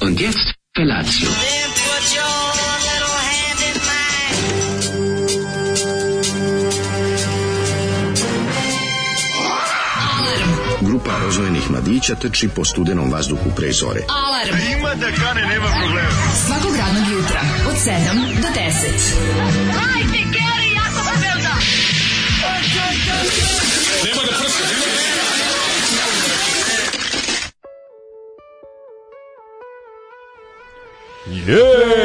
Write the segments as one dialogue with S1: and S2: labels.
S1: Und jetzt Felatio.
S2: Grupa rozvojenih mladića trči po studenom vazduhu pre zore.
S3: Alarm! A ima da kane, nema problema.
S4: Svakog radnog jutra, od 7 do 10.
S5: Hajde, Geri, jako se velda!
S3: Nema da prska, nema da
S6: Yeah!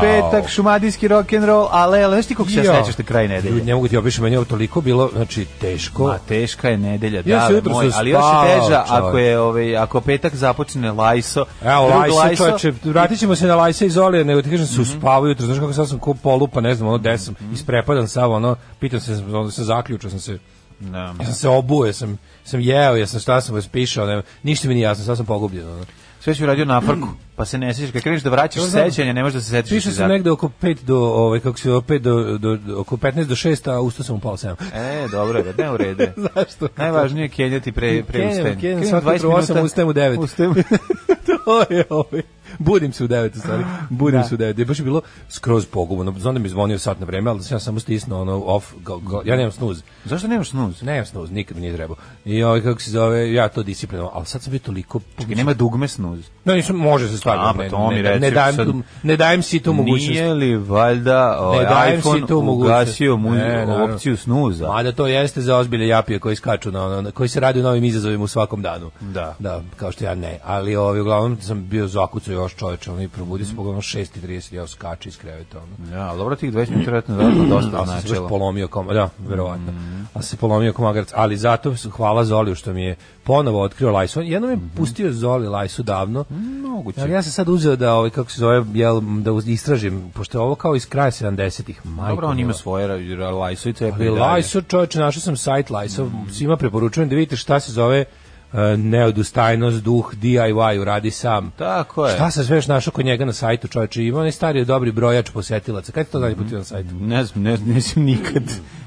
S6: Petak, petak, šumadijski rock and roll, ale, ale, znaš ti kako se ja
S7: Jo.
S6: sećaš te kraj nedelje?
S7: Ljudi, ne mogu ti opišem, meni je ovo toliko bilo, znači, teško.
S6: Ma teška je nedelja,
S7: Ja
S6: da,
S7: se jutros
S6: moj, ali još je
S7: spavao,
S6: teža
S7: čovek.
S6: ako je ovaj ako petak započne lajso.
S7: Evo,
S6: drug
S7: E,
S6: Mhm.
S7: Lajsa, čoveče, vratit ćemo se na Lajsa iz Olije, nego ti kažem, se uspavao jutro, znaš kako sad sam ko polupa, ne znam, ono, desam, isprepadan sav, ono, pitan se, onda sam zaključao, sam se,
S6: Da.
S7: ja sam se obuo, ja sam, sam jeo, ja sam šta sam vas pišao, ne, ništa mi nije jasno, sad sam pogubljen, ono.
S6: Sve si uradio naprku, pa se ne sjećaš. Kad kreneš da vraćaš
S7: Ja znam.
S6: sećanje, ne možeš da se setiš.
S7: Pišao sam
S6: izad.
S7: negde oko 5 do, ovaj, kako se, 5 do, do, do, oko 15 do 6, a ustao sam u pola 7.
S6: E, dobro je, ne u redu. je.
S7: Zašto?
S6: Najvažnije je kenjati pre, pre
S7: Kenjam,
S6: ustajem.
S7: kenjam, svaki prvo osam, ustajem u devet.
S6: Ustajem.
S7: to je ovaj. Budim se u 9 u stvari. Budim
S6: Da.
S7: se u 9. Je baš je bilo skroz pogubno. Znam da mi je zvonio sat na vreme, ali sam ja samo stisnuo ono off. Go, go. Ja nemam snuz.
S6: Zašto nemaš snuz?
S7: Nemam snuz, nikad mi nije trebao. I ovaj, kako se zove, ja to disciplinuo. Ali sad sam bio toliko...
S6: I nema dugme snuz.
S7: No, nisam, može se stvarno.
S6: A, pa
S7: ne,
S6: to mi
S7: ne, ne,
S6: reci,
S7: dajem,
S6: sad-
S7: tu- ne dajem si tu mogućnost.
S6: Nije li valjda
S7: Ne
S6: ovaj,
S7: dajem si
S6: iPhone
S7: tu mogućnost.
S6: ugasio mu,
S7: Ne, naravno.
S6: opciju snuza?
S7: Mada to jeste za ozbilje japije koji skaču na ono, na- koji se radi u novim izazovima u svakom danu.
S6: Da.
S7: Da, kao što ja ne. Ali ovaj, uglavnom sam bio zakucao još čoveče, ono i probudio
S6: Mhm.
S7: se pogledano 6.30, ja skače iz kreveta. Ono.
S6: Ja, ali dobro tih 20 minuta vjerojatno da dosta
S7: Da, sam se baš
S6: značilo.
S7: polomio kom, da, verovatno.
S6: Mhm.
S7: Ali sam se polomio komagarac, ali zato su- hvala Zoliju što mi je ponovo otkrio Lajsu. Jednom
S6: Mhm.
S7: je pustio Zoli Lajsu davno.
S6: Moguće.
S7: Ali ja sam sad uzeo da ovaj kako se zove jel da uz- istražim pošto je ovo kao iz kraja 70-ih.
S6: Dobro,
S7: majko
S6: on ima
S7: mila.
S6: svoje ra- ra- lajso i cepa i
S7: Ali
S6: dalje.
S7: Lajso, čovječe, našao sam sajt Lajso, svima preporučujem da vidite šta se zove uh, neodustajnost, duh, DIY, uradi sam.
S6: Tako je.
S7: Šta se sve još našao kod njega na sajtu, čovječe, ima onaj stari dobri brojač posjetilaca. Kada ti to zadnji put bio na sajtu?
S6: Ne znam, ne, nisam nikad.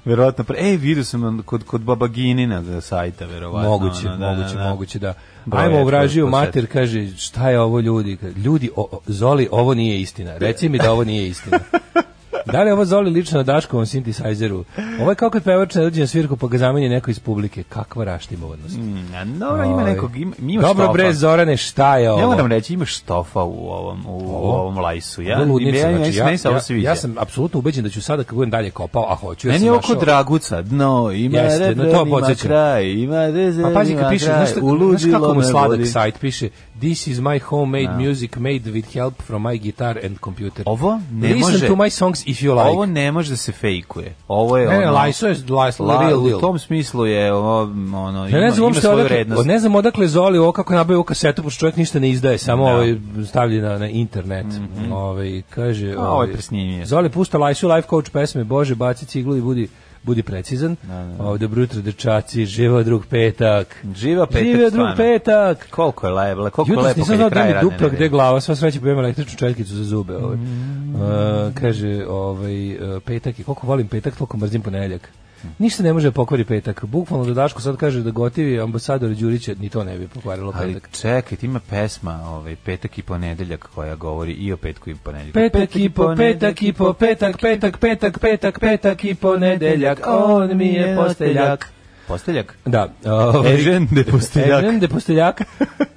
S6: Verovatno, pre... ej, vidio sam on kod, kod Babaginina za sajta, verovatno.
S7: Moguće,
S6: ono, da,
S7: moguće,
S6: da, da.
S7: moguće Pa da.
S6: Brojač
S7: Ajmo obražio
S6: posjetilaca.
S7: mater, kaže, šta je ovo ljudi? Ka- Ljudi, o, o, Zoli, ovo nije istina. Reci mi da ovo nije istina. Da li je ovo Zoli lično na Daškovom synthesizeru? Ovo je kao kad pevač ne dođe na svirku pa ga zamenje neko iz publike. Kakva raštimovodnost.
S6: Mm, a dobro, ima nekog, ima, ima
S7: Ovaj, Dobro
S6: štofa.
S7: bre Zorane, šta je ovo?
S6: Ne moram reći, ima štofa u ovom, u, u ovom lajsu. Ja,
S7: Ovo je ludnica,
S6: ja, ja,
S7: znači,
S6: ja, ja,
S7: ja, ja sam apsolutno ubeđen da ću sada kako budem dalje kopao, a hoću. Ja
S6: Meni
S7: sam
S6: je ovo kod
S7: našao-
S6: Draguca, dno, ima
S7: Jeste, na
S6: Jeste,
S7: to
S6: ima
S7: podsjeća.
S6: kraj, ima rezer,
S7: Pa pazi kad
S6: ima
S7: piše,
S6: kraj,
S7: znaš, šta-
S6: u
S7: znaš
S6: ludilo
S7: kako mu
S6: me
S7: sladak
S6: vodi.
S7: sajt piše This is my homemade music made with help from my guitar and computer.
S6: Ovo ne
S7: Listen
S6: može.
S7: to my songs if you like.
S6: Ovo ne može da se fejkuje. Ovo je
S7: ne, ne,
S6: ono...
S7: Lajso je Lajso,
S6: La-
S7: real deal.
S6: U tom smislu je ovo, ono, ima,
S7: Ja ne znam
S6: ima
S7: uopšte
S6: svoju
S7: odakle,
S6: vrednost.
S7: ne znam odakle Zoli ovo kako je nabavio ovu kasetu, pošto čovjek ništa ne izdaje, samo ovaj stavlja na, na internet. ovaj, kaže,
S6: Mhm. A, ovaj presnimio.
S7: Zoli pušta Lajsu Life Coach pesme, Bože, baci ciglu i budi budi precizan. Ovaj, dobro jutro, dečaci, živa drug petak.
S6: Živa petak,
S7: Živa drug
S6: stvarno.
S7: petak.
S6: Koliko je lajebla, koliko je
S7: Jutros
S6: lepo
S7: nisam
S6: kad je
S7: znao da
S6: kraj
S7: mi
S6: radne
S7: dupla gde
S6: nedelje. Mm.
S7: glava, sva sreća pa imam električnu četkicu za zube. Ovaj. E, kaže, ovaj, e, petak je, koliko volim petak, toliko mrzim ponedeljak. Ništa ne može da pokvari petak. Bukvalno da Daško sad kaže da gotivi ambasador Đurića, ni to ne bi pokvarilo
S6: Ali
S7: petak.
S6: čekaj, ti ima pesma, ovaj, petak i ponedeljak koja govori i o petku i ponedeljak.
S7: Petak i po, petak i po, petak, petak, petak, petak, petak i ponedeljak, on mi je posteljak.
S6: Posteljak?
S7: Da. ovaj,
S6: Ežen de posteljak.
S7: Ežen de posteljak.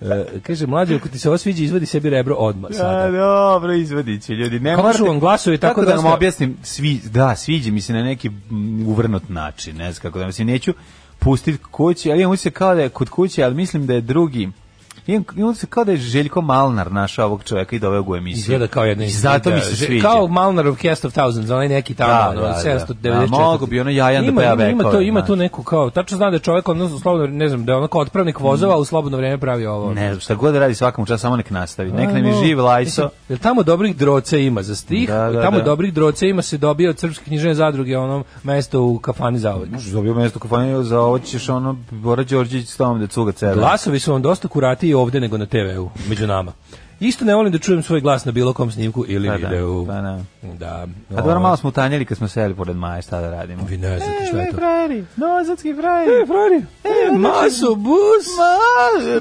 S7: E, kaže, mlađe, ako ti se ovo sviđa, izvadi sebi rebro odmah
S6: A,
S7: sada.
S6: dobro, izvadit će ljudi. Ne
S7: Kako
S6: morate-
S7: su vam glasovi, tako
S6: Kako da
S7: da
S6: vam
S7: ste-
S6: objasnim, svi, da, sviđa mi se na neki mm, uvrnut način, ne znam kako da vam se neću pustit kući, ali imam se kao da je kod kuće, ali mislim da je drugi imam- Imam se kao da je Željko Malnar našao ovog čovjeka i doveo ga u emisiju.
S7: Izgleda kao jedna
S6: I zato mi se
S7: da,
S6: sviđa.
S7: Kao Malnarov Cast of Thousands, onaj neki tamo,
S6: Da,
S7: da,
S6: da,
S7: ono,
S6: da.
S7: 794.
S6: A mogo bi ono jajan da
S7: ima,
S6: peva
S7: ima, ima, to,
S6: vekove,
S7: ima
S6: znaš.
S7: tu neku kao, tačno znam da je čovjek, odnosno, slobodno, ne znam, da je ono kao otpravnik vozova, a u slobodno vrijeme pravi ovo.
S6: Mm. Ne znam, šta god da radi svakom čas, samo nek nastavi. Nek nam je
S7: Ajmo.
S6: živ
S7: Mislim,
S6: lajso.
S7: Jel tamo dobrih droca ima za stih,
S6: Da, da,
S7: tamo
S6: da.
S7: dobrih droca ima se dobio od Srpske književne zadruge onom mesto u kafani za ovaj.
S6: Možeš dobio mesto kafaniju, za ovo ćeš ono, Bora Đorđević s tom da cuga cera.
S7: Glasovi su vam dosta kuratiji ovdje nego na TV-u, među nama. Isto ne volim da čujem svoj glas na bilo kom snimku ili
S6: Pa da,
S7: videu.
S6: pa da.
S7: Da,
S6: A
S7: ovaj,
S6: dobro, malo E, smo utanjili kad smo seli pored Maje, šta da radimo?
S7: Vi ne znate šta je to.
S6: frajeri, nozatski frajeri.
S7: Frari, e, maso bus.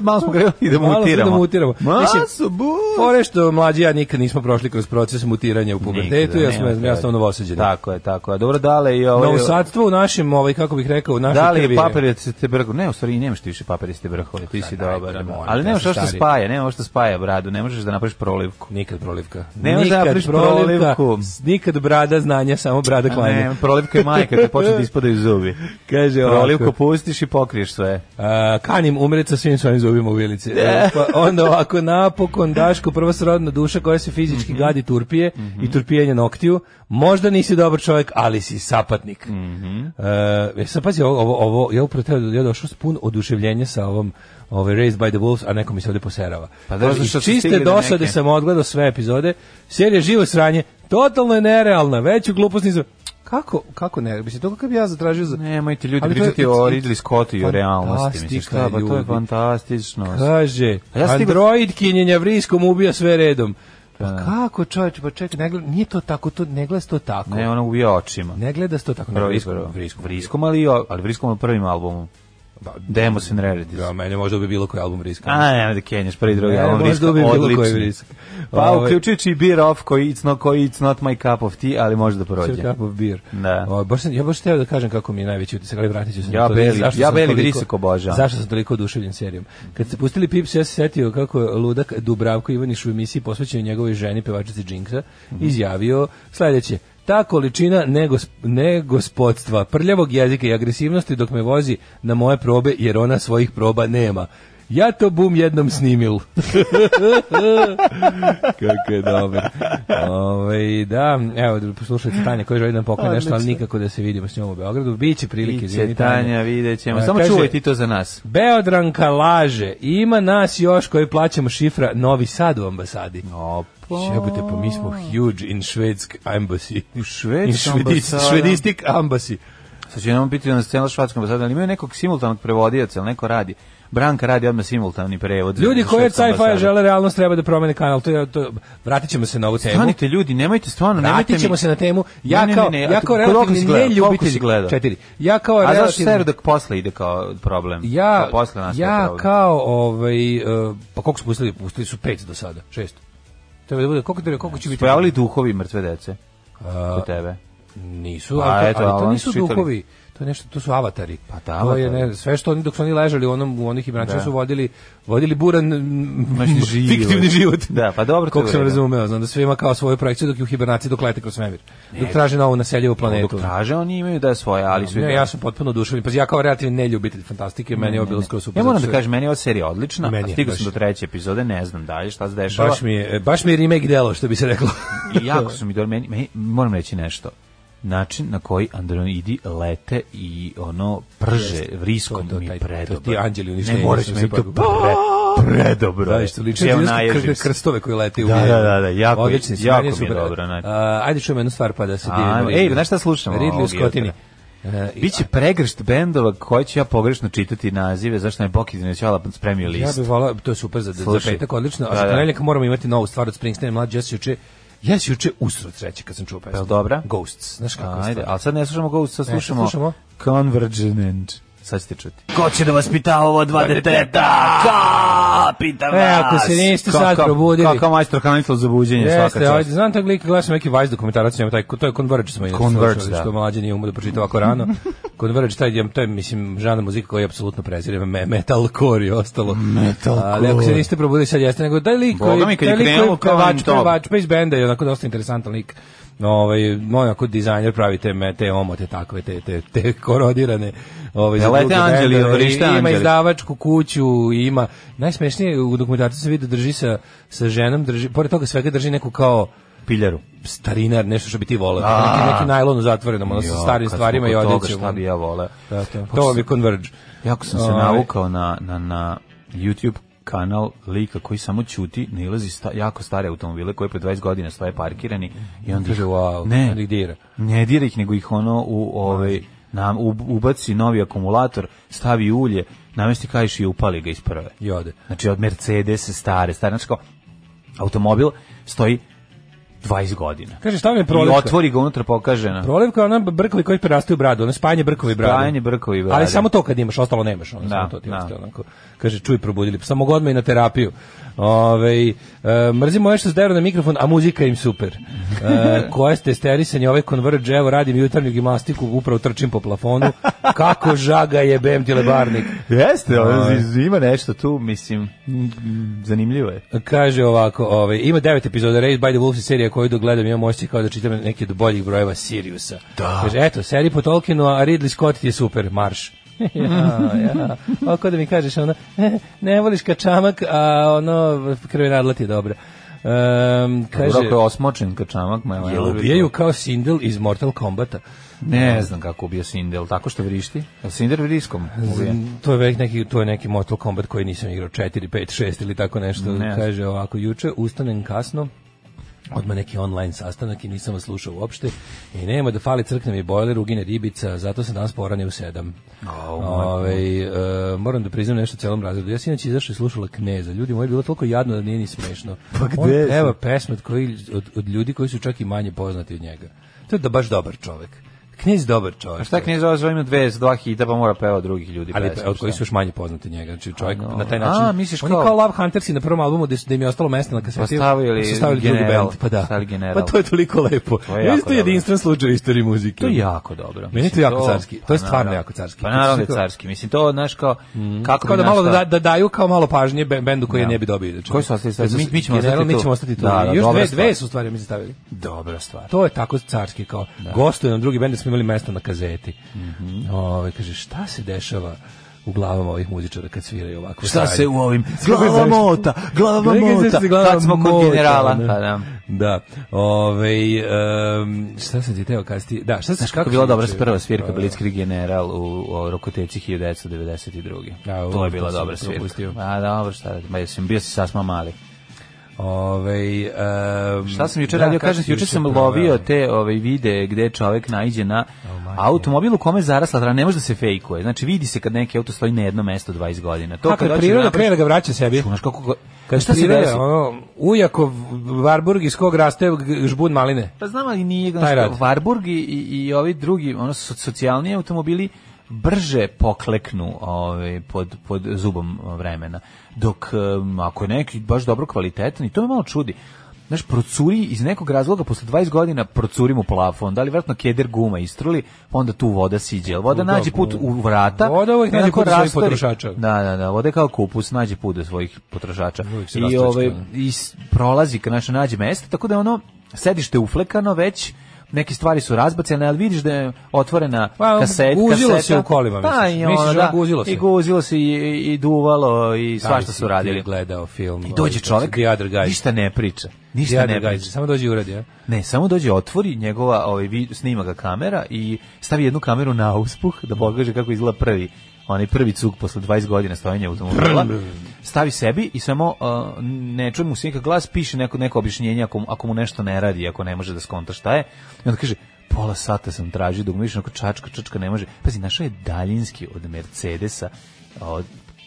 S6: Ma, malo smo greli i da
S7: Malo smo
S6: mutiramo.
S7: da mutiramo. Mislim,
S6: Masu, bu.
S7: Fore što mlađi ja nikad nismo prošli kroz proces mutiranja u pubertetu,
S6: Nikada,
S7: ja sam
S6: nema
S7: ja
S6: frajeri.
S7: sam novosađen.
S6: Tako je, tako je. Dobro, dale i ovo...
S7: Novosadstvo u našem, ovaj kako bih rekao, u našoj
S6: Da li je
S7: krvi
S6: papir da se te brko? Ne, u stvari i nemaš ti više papir da se te brkovi, ti si
S7: dajte,
S6: dobar. ono.
S7: molim te,
S6: Ali nemaš
S7: ja sam
S6: ovo što
S7: stari.
S6: spaja, nema ovo što spaja bradu, nema možeš da napraviš prolivku.
S7: Nikad prolivka.
S6: Ne možeš da
S7: Nikad
S6: napraviš prolivku.
S7: s- Nikad brada znanja, samo brada
S6: A
S7: klanja.
S6: Ne, prolivka je majka, te počne da ispadaju zubi.
S7: Kaže ovako.
S6: Prolivku pustiš i pokriješ sve.
S7: A, E, kanim umret sa svim svojim zubima u vilici. E, Pa onda ovako napokon Daško, prva srodna duša koja se fizički gadi turpije i turpijenje noktiju. Možda nisi dobar čovjek, ali si sapatnik. Mm e, sad pazi, ovo, ovo, ovo ja upravo teo, ja došao s pun oduševljenja sa ovom ovaj Raised by the Wolves, a neko mi se ovdje poserava.
S6: Pa da,
S7: Iz
S6: zato što su
S7: čiste
S6: stigli do
S7: dosade
S6: neke.
S7: sam odgledao sve epizode. Serija živo sranje, totalno je nerealna, veću glupost nisam... Kako, kako ne? Mislim, to kako bi ja zatražio za...
S6: Nemojte ljudi
S7: Ali to je-
S6: pričati o Ridley Scottu i o realnosti. Mislim,
S7: Fantastika,
S6: šta, pa to je
S7: ljudi.
S6: fantastično.
S7: Kaže,
S6: A ja
S7: ja
S6: sam stigao-
S7: Android kinjenja vriskom ubija sve redom. Pa kako čovječe, pa čekaj, ne gleda, nije to tako, to, ne gleda to tako.
S6: Ne, ona ubija očima.
S7: Ne gleda se to tako.
S6: Prvo,
S7: vriskom,
S6: vriskom,
S7: vriskom.
S6: vriskom, ali, i o- ali vriskom na prvim albumom. Demos and Rarities.
S7: Pa, Ja, mene možda bi bilo koji album vriska.
S6: A, nema da kenjaš prvi drugi
S7: Ne,
S6: album
S7: možda
S6: vriska,
S7: bi bilo koji
S6: odlični.
S7: vrisak.
S6: Pa,
S7: Ovaj-
S6: uključujući i Beer Off, koji it's, not, koji it's not my cup of tea, ali može da prođe.
S7: Cup of beer.
S6: Da.
S7: O, baš sam, ja baš teo da kažem kako mi je najveći utisak, ali vratit ću se
S6: Ja
S7: na to.
S6: beli-
S7: Zašto
S6: ja
S7: sam
S6: beli
S7: toliko-
S6: vrisak obožavam.
S7: Zašto sam toliko oduševljen serijom? Kad ste pustili Pips, ja se setio kako je ludak Dubravko Ivaniš u emisiji posvećenoj njegovoj ženi, pevačici Džinksa,
S6: Mhm.
S7: izjavio sledeće. Ta količina negos, negospodstva, prljavog jezika i agresivnosti dok me vozi na moje probe, jer ona svojih proba nema. Ja to bum jednom snimil. Kako je dobar. Ove, da, evo, da poslušajte Tanja koja želi da nam pokloni nešto, ali nikako da se vidimo s njom u Beogradu. Biće prilike,
S6: Biće,
S7: izvini,
S6: Tanja, vidjet ćemo.
S7: A,
S6: Samo
S7: kaže-
S6: čuvaj ti to za nas.
S7: Beodranka laže, ima nas još koji plaćamo šifra Novi Sad u ambasadi.
S6: Opa.
S7: Jebote, pa mi smo huge in Švedsk embassy. U
S6: Švedsk ambasada. Znači,
S7: Švedistik embassy.
S6: Sad će nam biti na scenu švatskom ambasadu, ali imaju nekog simultanog prevodioca, ali neko radi. Branka radi odmah simultani prevod.
S7: Ljudi koji od
S6: Švedskom
S7: sci-fi
S6: ambasadom.
S7: žele realnost treba da promene kanal. To je, to, vratit ćemo se na ovu temu.
S6: Stanite ljudi, nemojte stvarno, nemojte
S7: Vratit
S6: mi...
S7: ćemo se na temu.
S6: Ne,
S7: Ja
S6: ne,
S7: kao,
S6: ne, ne, a
S7: ja
S6: ti-
S7: kao
S6: koliko
S7: relativni
S6: si gledao? Koliko si
S7: neljubitelj.
S6: gledao?
S7: Četiri. Ja kao
S6: A zašto
S7: relativni...
S6: seru dok posle ide kao problem?
S7: Pa Ja,
S6: kao posle nas
S7: ja kao, ovaj, e, pa koliko su pustili? Pustili su pet do sada, šest. Treba da bude, koliko, treba, koliko će biti?
S6: Pojavili duhovi mrtve dece kod tebe.
S7: Nisu,
S6: Pa,
S7: ali, to-
S6: eto,
S7: ali to
S6: oni su
S7: nisu
S6: čitali.
S7: duhovi. To je nešto, to su avatari.
S6: Pa da,
S7: to je
S6: avatari.
S7: ne, sve što oni dok su oni ležali u onom u onih ibranča
S6: Da.
S7: su vodili vodili buran mm,
S6: Noćni život.
S7: fiktivni život.
S6: Da, pa dobro, to
S7: Koliko
S6: je
S7: sam
S6: u redu.
S7: razumeo, znam da sve ima kao svoju projekciju dok je u hibernaciji dok lete kroz svemir. Dok traže novu naseljivu planetu.
S6: Dok traže, oni imaju da je svoje, ali su...
S7: Ne, pa ja sam potpuno oduševljen. Pa ja kao relativni neljubitelj fantastike, meni je ovo bilo skoro super.
S6: Ja moram
S7: zato
S6: da
S7: što je-
S6: kažem, meni je ova serija odlična,
S7: Meni
S6: a
S7: je,
S6: stigao
S7: baš.
S6: sam do treće epizode, ne znam dalje šta se dešava.
S7: baš mi je baš mi je remake delo što bi se reklo.
S6: I jako su mi dobro, meni, meni- moram reći nešto. Način na koji androidi lete i ono prže vriskom
S7: to, to,
S6: mi
S7: taj-
S6: je
S7: to
S6: predobro.
S7: ti anđeli uništenja
S6: Ne moraš
S7: što
S6: meni to
S7: se pogube.
S6: pre, predobro.
S7: Da,
S6: je.
S7: isto lično
S6: Evo,
S7: ti
S6: naježim
S7: kr-
S6: se.
S7: krstove koji lete u
S6: Da,
S7: vjeru.
S6: da, da, da, jako-
S7: Odlični su,
S6: jako
S7: meni su
S6: mi je
S7: super.
S6: dobro, znači.
S7: A, ajde čujemo jednu stvar pa da se
S6: Ajmo,
S7: divimo.
S6: ej, znaš šta slušamo
S7: Ridley u
S6: ovog
S7: Skotini.
S6: jutra?
S7: E, i-
S6: Biće pregršt bendova koje ću ja pogrešno čitati nazive, zašto me Boki Dinoćala spremio
S7: Ja
S6: list.
S7: bih volao, to je super za, za
S6: Slušaj.
S7: petak, odlično, a
S6: Da,
S7: za
S6: da.
S7: ponedeljak moramo imati novu stvar od Springsteena i mlađe, ja se juče, ja se juče usro treće kad sam čuo pesmu.
S6: Jel dobra?
S7: Ghosts, znaš kako
S6: Ajde, ali sad ne slušamo Ghost, sad
S7: Ne, sad
S6: slušamo,
S7: slušamo?
S6: Convergent. Sad ćete čuti. Ko će da vas pita ovo dva deteta? Ka, pita
S7: E, ako se niste sad probudili.
S6: Kako majstor kanitlo za buđenje, svaka
S7: Jeste,
S6: čast.
S7: ajde, znam tog lika, gledao sam neki Vice dokumentarac, o njemu, taj, to je Converge smo inače
S6: Converge,
S7: slušali,
S6: da.
S7: što mlađe nije umo da pročita ovako rano. Converge, taj, je- to je, mislim, žana muzika koja je apsolutno prezireva, me, metalcore i ostalo.
S6: Metalcore.
S7: Ali ako se niste probudili sad jeste, nego taj lik koji,
S6: Boga mi, kad
S7: taj
S6: je
S7: lik koji
S6: krenulo kao
S7: pevač,
S6: on top.
S7: pevač, pa iz benda je onako dosta interesantan lik. Ovaj, moj onako dizajner pravi te, me- te omote takve, te, te, te korodirane. Ovaj,
S6: Jel
S7: za
S6: lete
S7: druge
S6: anđeli,
S7: bendove.
S6: vrište
S7: Ima
S6: anđeli?
S7: izdavačku kuću, ima... Najsmešnije je, u dokumentarcu se vidi da drži sa, sa ženom, drži, pored toga svega drži neku kao
S6: Piljaru.
S7: starinar, nešto što bi ti voleo. Neki, neki najlon u zatvorenom, ono sa
S6: Jo,
S7: starim
S6: kad
S7: stvarima
S6: smo
S7: i
S6: kod toga,
S7: odećem.
S6: Šta bi ja voleo?
S7: Da, to, to vam je Converge.
S6: Jako sam se
S7: Ovaj.
S6: navukao na, na, na YouTube kanal lika koji samo ćuti, nailazi sta, jako stare automobile koji po 20 godina stoje parkirani i onda ih,
S7: Kaže, wow,
S6: ne,
S7: onda ih dira.
S6: ne dira ih, nego ih ono u, ovaj, nam, u- ubaci novi akumulator, stavi ulje, namesti kajš i upali ga iz prve.
S7: I ode.
S6: Znači od Mercedes stare, stare, znači kao automobil stoji 20 godina.
S7: Kaže, stavljam
S6: I
S7: prolivka.
S6: otvori ga unutra pokaže na.
S7: Prolivka je ona brkovi koji prerastaju bradu, ono spajanje brkovi bradu.
S6: Spajanje brkovi brade.
S7: Ali samo to kad imaš, ostalo nemaš. Ono,
S6: Da,
S7: samo to ti
S6: da.
S7: ostaje onako. Kaže, čuj, probudili. Samo god me i na terapiju. Ove, e, mrzim moje što zderu na mikrofon, a muzika im super. E, koje ste sterisanje, ovaj konverđ, evo radim jutarnju gimnastiku, upravo trčim po plafonu. Kako žaga je BM lebarnik.
S6: Jeste, ono,
S7: Ovaj.
S6: z- ima nešto tu, mislim, mm, zanimljivo je.
S7: Kaže ovako, ovaj, ima devet epizoda Raid by the Wolves i serija koju dok gledam imam osjećaj kao da čitam neki od boljih brojeva Siriusa. Da. Kaže, eto, seri po Tolkienu, a Ridley Scott ti je super, marš. ja, ja. Ovo kao da mi kažeš, ono, eh, ne voliš kačamak, a ono, krvenadla ti je dobro. Um,
S6: Kaže,
S7: kaže,
S6: je osmočen kačamak, ma
S7: jel ubijaju kao Sindel iz Mortal Kombata?
S6: Ne znam kako ubija Sindel, tako što vrišti. Jel Sindel vriskom ubija?
S7: Mm, To je već neki to je neki Mortal Kombat koji nisam igrao 4, 5, 6 ili tako nešto.
S6: Ne.
S7: Kaže ovako juče ustanem kasno. Odmah neki online sastanak i nisam vas slušao uopšte. I nema da fali crkne mi bojler, ugine ribica, zato sam danas poranio u sedam.
S6: Oh
S7: Ovaj, e, moram da priznam nešto celom razredu. Ja sam inače izašao i slušala Kneza. Ljudi moji, bilo toliko jadno da nije ni smešno.
S6: Pa gde
S7: On
S6: sam?
S7: peva pesme od, koji, od, od ljudi koji su čak i manje poznati od njega. To je da baš dobar čovek. Knez dobar čovek.
S6: A šta knjez ovo zove ima dve, dva hita pa mora peva od drugih ljudi.
S7: Ali
S6: pesme,
S7: od kojih
S6: šta?
S7: su još manje poznati njega. Znači čovjek
S6: A, no.
S7: na taj
S6: A,
S7: način.
S6: misliš
S7: oni
S6: kao-
S7: kao, Love Hunters i na prvom albumu da su da im je ostalo mesta na kaseti.
S6: Pa stavili
S7: su stavili drugi
S6: General,
S7: bend, pa da.
S6: stavili General.
S7: Pa to je toliko lepo.
S6: To je
S7: Ja
S6: jako
S7: isto
S6: dobro.
S7: jedinstven slučaj u istoriji muzike.
S6: To je jako dobro.
S7: Meni je to
S6: Mislim,
S7: jako carski. To
S6: pa
S7: je stvarno
S6: naravno.
S7: jako carski.
S6: Pa naravno da
S7: Kao-
S6: je carski. Mislim, to, znaš, kao, kako
S7: Kao
S6: bi
S7: da malo
S6: našla-
S7: da, da daju kao malo pažnje be- bendu koji ne bi dobio. inače.
S6: Koji su ostali sad?
S7: Jer
S6: Mi- mi ćemo
S7: General,
S6: ostati
S7: mi
S6: tu.
S7: ćemo ostati tu.
S6: Da, da,
S7: Još
S6: dobra
S7: dve,
S6: stvar.
S7: dve su stvari mi stavili.
S6: Dobra stvar.
S7: To je tako carski kao. Gostuje nam drugi bend jer smo imali mesto na kazeti.
S6: Mhm.
S7: Ovaj, kaže šta se dešava u glavama ovih muzičara kad sviraju ovako.
S6: Šta
S7: stvari?
S6: se u ovim?
S7: Glava
S6: Glava
S7: mota,
S6: mota, glava mota. Kad smo kod generala. Pa da.
S7: Da. Ovaj em, šta sam ti teo kasti? Da, šta se
S6: Znaš kako je bila dobra prva svirka Blitzkrieg General u, u Rokoteci 1992.
S7: Da, ovo,
S6: to je
S7: to
S6: bila
S7: sam
S6: dobra svirka.
S7: propustio.
S6: A dobro, šta da, ma jesam bio si sasma mali.
S7: Ovaj em,
S6: Šta sam juče
S7: da,
S6: radio?
S7: kako
S6: Kažem
S7: si
S6: ti, juče sam
S7: proveo?
S6: lovio te ovaj vide gde čovek naiđe na automobil u kome je zarasla trava, ne može da se fejkuje. Znači vidi se kad neki auto stoji na jedno mesto 20 godina. To
S7: A,
S6: kad
S7: kad
S6: hoćeš
S7: priroda
S6: napraviš-
S7: krene da ga vraća sebi. E,
S6: Znaš kako ga-
S7: Kad
S6: šta se desi?
S7: Ono, ujakov Varburg iz kog raste g- žbun maline.
S6: Pa znam, ali nije
S7: Taj
S6: znaš,
S7: rad.
S6: Warburg i, i, i ovi drugi, ono, so- socijalni automobili brže pokleknu ovaj, pod, pod zubom vremena. Dok, em, ako je neki baš dobro kvalitetan, i to me malo čudi, Znaš, procuri iz nekog razloga, posle 20 godina procuri mu plafon, da li vratno keder guma istruli, pa onda tu voda siđe. Jel Voda
S7: Da,
S6: nađe put u vrata.
S7: Voda uvijek
S6: i
S7: nađe
S6: onako
S7: put do svojih
S6: rasturi.
S7: potrošača.
S6: Da, da, da, voda je kao kupus, nađe put do svojih potrošača.
S7: Uvijek se
S6: I,
S7: rastrčka,
S6: ovaj,
S7: da.
S6: i s- prolazi kad znači nađe mesto, tako da je ono sedište uflekano već neke stvari su razbacane, ali vidiš da je otvorena
S7: Pa,
S6: kaset,
S7: guzilo
S6: kaseta.
S7: se u kolima,
S6: Pa,
S7: misliš.
S6: i ono,
S7: Misliš,
S6: da,
S7: ono, guzilo se.
S6: I guzilo se i, i duvalo i svašta
S7: Da li si
S6: su radili.
S7: ti Gledao film.
S6: I
S7: ovaj,
S6: dođe
S7: kako se-
S6: čovjek,
S7: The Other Guys.
S6: ništa ne priča.
S7: The
S6: Ništa
S7: Other
S6: ne
S7: Guys.
S6: priča.
S7: Samo dođe i uradi, a?
S6: Ne, samo dođe, otvori njegova, ovaj, vi- snima ga kamera i stavi jednu kameru na auspuh da pokaže kako izgleda prvi onaj prvi cuk posle 20 godina stojanja automobila. Stavi sebi i samo uh, ne čuje mu se nikak glas, piše neko, neko objašnjenje ako, mu- ako mu nešto ne radi, ako ne može da skonta šta je. I onda kaže, pola sata sam tražio dok mu više onako čačka, čačka ne može. Pazi, našao je daljinski od Mercedesa, od,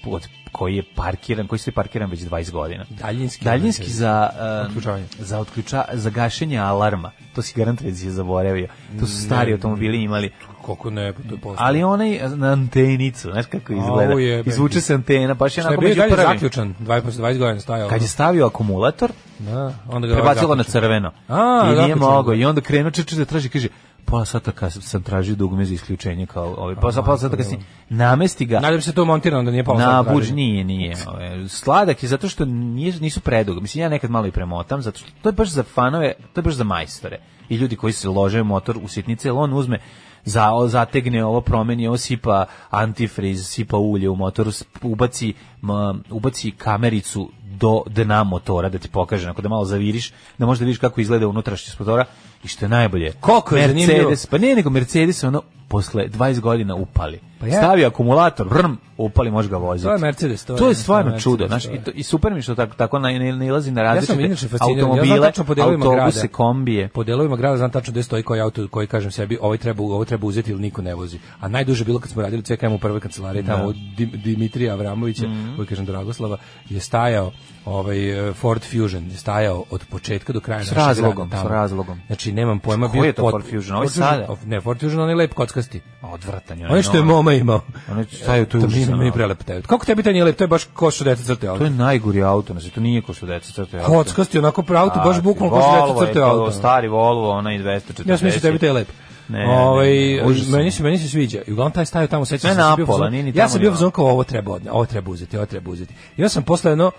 S6: od koji je parkiran, koji se parkiran već 20 godina.
S7: Daljinski
S6: Daljinski
S7: Mercedes.
S6: za em,
S7: Otključavanje.
S6: za otključa za gašenje alarma. To si garant već je zaboravio. To su stari automobili imali.
S7: Koliko ne, to je postoje.
S6: Ali onaj e, na antenicu, znaš kako izgleda.
S7: Au, jebe.
S6: Izvuče se antena, baš je
S7: Šta je
S6: onako
S7: bio i
S6: među
S7: dalje
S6: prvim.
S7: zaključan, 20 posle 20 godina stajao.
S6: Kad je stavio akumulator,
S7: da, onda ga
S6: prebacilo na crveno.
S7: A,
S6: I nije
S7: zaključan.
S6: mogao. I onda krenuo čeče da traži, kaže, pola sata kad sam tražio dugme za isključenje kao ovaj, pa za pola sata kasnije namesti ga
S7: Nadam se to je montirano da nije pao
S6: na buđ nije, nije. Ove, Sladak je zato što nije, nisu predug. Mislim, ja nekad malo i premotam, zato što to je baš za fanove, to je baš za majstore. I ljudi koji se lože u motor u sitnice, jer on uzme za, o- zategne ovo promeni, ovo sipa antifriz, sipa ulje u motor, sp- ubaci, m, ubaci kamericu do dna motora da ti pokaže, ako da malo zaviriš, da možda vidiš kako izgleda unutrašnjost motora i što je najbolje.
S7: Koliko je zanimljivo.
S6: Mercedes, pa ne, nego Mercedes je ono posle 20 godina upali.
S7: Pa ja-
S6: Stavi akumulator, vrm, upali, može ga voziti.
S7: To je Mercedes, to je-
S6: To je
S7: to
S6: stvarno
S7: je
S6: čudo,
S7: Mercedes,
S6: znaš,
S7: to je.
S6: i, to, i super mi je što tako, tako na, ne, ne ilazi na
S7: Ja sam
S6: različite
S7: inače fasciniran. Ja
S6: automobile,
S7: znam tačno po delovima grada.
S6: autobuse, kombije.
S7: Po delovima grada, znam tačno gde stoji koji auto koji kažem sebi, ovaj treba, ovo treba uzeti ili niko ne vozi. A najduže je bilo kad smo radili CKM u prvoj kancelariji, tamo od Dim- Dimitrija Avramovića,
S6: Mhm.
S7: koji kažem Dragoslava, je stajao ovaj eh, Ford Fusion je stajao od početka do kraja s
S6: razlogom, s razlogom.
S7: Znači nemam pojma
S6: Koji je to Ford Fusion? Ovaj
S7: Ford Fusion-
S6: sada?
S7: Ne, Ford Fusion on je lep kockasti.
S6: Odvratan je.
S7: Ono što je moma imao.
S6: Ono šta je tu
S7: To mi,
S6: užasno.
S7: meni prelep taj. Kako tebi taj nije lep? To je baš ko što dete crte
S6: To
S7: auto.
S6: je najgori auto, znači to nije ko što deca crte auto.
S7: Kockasti, onako pravo auto, baš
S6: Stari,
S7: bukvalno ko što
S6: Volvo
S7: dete
S6: je
S7: crte
S6: to,
S7: auto.
S6: Stari Volvo, onaj 240.
S7: Ja sam mislio tebi taj je lep.
S6: Ne, ne, ne,
S7: Ovaj,
S6: užasno.
S7: meni se meni se sviđa. I uglavnom taj staje tamo sećam
S6: Ne
S7: se. da sam bio u
S6: napola,
S7: fazonu-
S6: nije ni
S7: Ja
S6: tamo
S7: sam
S6: ni ono.
S7: bio
S6: vamo.
S7: fazon kao ovo treba odne, ovo treba uzeti, ovo treba uzeti. I ja sam posle jedno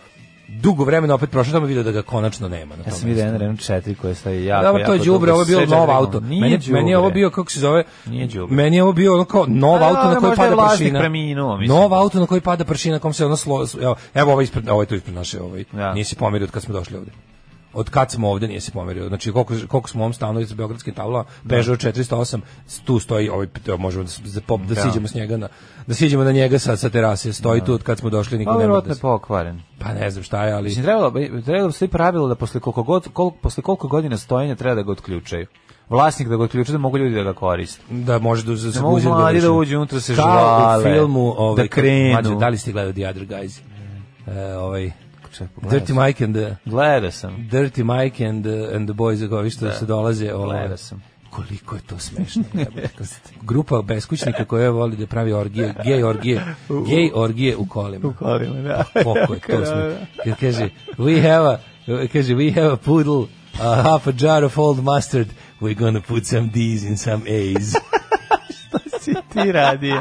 S7: dugo vremena opet prošao tamo i video da ga konačno nema na
S6: Ja
S7: tom.
S6: sam vidio jedan Renault 4 koji staje jako,
S7: Dobro, to je
S6: jako
S7: đubre,
S6: dugo,
S7: ovo je bilo
S6: sve
S7: nov
S6: četiri
S7: auto.
S6: godine. Nije
S7: Meni, meni je ovo
S6: đubre.
S7: bio kako se zove?
S6: Nije đubre.
S7: Meni je ovo bio ono kao nov
S6: A,
S7: auto na
S6: dobro,
S7: koji
S6: možda je
S7: pada
S6: vlasnik
S7: pršina.
S6: preminuo, mislim.
S7: Nov auto na koji pada pršina, kom se ono slo, evo, evo ovo ispred, ovo je tu ispred naše, ovaj.
S6: Da.
S7: Nisi pomerio od kad smo došli ovde. Od kad smo ovde nije se pomerio. Znači koliko koliko smo u ovom stanu iz beogradskih tabla Peugeot 408 tu stoji ovaj evo, možemo da, s- da, pop- da
S6: Da.
S7: siđemo s njega na da siđemo na njega sa sa terase. Stoji tu od kad smo došli
S6: Pa
S7: niko ne može.
S6: verovatno
S7: Da
S6: je
S7: se-
S6: pokvaren.
S7: pa ne znam šta je, ali
S6: Mislim, trebalo, bi- trebalo bi stoji pravilo da posle koliko, god, koliko, posle koliko godina stojenja treba da ga otključaju. Vlasnik da ga otključuje, da mogu ljudi da ga koriste.
S7: da može da se
S6: Da mogu mladi da uđu unutra se
S7: Kao u
S6: žvale,
S7: filmu ovaj,
S6: da krenu. Mm.
S7: Mađo, da li ste gledali The Other Guys? E, ovaj,
S6: Čekaj, pogledaj.
S7: Dirty Mike and the,
S6: Gledao sam.
S7: Dirty Mike and the, and the Boys, ako ovi što se dolaze. Ovaj,
S6: Gledao sam.
S7: Koliko je to smešno. jebote. Grupa beskućnika koja voli da pravi orgije, gej orgije, gej orgije u kolima.
S6: Kolima, da.
S7: Koliko je to smešno. Kad kaže, we have a, kaže, we have a poodle, a half a jar of old mustard, we're gonna put some D's in some A's.
S6: si ti radio.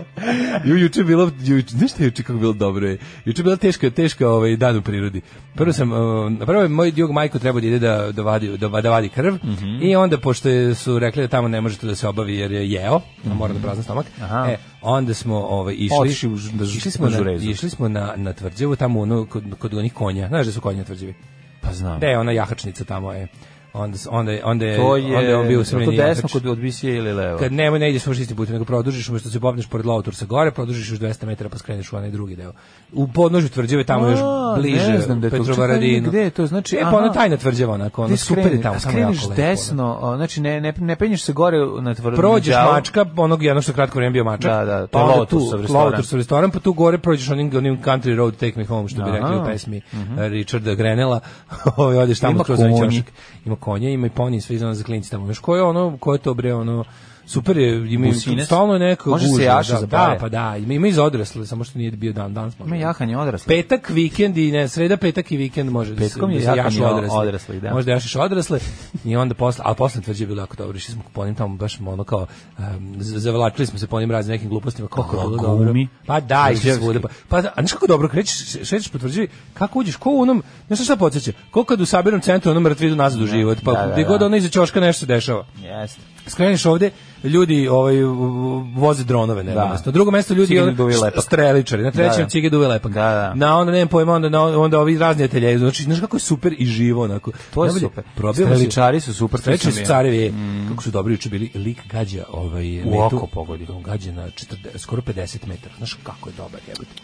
S7: Ju juče je bilo juče, znaš šta je juče kako bilo dobro je. Juče je bila teška teška ovaj dan u prirodi. Prvo sam uh, prvo je moj drug Majko trebao da ide da da vadi da, va- da vadi krv
S6: Mhm.
S7: i onda pošto je- su rekli da tamo ne možete da se obavi jer je jeo, a mora da prazna stomak.
S6: Mhm. Aha.
S7: E, onda smo ovaj išli
S6: Otišli u ž- da ž-
S7: išli smo
S6: na
S7: na,
S6: žurezu.
S7: išli smo na na tvrđavu tamo ono kod kod onih konja. Znaš da su konje na tvrđavi?
S6: Pa znam.
S7: Da je ona jahačnica tamo je. Onda s- onda je- onda je,
S6: to E, je,
S7: onda je on bio
S6: to
S7: usamljeni
S6: desno
S7: jahač
S6: kod odbisije ili levo.
S7: kad nemoj ne ideš fašistim putem, nego produžiš umesto da se popneš pored Lautursa gore, produžiš još 200 metara pa skreneš u onaj drugi deo. U podnožju tvrđave tamo još
S6: A,
S7: bliže
S6: ne znam da je to.
S7: Petrovaradinu.
S6: Čekaj, gde je to? Znači,
S7: e, pa
S6: aha.
S7: ona tajna tvrđava onako, ono
S6: Ti
S7: super je
S6: skreni-
S7: tamo,
S6: a
S7: samo jako
S6: skreneš
S7: lepo. ono.
S6: desno, o, znači ne, ne, ne penješ se gore na tvrdu.
S7: Prođeš
S6: đavu.
S7: mačka, onog jednog što je kratko vrijeme bio mačak.
S6: Da, da, to
S7: pa
S6: je
S7: onda
S6: Lotusov
S7: tu,
S6: restoran.
S7: Lotusov restoran, pa tu gore prođeš onim, onim country road take me home, što bi
S6: Aha.
S7: rekli u pesmi eh, Richarda Grenela. Ovaj, odeš tamo
S6: Mhm. Ima
S7: kroz onaj
S6: konji.
S7: ćošak. Ima konja, ima i poni, sve izgleda za klinci tamo. Još ko je ono, ko je to bre, ono, super je, ima
S6: Businac.
S7: stalno je neko
S6: Može se
S7: gužva,
S6: jaše
S7: da,
S6: za
S7: da,
S6: bare.
S7: pa da, ima, ima i za odrasle, samo što nije bio dan, dan smo.
S6: Ima jahanje odrasle.
S7: Petak, vikend i ne, sreda, petak i vikend može da se,
S6: Petkom je
S7: da se
S6: jako
S7: jašu
S6: mi o-
S7: odrasli.
S6: odrasli, da.
S7: Može da jašiš odrasle i onda posle, ali posle tvrđe je bilo jako dobro, išli smo po njim tamo baš ono kao, um, z- zavlačili smo se po njim raznim nekim glupostima, kako je bilo
S6: Kako
S7: dobro.
S6: mi?
S7: Pa da, išli
S6: Đevski.
S7: svuda. Pa, pa da, a znaš kako dobro, krećeš, šećeš po tvrđavi, kako uđeš, ko u onom, znaš šta podsjeća, ko kad u sabirnom centru, ono mrtvi idu nazad u život, pa
S6: Da, da,
S7: gdje
S6: da.
S7: god ono iza ćoška nešto se dešava.
S6: Jeste.
S7: Skreneš ovde, ljudi ovaj u- u- voze dronove na jedno
S6: Da.
S7: mesto. Na drugo mesto ljudi
S6: Cigani
S7: ono,
S6: duve
S7: st-
S6: lepak.
S7: streličari. Na trećem
S6: Da, da.
S7: cige duve lepak.
S6: Da, da.
S7: Na onda nemam pojma, onda na, onda ovi razni ateljeji. Znači, znaš kako je super i živo onako.
S6: To je
S7: Najbolje,
S6: super.
S7: probio
S6: Streličari su super, to
S7: Streličari
S6: sam
S7: su
S6: ja.
S7: carevi. Mm. Kako su dobri juče bili lik gađa ovaj metu.
S6: oko pogodi.
S7: On gađa na 40, skoro 50 metara. Znaš kako je dobar jebote.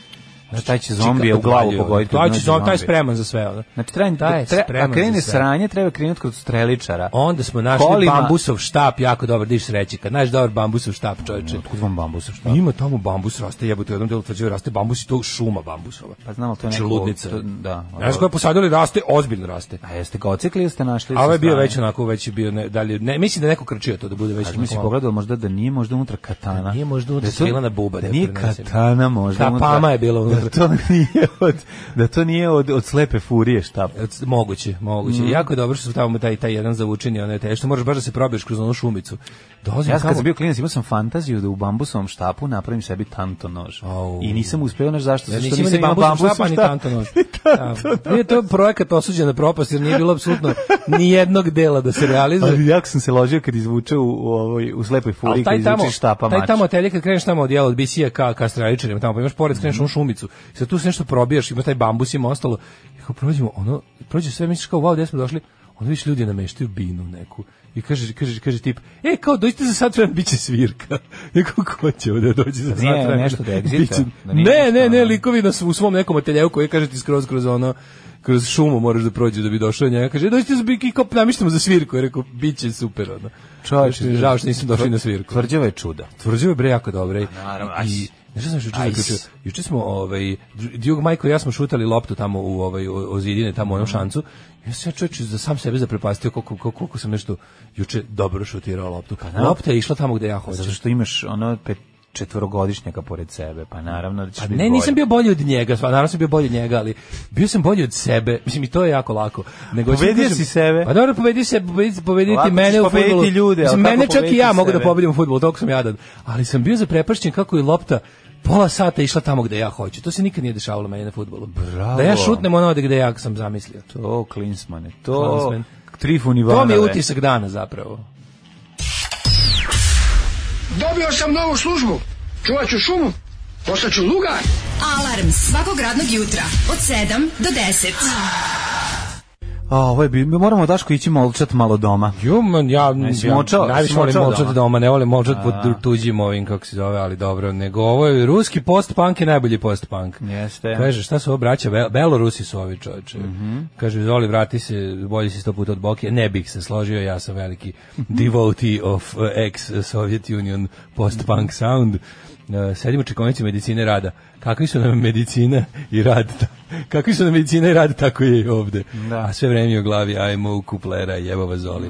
S6: Znači, taj će
S7: Čika,
S6: zombije u glavu
S7: odvaljuje,
S6: pogoditi.
S7: Taj će
S6: znači,
S7: zombi, taj je
S6: zombi.
S7: spreman za sve. ono.
S6: Znači, treba,
S7: Taj je
S6: treba,
S7: spreman
S6: a
S7: za
S6: krene
S7: sve.
S6: sranje, treba krenuti kod streličara.
S7: Onda smo našli
S6: Kolima.
S7: bambusov štap, jako dobar, diš sreći. Kad naš dobar bambusov štap, čoveče.
S6: Otkud vam bambusa šta?
S7: Ima tamo bambus raste, jebote, u jednom delu tvrđave raste bambus i to šuma bambusova.
S6: Pa znam, ali to je
S7: Znači,
S6: neko-
S7: ludnica.
S6: to- da.
S7: Znaš koja je posadili raste, ozbiljno raste.
S6: A jeste ga ocikli ili ste našli?
S7: A
S6: sa
S7: ovo je bio
S6: strane?
S7: već onako, već je bio ne, dalje, ne, mislim da je neko krčio to da bude već.
S6: Ali mi se
S7: onako malo-
S6: pogledalo možda da nije možda unutra katana.
S7: Da nije možda unutra
S6: je to-
S7: svilana buba da je
S6: nije
S7: prenesena.
S6: katana možda
S7: Kapama je bila unutra.
S6: Da to nije od, da to nije od, od slepe furije štap.
S7: Et, Moguće, moguće.
S6: Mm.
S7: Jako je dobro što su tamo taj, taj jedan zavučeni, onaj taj, što moraš baš da se probiješ kroz onu šumicu. Dolazim
S6: Ja sam kad
S7: tamo-
S6: sam bio klinac imao sam fantaziju da u bambusovom štapu napravim sebi tanto nož.
S7: Au.
S6: I nisam uspeo, znaš zašto?
S7: Ja
S6: Zato
S7: nisam imao ni bambusov štap, ni tanto nož. Da. Nije to projekat osuđen na propast, jer nije bilo apsolutno ni jednog dela da se realizuje.
S6: Ali jako Pa sam se ložio kad izvuče u, u, ovoj, u slepoj furiji,
S7: Ali
S6: kad izvuče štapa
S7: taj
S6: mač.
S7: tamo atelje kad kreneš tamo od jela od bisija ka ka straničarima tamo pa imaš pored kreneš u
S6: Mhm.
S7: onu šumicu. I sad tu se nešto probijaš, ima taj bambus ima ostalo. I kao prođemo ono prođe sve misliš kao wow, gde smo došli? Onda više ljudi nameštaju binu neku. I kaže, kaže, kaže tip, e, kao dođite za sat vremena, bit će svirka. Eko, ko će ovde dođe za sat
S6: Pa nije
S7: vremena?
S6: nešto da egzita,
S7: Bit će-
S6: da nije
S7: ne,
S6: nešto,
S7: ne, ne,
S6: ono.
S7: likovi nas u svom nekom ateljevu koji kaže ti skroz kroz ono, kroz šumu moraš da prođe da bi došao do njega. Kaže, dođite za biki, kao namištamo za svirku. Ja rekao, bit će super, ono.
S6: Čovječe,
S7: Kaže, žao što nisam došao i na svirku. Pa
S6: Tvrđava je čuda.
S7: Tvrđava je bre jako dobra. I,
S6: naravno,
S7: i,
S6: ajs.
S7: znaš šta sam juče
S6: Ajs.
S7: zaključio? Juče smo, ovaj, Djug Majko i ja smo šutali loptu tamo u ovaj, o- ozidine, tamo u onom šancu. Ja sam se čovječe za sam sebe zaprepastio koliko, koliko, koliko sam nešto juče dobro šutirao loptu. Lopta je išla tamo gde ja hoću.
S6: Zato što imaš ono pet četvorogodišnjaka pored sebe, pa naravno da ćeš
S7: Pa
S6: biti
S7: ne, nisam
S6: bolji.
S7: bio bolji od njega, sva, naravno sam bio bolji od njega, ali bio sam bolji od sebe. Mislim, i to je jako lako. Nego, hoću da
S6: Pobedio
S7: kažem-
S6: si sebe.
S7: Pa dobro, pobedi se, pobedi, pobediti
S6: Lako ćeš
S7: mene u
S6: pobediti
S7: fudbalu.
S6: ljude, ali
S7: Mislim,
S6: kako
S7: mene čak i
S6: pobediti
S7: ja mogu da
S6: sebe?
S7: pobedim u fudbalu, toliko sam jadan. Ali sam bio zaprepašćen kako je lopta pola sata išla tamo gde ja hoću. To se nikad nije dešavalo meni na fudbalu.
S6: Bravo.
S7: Da ja šutnem ono gde ja sam zamislio.
S6: To, Klinsmane, to...
S7: Klinsman.
S6: Trifun
S7: To mi
S6: Ivanove.
S7: je utisak dana zapravo.
S2: Dobio sam novu službu. Čuvat ću šumu. Ostaću lugar.
S4: Alarm svakog radnog jutra od 7 do 10.
S6: A, ovo je bi, mi moramo Daško ići molčat malo doma.
S7: Juman, ja
S6: Jesi
S7: ja
S6: močao?
S7: najviše
S6: Jesi
S7: volim
S6: močao
S7: močati
S6: doma?
S7: doma, ne volim močati pod tu- tuđim ovim, kako se zove, ali dobro, nego ovo je ruski post-punk je najbolji post-punk.
S6: Jeste.
S7: Kaže, šta su ovo braća? Be- Belorusi su ovi čoveče.
S6: Mhm.
S7: Kaže, izvoli, vrati se, bolji si sto puta od Boke. Ne bih se složio, ja sam veliki devotee of uh, ex-Soviet Union post-punk sound. Uh, sedimo čekovnici medicine rada. Kakvi su nam medicina i rad? ta- Kakvi su nam medicina i rad, tako je i ovde.
S6: Da.
S7: A sve vreme je u glavi, ajmo u kuplera, jebo vas zoli.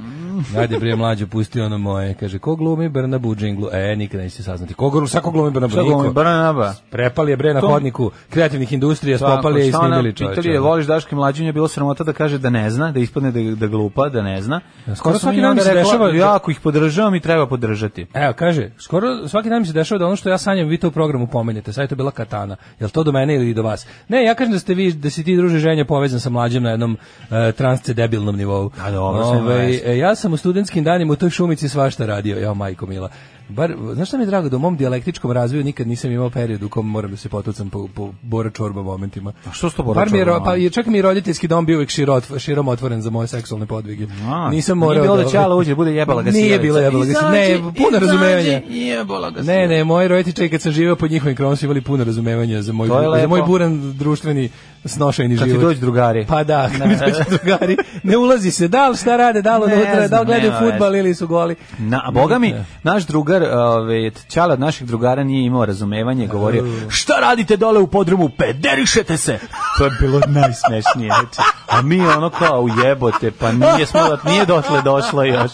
S7: Ajde
S6: Mm.
S7: prije mlađo, pusti ono moje. Kaže, ko glumi Brnabu u džinglu? E, nikada nećete saznati. Ko, gru- sa ko glumi Brnabu?
S6: Šta glumi
S7: Niko.
S6: Branaba?
S7: Prepali je bre na
S6: To-
S7: hodniku kreativnih industrija, spopali je i
S6: Šta pa ona
S7: snimili
S6: Pitali
S7: čoveče. ono.
S6: je, voliš Daška i mlađu, nju je bilo sramota da kaže da ne zna, da ispadne da, da glupa, da ne zna.
S7: skoro
S6: Pa sam
S7: svaki
S6: i
S7: dan
S6: onda
S7: mi se
S6: rekla,
S7: dešava-
S6: Ja ako ih podržavam i treba podržati.
S7: Evo, kaže, skoro svaki dan mi se dešava da ono što ja sanjam, vi to u programu pomenjete. Sad je to bila katana. Jel to do mene ili do vas? Ne, ja kažem da ste vi, da si ti druže ženja povezan sa mlađim na jednom e, transcedebilnom nivou.
S6: A dobro, sve ima
S7: Ovaj,
S6: veze.
S7: e, ja sam u studentskim danima u toj šumici svašta radio, ja majko mila. Bar, znaš šta mi je drago, da u mom dijalektičkom razvoju nikad nisam imao period u kom moram da se potucam po, po bora čorba momentima.
S6: A što s to Bora
S7: Bar mi je,
S6: čorba
S7: ro- pa,
S6: momentima?
S7: je čak mi je roditeljski dom bio uvijek širot, širom otvoren za moje seksualne podvige.
S6: A,
S7: nisam
S6: nije
S7: morao
S6: bilo da Ćala uđe, bude jebala ga
S7: Nije
S6: sijavica.
S7: bilo jebala ga sijavica. Ne,
S6: Izađe,
S7: puno
S6: izađe,
S7: razumevanja.
S6: Jebala ga
S7: Ne, ne, moji roditelji kad sam živeo pod njihovim krovom su imali puno razumevanja za moj,
S6: To je
S7: bu- za
S6: lepo.
S7: moj buran društveni snošajni
S6: Kad ti
S7: život.
S6: dođu drugari.
S7: Pa da, kad mi dođu drugari. Ne ulazi se, da li šta rade, da li
S6: Ne
S7: unutra, da
S6: znam,
S7: li gledaju
S6: nema
S7: futbal
S6: veze.
S7: ili su goli.
S6: Na, a boga mi, naš drugar, ove, Ćala od naših drugara nije imao razumevanje, je govorio, šta radite dole u podrumu, pederišete se! To je bilo najsmešnije. znači. A mi ono kao ujebote, pa nije, smo, nije dotle došlo još.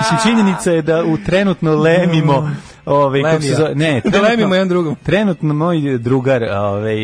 S6: Mislim, činjenica je da u trenutno lemimo Ove, kako se
S7: Lemija.
S6: zove, ne,
S7: Da
S6: trenutno-
S7: lemimo jedan drugom.
S6: Trenutno moj drugar ovaj,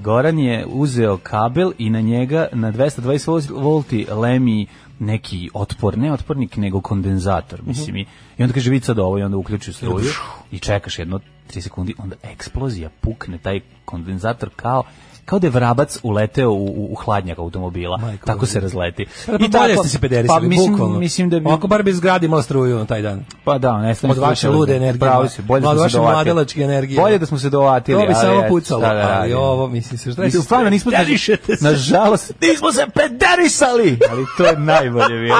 S6: Goran je uzeo kabel i na njega na 220 volti lemi neki otpor, ne otpornik, nego kondenzator, mislim. i- I onda kaže, vidi sad ovo, i onda uključi struju i čekaš jedno 3 sekundi, onda eksplozija, pukne taj kondenzator kao kao da je vrabac uleteo u, u, u hladnjak automobila.
S7: Majko
S6: tako
S7: Božja.
S6: se razleti.
S7: Pa bolje ste se pederisali,
S6: pa, mislim,
S7: bukvalno.
S6: mislim da bi...
S7: Ako bar bi zgradi imala struju na taj dan.
S6: Pa da, ne znam.
S7: Od vaše lude energije.
S6: Pravo si, bolje
S7: Od
S6: smo
S7: vaše
S6: se dovatili.
S7: mladalačke energije.
S6: Bolje da smo se dovatili.
S7: To bi
S6: ali
S7: samo
S6: eto,
S7: pucalo,
S6: šta da
S7: ali
S6: radimo.
S7: ovo, mislim, se, šta
S6: Mislim,
S7: se-
S6: stvarno nismo se,
S7: Pederišete se.
S6: nažalost, nismo se pederisali, ali to je najbolje bilo.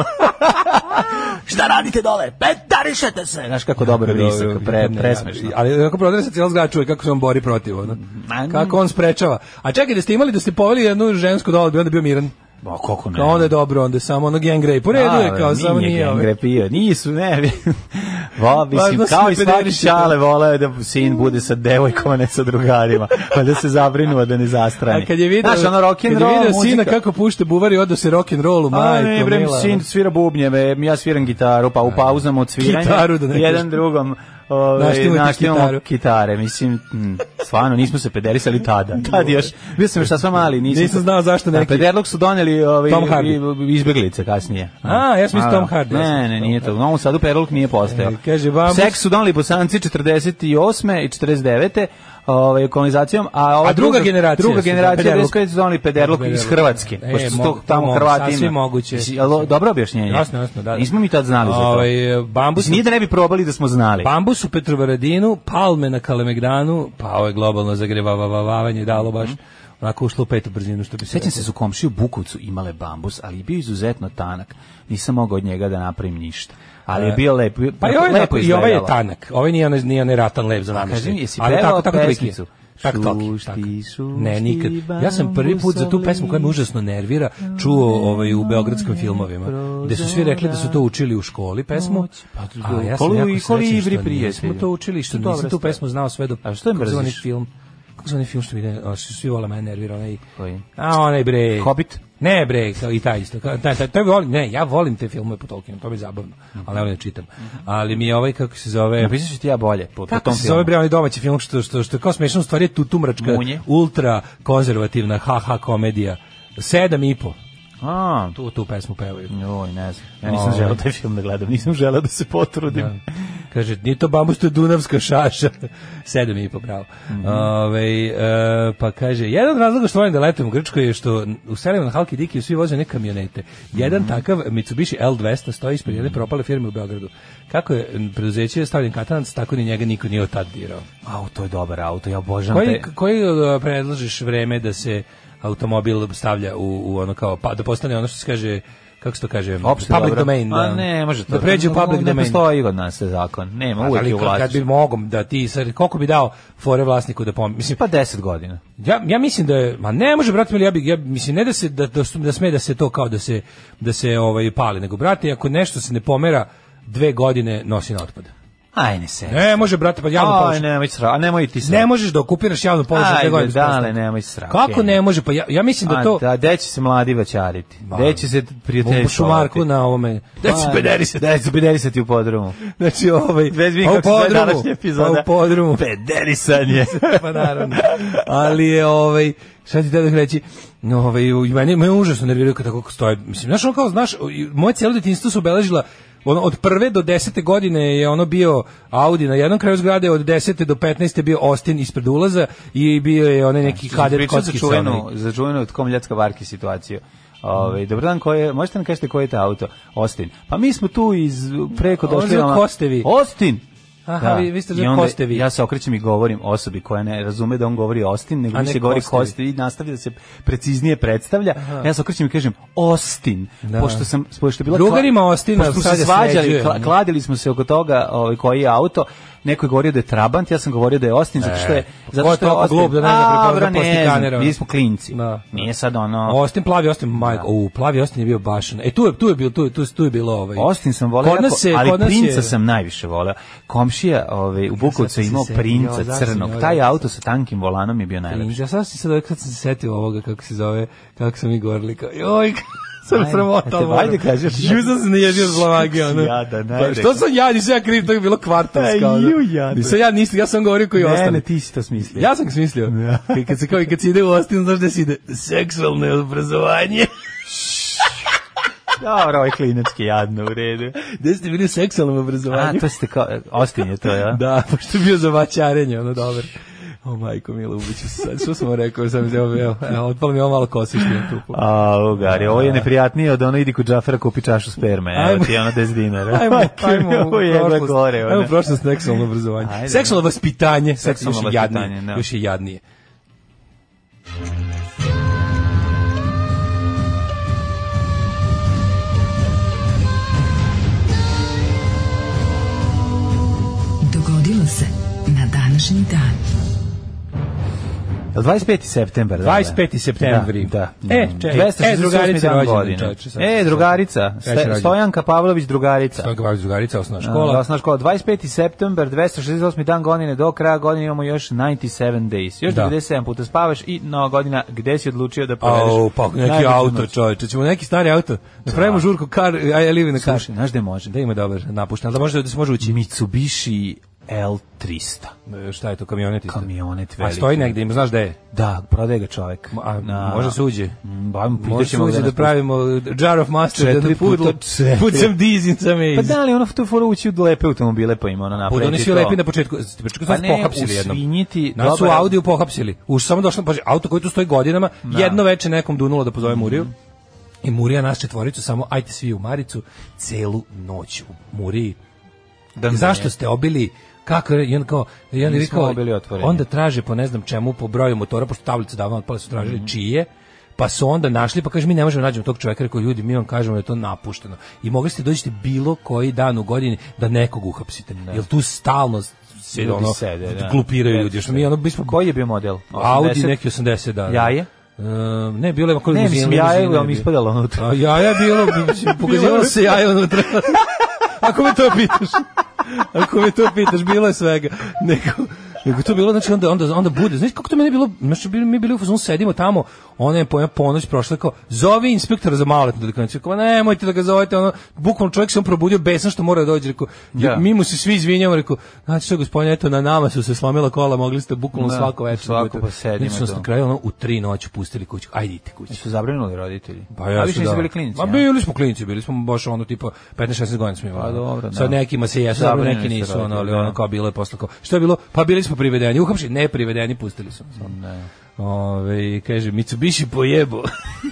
S6: Šta radite dole? Pederišete se! Znaš kako dobro visoko, pre,
S7: Ne,
S6: presmešno.
S7: Ali ako prodre se cijela zgrada čuje kako se on bori protiv, ono.
S6: Ma,
S7: Kako on sprečava. A čekaj, da ste imali da ste poveli jednu žensku dole, bi onda bio miran.
S6: Ma, kako ne?
S7: Kao onda je dobro, onda je samo ono gang rape. U redu je kao, samo nije ovaj.
S6: Grepio. Nisu, ne. Va, mislim,
S7: Važno su
S6: kao
S7: da
S6: i svaki
S7: pederišete.
S6: šale voleo je da sin bude sa devojkom, a ne sa drugarima. Pa da se zabrinuo da ne zastrani.
S7: A kad je video,
S6: Znaš, ono rock and
S7: kad je
S6: roll
S7: video sina
S6: muzika.
S7: kako pušta buvar i odo se rock and rollu,
S6: A
S7: majko
S6: ne, bre,
S7: mila. ono.
S6: sin svira bubnjeve, ja sviram gitaru, pa u pauzama od sviranja
S7: Gitaru da ne
S6: jedan
S7: kažem.
S6: drugom ovaj
S7: Naštimujete
S6: naštimamo
S7: gitaru.
S6: gitare, mislim, mm, stvarno nismo se pederisali tada. Tad još, bio sam šta sva mali, nisam.
S7: Nisam znao zašto neki.
S6: A pederlog su doneli ovaj
S7: Tom Hardy.
S6: i- izbeglice kasnije.
S7: A, ja sam
S6: A,
S7: mislio Tom Hardy, ja sam
S6: Ne, ne,
S7: mislio
S6: nije to. U Novom Sadu pederlog nije postojao.
S7: E, kaže, vamos-
S6: Seks su doneli Bosanci 48. i 49. Ovaj kolonizacijom, a ova
S7: A druga generacija
S6: druga
S7: su za
S6: generacija
S7: pederlog.
S6: 95 su doneli pederlog iz
S7: Pederlog.
S6: Hrvatske.
S7: E,
S6: pošto su
S7: mogu-
S6: to tamo
S7: mogu,
S6: Hrvati.
S7: sasvim
S6: imaju.
S7: moguće.
S6: Mislim, alo, dobro objašnjenje.
S7: Jasno, jasno, da, da.
S6: Nismo mi tad znali za to.
S7: Ovaj, bambus-
S6: Mislim, Nije da ne bi probali da smo znali.
S7: Bambus u Petrovaradinu, palme na Kalemegdanu, pa ovo je globalno zagrevavavavanje dalo baš. onako ušlo u petu brzinu, što bi se
S6: Mhm. Sećam
S7: reklo.
S6: se su komšije u Bukovcu imale bambus, ali je bio izuzetno tanak. Nisam mogao od njega da napravim ništa. Ali je bio lep.
S7: Pa i ovaj,
S6: lepo
S7: tako, i ovaj je
S6: izgledalo.
S7: tanak. Ovaj nije onaj, nije onaj ratan lep za namještaj.
S6: Kaži mi, jesi
S7: Ali
S6: pevao
S7: tako, tako tolik je.
S6: pesmicu?
S7: Tako tolik,
S6: Šušti,
S7: tako.
S6: šušti,
S7: Ne, nikad. Ja sam prvi put za tu pesmu koja me užasno nervira čuo ovaj, u beogradskim filmovima. Gde su svi rekli da su to učili u školi pesmu.
S6: Pa,
S7: A ja
S6: kolu
S7: sam jako
S6: i
S7: srećan
S6: kolibri
S7: što nismo
S6: prijatelju.
S7: to učili, što
S6: Dobra
S7: nisam tu
S6: stvar.
S7: pesmu znao sve do...
S6: A što je
S7: kako se zove onaj
S6: mrziš?
S7: film? Kako se onaj film što vide, a, što svi vole mene nervira, onaj...
S6: Koji?
S7: A onaj bre...
S6: Hobbit?
S7: Ne bre, kao i taj isto. Kao, taj, taj, taj volim, ne, ja volim te filmove po Tolkienu, to mi je zabavno, ali ne volim da čitam. Ali mi je ovaj, kako se zove...
S6: Napisat ću ti ja bolje po, po
S7: Kako
S6: tom
S7: se zove
S6: filmu.
S7: bre onaj domaći film što što što je kao smešno u stvari je tutumračka
S6: Munje.
S7: ultra konzervativna haha komedija. Sedam i po.
S6: A,
S7: Tu tu pesmu pevaju.
S6: joj, ne znam. Ja nisam
S7: Ovaj.
S6: želeo taj film da gledam, nisam želeo da se potrudim.
S7: Da. Kaže, nije to bambus, to je Dunavska šaša. Sedam i po, bravo.
S6: Mhm.
S7: Ovaj, e, pa kaže, jedan od razloga što volim da letujem u Grčkoj je što u selima na Halki Dikiju svi voze neke kamionete. Jedan
S6: Mhm.
S7: takav Mitsubishi L200 stoji ispred jedne propale firme u Beogradu. Kako je m, preduzeće stavljen katanac, tako ni njega niko nije od tad dirao.
S6: Au, to je dobar auto, ja obožavam
S7: Koji,
S6: te.
S7: koji e, predlažeš vreme da se automobil stavlja u, u ono kao, pa, da postane ono što se kaže kako se to kaže,
S6: Pa Opšte
S7: public
S6: dobro.
S7: domain.
S6: Ma
S7: da.
S6: ne, može to.
S7: Da pređe u public
S6: Ne
S7: domain.
S6: postoji kod nas taj zakon. Nema, uvek
S7: Ali
S6: je u
S7: kad, kad bi
S6: vlasništvu.
S7: mogom da ti sad koliko bi dao fore vlasniku da pom mislim
S6: Pa 10 godina.
S7: ja ja mislim da je ma ne može brate mili, ja bi ja mislim ne da se da da, su- da sme da se to kao da se da se ovaj pali nego brate ako nešto se ne pomera dve godine nosi na otpad.
S6: Aj, ne se.
S7: Ne može brate pa javno
S6: Aj,
S7: površinu.
S6: nemoj sra, a nemoj ti sra.
S7: Ne možeš da okupiraš javnu površinu
S6: Ajde,
S7: dve godine. bez
S6: dale,
S7: prostora.
S6: nemoj sra,
S7: Kako
S6: okej.
S7: ne može? Pa ja, ja mislim da to...
S6: A, da, gde će se mladi vaćariti? Gde će se prijatelji
S7: u šumarku na ovome. Da se
S6: pederisati. Da će pederisati u podrumu.
S7: Znači ovaj...
S6: Vez mi
S7: pa
S6: kako
S7: u
S6: se zove
S7: podrumu,
S6: današnja epizoda.
S7: Pa u podrumu.
S6: Pederisanje.
S7: pa naravno. Ali je ovaj šta ti da reći? No, ovaj u- meni me užasno nerviraju kad tako stoje. Mislim, znaš, ono kao, znaš, i moje cijelo detinjstvo su obeležila ono, od prve do desete godine je ono bio Audi na jednom kraju zgrade, od desete do petnaeste bio Austin ispred ulaza i bio je onaj neki kadet
S6: Pričam za
S7: kockica. ono,
S6: čuvenu,
S7: onaj.
S6: za čuvenu komljatska varki situaciju. Ove, dobro dan, koje, je- možete nam kažete koji je to auto? Ostin. Pa mi smo tu iz preko
S7: Ovo
S6: došli.
S7: zove
S6: vam-
S7: Kostevi.
S6: Ostin!
S7: Aha, vi- vi ste
S6: I
S7: zove
S6: onda
S7: Kostevi.
S6: Ja se okrećem i govorim osobi koja ne razume da on govori Ostin, nego
S7: A
S6: mi
S7: ne
S6: se govori
S7: Kostevi.
S6: Kostevi i nastavi da se preciznije predstavlja. Ja se okrećem i kažem Ostin,
S7: Da.
S6: pošto sam pošto je bila
S7: Drugarima
S6: kla-
S7: Ostina
S6: pošto smo
S7: sad
S6: se
S7: je
S6: svađali,
S7: sređuje,
S6: kla-
S7: ne?
S6: kladili smo se oko toga, ovaj koji je auto. Neko je govorio da je Trabant, ja sam govorio da je Ostin zato što je
S7: pa ko
S6: zato
S7: je
S6: što je
S7: toliko
S6: Austin.
S7: glup da ne zna
S6: A,
S7: prepoznat
S6: bro, ne
S7: poslije
S6: znam,
S7: kamera, ono.
S6: Mi smo klinci.
S7: Da.
S6: Nije sad ono
S7: Austin plavi Austin Mike, u plavi Austin je bio baš. E tu je tu je bilo tu je, tu, je- tu je bilo ovaj.
S6: Ostin sam voleo,
S7: Kod nas
S6: jako,
S7: je-
S6: ali
S7: kod nas je- E,
S6: princa sam najviše voleo. Komšija ovaj, u Bukovcu
S7: Sad
S6: je
S7: sam
S6: imao
S7: se setio,
S6: princa
S7: zašto sam
S6: crnog.
S7: ja
S6: Taj
S7: rekao?
S6: auto sa tankim volanom je bio najlepši.
S7: Ja sad sam sad kad sam se setio ovoga kako se zove, kako sam mi govorili kao joj sam
S6: Ajde,
S7: sramota.
S6: ajte,
S7: moram.
S6: ajde, kažeš.
S7: Ju sam se naježio od zlamage. Ono.
S6: Jadan,
S7: Pa
S6: ajde.
S7: što sam ja, nisam ja kriv, to je bilo kvartovsko.
S6: E,
S7: Ono.
S6: ju, jadan.
S7: Nisam ja, nisam, ja sam govorio koji
S6: Ne, ne,
S7: ostane.
S6: ti si to smislio.
S7: Ja sam smislio. Kad- Kad se kao i kad se ide u Austin, znaš gde se ide? Seksualno obrazovanje.
S6: Dobro, ovaj klinački jadno u redu.
S7: Gde ste bili u seksualnom
S6: A,
S7: obrazovanju?
S6: to ste kao, Austin je to, ja?
S7: Da, pošto je bio za vaćarenje, ono dobar. O majko mila, ubiću se sad. Što sam vam rekao, sam evo, evo, evo, otpalo mi ovo malo kosišnje na tupu.
S6: A, ugari, ovo je neprijatnije od ono idi kod Džafera kupi čašu sperme, evo
S7: Ajmo.
S6: ti je ono 10 dinara.
S7: Ajmo, ajmo,
S6: Ovo je jebla
S7: prošlost.
S6: gore, ono.
S7: Ajmo u prošlost seksualno obrazovanje.
S6: Ajde.
S7: seksualno vaspitanje, seksualno
S6: Seksualno
S7: još je jadnije,
S6: vaspitanje, da.
S7: još je jadnije.
S4: Dogodilo se na današnji dan.
S6: Jel 25. septembar.
S7: 25. septembri.
S6: Da. da. Mm.
S7: E, čekaj, e, drugarica je rođendan, čoveče, sad.
S6: E, drugarica. Ste-
S7: Treći rođendan.
S6: Stojanka Pavlović, drugarica.
S7: To je glavna drugarica, osnovna
S6: Škola.
S7: škola.
S6: osnovna škola. 25. september, 268. dan godine, do kraja godine imamo još 97 days. Još
S7: Da.
S6: 97 puta spavaš i nova godina gde si odlučio da provedeš.
S7: Au, pa neki
S6: najluđu
S7: auto,
S6: noć?
S7: čoveče, ćemo neki stari auto. Napravimo žurku, kar, I live in a car.
S6: Slušaj, znaš gde može?
S7: Da ima dobar napušten, ali da može da se može ući.
S6: Mitsubishi L300.
S7: E, Šta je to, kamionet isto?
S6: Kamionet
S7: A
S6: veliki.
S7: stoji negde, ima, znaš gde je?
S6: Da, prodaje ga čovek.
S7: A,
S6: Na-
S7: može se uđe.
S6: Mm, ba,
S7: Može se
S6: pitaćemo ga
S7: uđe da
S6: nas
S7: pravimo jar of mustard, da
S6: Četiri
S7: na pudlo,
S6: puta četiri.
S7: put sam dizin sam
S6: pusti.
S7: iz.
S6: Pa da li ono tu foru ući u lepe automobile pa ima ono
S7: Pa
S6: napraviti
S7: oni su
S6: to?
S7: lepi na početku, na početku
S6: Pa
S7: su
S6: ne,
S7: nas pohapsili jednom.
S6: usvinjiti,
S7: Nas su
S6: dobar-
S7: Audiju pohapsili. Už samo došlo, paži, auto koji tu stoji godinama, jedno veče nekom dunulo da pozove Muriju. I Murija nas četvoricu samo, ajte svi u Maricu, celu noć u Muriji
S6: Da ne.
S7: zašto ste obili kako je i on kao i on je
S6: Nismo
S7: rekao
S6: obili otvorenje.
S7: onda traže po ne znam čemu po broju motora pošto tablice davno otpale su
S6: Mhm.
S7: tražili čije pa su onda našli pa kaže mi ne možemo nađemo tog čovjeka rekao ljudi mi vam kažemo da je to napušteno i mogli ste doći bilo koji dan u godini da nekog uhapsite jer tu stalno se
S6: Ljudi
S7: ono
S6: sede, da.
S7: glupiraju ljudi što mi ono bismo
S6: Koji je bio model?
S7: Audi
S6: 80?
S7: neki 80 da. da.
S6: Jaje?
S7: E, ne, bilo je ovako
S6: Ne, mislim,
S7: limuzina,
S6: jaje,
S7: limuzina je
S6: vam
S7: bio.
S6: ispadalo ono unutra.
S7: A jaja je bilo, mislim, pokazivalo se jaje unutra. Ako me to pitaš. Ako me to pitaš, bilo je svega. Neko, Nego to bilo, znači onda, onda, onda bude. Znači kako to meni bilo, znači bili, mi bili u fazonu, sedimo tamo, ona je pojma ponoć prošla, kao, zovi inspektora za maletnu delikvenciju. Kao, nemojte da ga zovete, ono, bukvalno čovjek se on probudio besan što mora da dođe. Rekao,
S6: Da.
S7: mi mu se svi izvinjamo, rekao, znači što gospodine, eto, na nama su se slomila kola, mogli ste bukvalno
S6: Da,
S7: svako večer.
S6: svako,
S7: budete-
S6: pa sedimo
S7: Znači, su nas
S6: tu.
S7: na kraju, ono, u tri noću pustili kuću, ajde idite kući.
S6: Su zabrinuli roditelji.
S7: Pa ja
S6: A više
S7: da.
S6: nisu bili klinici.
S7: Ma bili smo klinici, bili smo baš ono tipa 15-16 godina smo imali. ono.
S6: Pa dobro, da.
S7: Sad nekima se jesu, dobro,
S6: Zabranjeni
S7: neki
S6: ste
S7: nisu, ono, ali
S6: roditelji,
S7: ono
S6: da.
S7: kao bilo je posle kao. Što je bilo? Pa bili smo privedeni, uhapšeni, ne privedeni, pustili su. Ne. Ove, kaže, Mitsubishi pojebo.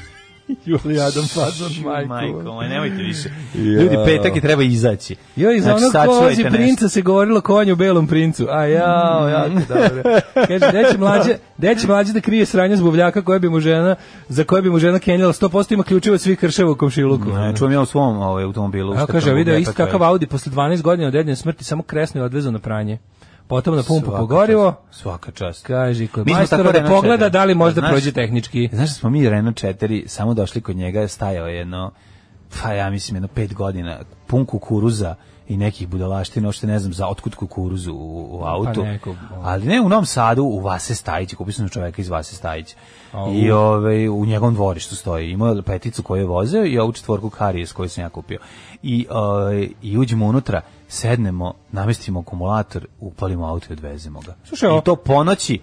S7: Juli Adam Fazan,
S6: Majko,
S7: majko.
S6: moj, nemojte više. Ljudi, petak je treba izaći.
S7: Jo, iz
S6: Znači,
S7: onog kozi
S6: sačuvajte nešto. Mm.
S7: princa se govorilo konju u belom princu. A jao, jako dobro. Kaže, deći mlađe, deći mlađe da krije sranje zbuvljaka koja bi mu žena, za koje bi mu žena kenjala 100% ima ključeva od svih krševa u komšiluku.
S6: Ne, čujem ja u svom ovaj, automobilu.
S7: A
S6: šta
S7: kaže,
S6: tamo
S7: video
S6: bude,
S7: isto
S6: tako je. pa
S7: kakav Audi posle 12 godina od dedine smrti samo kresno je odvezao na pranje. Potom na pumpu
S6: Svaka
S7: pogorivo,
S6: čast, Svaka čast.
S7: kaže, kod
S6: Mi smo
S7: majstora
S6: tako
S7: da
S6: Renault
S7: pogleda
S6: četiri.
S7: da li možda
S6: Znaš-
S7: prođe tehnički.
S6: Znaš da smo mi Renault 4 samo došli kod njega, stajao je jedno, pa ja mislim jedno pet godina, pun kukuruza i nekih budalaština, uopšte ne znam za otkud kukuruzu u, u autu.
S7: neko, ono.
S6: Ali ne u Novom Sadu, u Vase Stajić, kupio sam čoveka iz Vase Stajić.
S7: Au.
S6: I ovaj, u njegovom dvorištu stoji. Imao je peticu koju je vozeo i ovu četvorku karijes koju sam ja kupio. I, ovaj, i uđemo unutra, sednemo, namestimo akumulator, upalimo auto i odvezemo ga.
S7: Slušaj, ovo-
S6: I to ponoći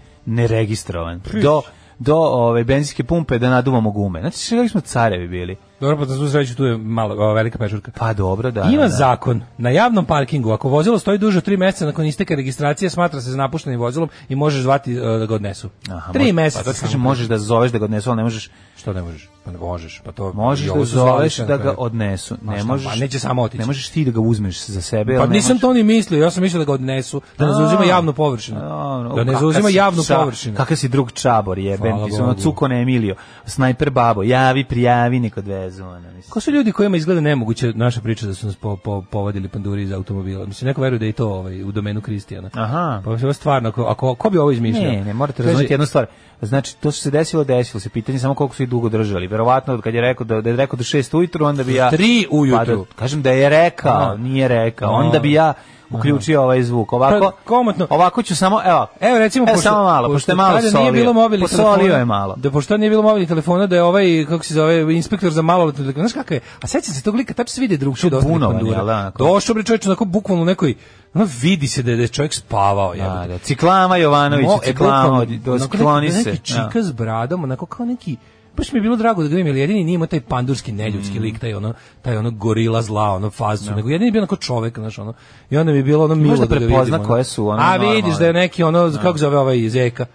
S6: neregistrovan. Do, do ove benzinske pumpe da naduvamo gume. Znači, što smo carevi bili.
S7: Dobro, pa za svu sreću tu je malo, ova velika pešurka.
S6: Pa dobro, da.
S7: Ima
S6: da, da.
S7: zakon, na javnom parkingu, ako vozilo stoji duže od 3 meseca nakon isteka registracije, smatra se za napuštenim vozilom i možeš zvati e, da ga odnesu.
S6: Aha,
S7: 3
S6: može-
S7: meseca.
S6: Pa zato
S7: samo.
S6: kažem, možeš da zoveš da ga odnesu, ali ne možeš.
S7: Što ne možeš? Pa ne možeš, pa to... i
S6: Možeš
S7: ovo
S6: da
S7: su zvali
S6: zoveš
S7: sve na
S6: da ga
S7: kraju.
S6: odnesu.
S7: Pa
S6: Ne
S7: šta,
S6: možeš.
S7: pa neće samo otići.
S6: Ne možeš ti da ga uzmeš za sebe.
S7: Pa
S6: ali ne
S7: nisam
S6: možeš-
S7: to ni mislio, ja sam mislio da ga odnesu, da ne zauzima
S6: A.
S7: javnu površinu.
S6: Dobro,
S7: Da ne
S6: kakav
S7: zauzima
S6: si
S7: javnu
S6: ča-
S7: površinu.
S6: Kakav si drug čabor, jeben
S7: Hvala
S6: ti se, ono
S7: Bogu.
S6: cuko ne Emilio, snajper babo, javi, prijavi, neko odvezu, ono, mislim.
S7: Ko su ljudi kojima izgleda nemoguće naša priča da su nas po, po, povadili panduri iz automobila? Mislim, neko veruje da je i to ovaj, u domenu Kristijana.
S6: Aha.
S7: Pa mislim, ovo stvarno, ako, ako, ko bi ovo izmišljao?
S6: Ne, ne, morate
S7: Kaže,
S6: razumjeti jednu stvar. Znači, to što se desilo, desilo se. Pitanje je samo koliko su i dugo držali. Verovatno, kad je rekao da, da je rekao do šest ujutru, onda bi ja...
S7: Tri ujutru.
S6: Pa da- kažem da je rekao,
S7: Aha.
S6: nije rekao.
S7: Aha.
S6: Onda bi ja uključio ovaj zvuk. Ovako,
S7: Pa, komotno.
S6: ovako ću samo, evo,
S7: Evo recimo
S6: evo, E, samo malo, pošto, je malo
S7: tada
S6: solio.
S7: nije bilo mobilnih
S6: Posolio
S7: telefona.
S6: je malo.
S7: Da pošto nije bilo mobilnih telefona da je ovaj kako se zove inspektor za maloletne, delikvente, znaš kakav je. A sećam se tog lika, tačno se vidi drugčije od ostalih
S6: bunovan,
S7: pandura.
S6: jel da, onako?
S7: Došao bre čovjek onako bukvalno u nekoj ono vidi se da je, da je čovjek spavao, jebote.
S6: Da, da. Ciklama Jovanović,
S7: Mo- e, bukvalno,
S6: ciklama, ono, do-
S7: onako
S6: skloni
S7: neki-
S6: se.
S7: Neki
S6: da.
S7: čika s bradom, onako kao neki baš mi je bilo drago da ga vidim, jer jedini nije imao taj pandurski neljudski
S6: Mm.
S7: lik, taj ono, taj ono gorila zla, ono fazu, nego jedini je bio onako čovek, znaš, ono, i onda mi je bilo ono milo
S6: Možda
S7: da ga vidim.
S6: prepozna
S7: ono.
S6: koje su, ono,
S7: A
S6: normalne. Mm.
S7: vidiš da je neki ono, kako zove ovaj iz Eka,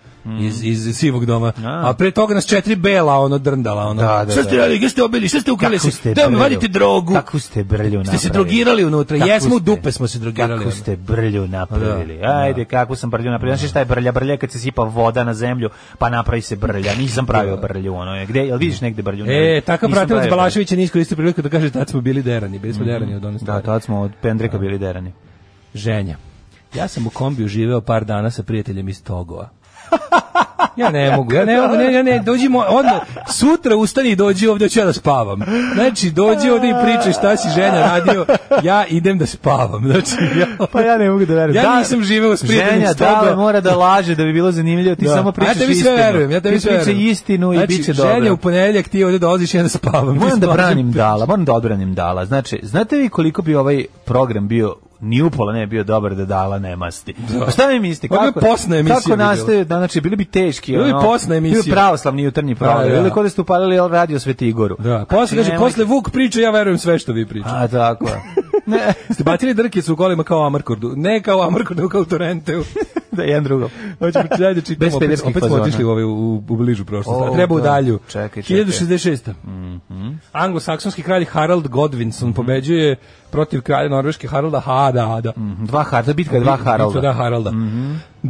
S7: iz, iz sivog doma.
S6: A.
S7: A pre toga nas četiri bela, ono, drndala, ono.
S6: Da, da,
S7: Šta ste
S6: da.
S7: radili, gdje ste obili, šta ste ukrali,
S6: Kako ste
S7: da mi
S6: brlju?
S7: vadite drogu.
S6: Kako ste brlju
S7: Ste
S6: napravili?
S7: se drogirali unutra,
S6: Kako
S7: jesmo u
S6: ste-
S7: dupe smo se drogirali.
S6: Kako
S7: ono.
S6: ste brlju napravili? Ajde, kako sam brlju napravio? Znaš šta je brlja? Brlja je kad se sipa voda na zemlju, pa napravi se brlja. Nisam pravio brlju, ono je. Gde, jel vidiš negde brlju?
S7: E, takav
S6: Nisam
S7: pratilac
S6: pravio
S7: Balaševića nije iskoristio priliku da kaže tad smo bili derani, bili smo derani od one
S6: brlju. Mhm. Da,
S7: strane.
S6: tad smo od pendreka bili derani.
S7: Ženja. Ja sam u kombiju živeo par dana sa prijateljem iz Togova. Ja ne mogu, ja ne mogu, ne, ne, ne, dođi mo, odmah, sutra ustani i dođi ovdje, hoću ja da spavam. Znači, dođi ovdje i pričaj šta si ženja radio, ja idem da spavam. Znači, ja,
S6: Pa ja ne mogu da verujem.
S7: Ja
S6: Da,
S7: nisam živeo s prijateljem
S6: Ženja,
S7: iz Togova.
S6: da, mora da laže da bi bilo zanimljivo, ti
S7: Da.
S6: samo pričaš
S7: A ja
S6: istinu.
S7: tebi sve verujem, ja tebi
S6: Ti
S7: sve verujem.
S6: pričaj istinu i
S7: znači,
S6: bit će
S7: Ženja u
S6: dobro.
S7: ponedeljak ti ovdje dolaziš i ja da spavam.
S6: Moram da
S7: Mislim,
S6: branim Dala, moram da odbranim Dala. Znači, znate vi koliko bi ovaj program bio ni upola ne bi bio dobar da Dala ne masti. Pa šta mi mislite?
S7: Ovo bi posna emisija
S6: Kako
S7: bi bila.
S6: nastaje, da, znači, bili bi teški.
S7: Bilo bi
S6: ono,
S7: posna emisija.
S6: Bio pravoslavni jutarnji program.
S7: Pa, da.
S6: Bili kod da ste upalili jel, radio Sveti Igoru.
S7: Da, posle, kaže,
S6: nemoj-
S7: posle Vuk priča, ja verujem sve što vi pričate.
S6: A, tako. je. ne,
S7: Ste bacili drkicu u kolima kao Amarkordu. Ne kao Amarkordu, kao u Torrenteu.
S6: da jedan drugom.
S7: Hoćemo dalje čitamo.
S6: Bez
S7: opet,
S6: pederskih
S7: opet smo
S6: fazona.
S7: otišli u, ovaj, u, u bližu prošlost.
S6: O,
S7: Treba u
S6: da.
S7: dalju.
S6: Čekaj, čekaj.
S7: 1066. Anglosaksonski kralj Harald
S6: Mhm.
S7: Godvinson pobeđuje protiv kralja Norveške Haralda Hada Ada.
S6: Dva Haralda, bitka je Mhm. dva
S7: Bitka,
S6: Haralda. Mhm.
S7: Da, Haralda.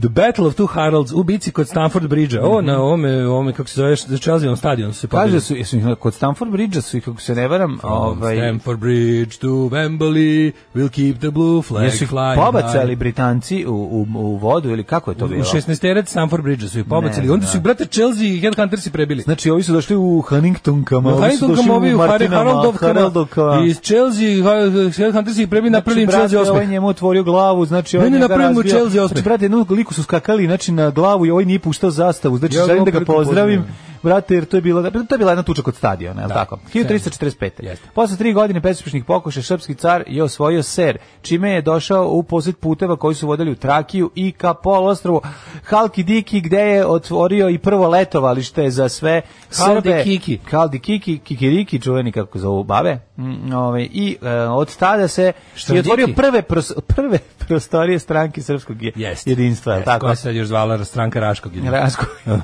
S7: The Battle of Two Haralds u bici kod Stamford Bridge-a. Ovo na ovome, ovome, kako se zove, Chelseaom stadionu se
S6: Mhm. Kaže
S7: pobili.
S6: su, jesu, ih- kod Stamford Bridge su, ih, kako se ne varam, ovaj,
S7: Stamford Bridge to Wembley, we'll keep the blue flag
S6: jesu ih
S7: flying
S6: pobacali
S7: high.
S6: Britanci u, u, u vodu ili kako je to bilo?
S7: U 16 teret Stamford Bridge su ih pobacali.
S6: Ne,
S7: Onda
S6: da.
S7: su ih, brate, Chelsea i Headhuntersi prebili.
S6: Znači, ovi su došli u Huntingtonkama,
S7: No,
S6: ovi su
S7: Harrington
S6: došli
S7: Kamovi,
S6: u Martinama,
S7: Haraldovkama,
S6: Haraldovkama.
S7: iz Chelsea, Headhuntersi ih prebili, napravili im
S6: brate,
S7: Chelsea
S6: Ovaj
S7: osmeh.
S6: njemu otvorio glavu, znači ovaj
S7: Meni
S6: njega
S7: napravimo
S6: razbio.
S7: Chelsea osmeh.
S6: Znači, brate, jednom liku su skakali, znači na glavu i ovaj nije puštao zastavu. Znači,
S7: Ja ga
S6: želim da ga
S7: opet
S6: pozdravim.
S7: pozdravim.
S6: Brate, jer to je bila, to je bila jedna tuča kod stadiona, je li tako? 1345.
S7: Jeste.
S6: Posle tri godine bezuspešnih pokušaja srpski car je osvojio Ser, čime je došao u posjed puteva koji su vodili u Trakiju i ka poluostrovu Halki Diki, gde je otvorio i prvo letovalište za sve
S7: Haldi
S6: Srbe.
S7: Kiki.
S6: Haldi Kiki, Kikiriki, čuveni kako zovu babe. Mm, ovaj, I e, od tada se
S7: Šta
S6: je otvorio
S7: Diki?
S6: prve, pros, prve prostorije stranke srpskog je-
S7: Jeste.
S6: jedinstva, je li
S7: Jeste,
S6: tako?
S7: Koja se sad još zvala stranka Raškog. jedinstva.
S6: Rasko.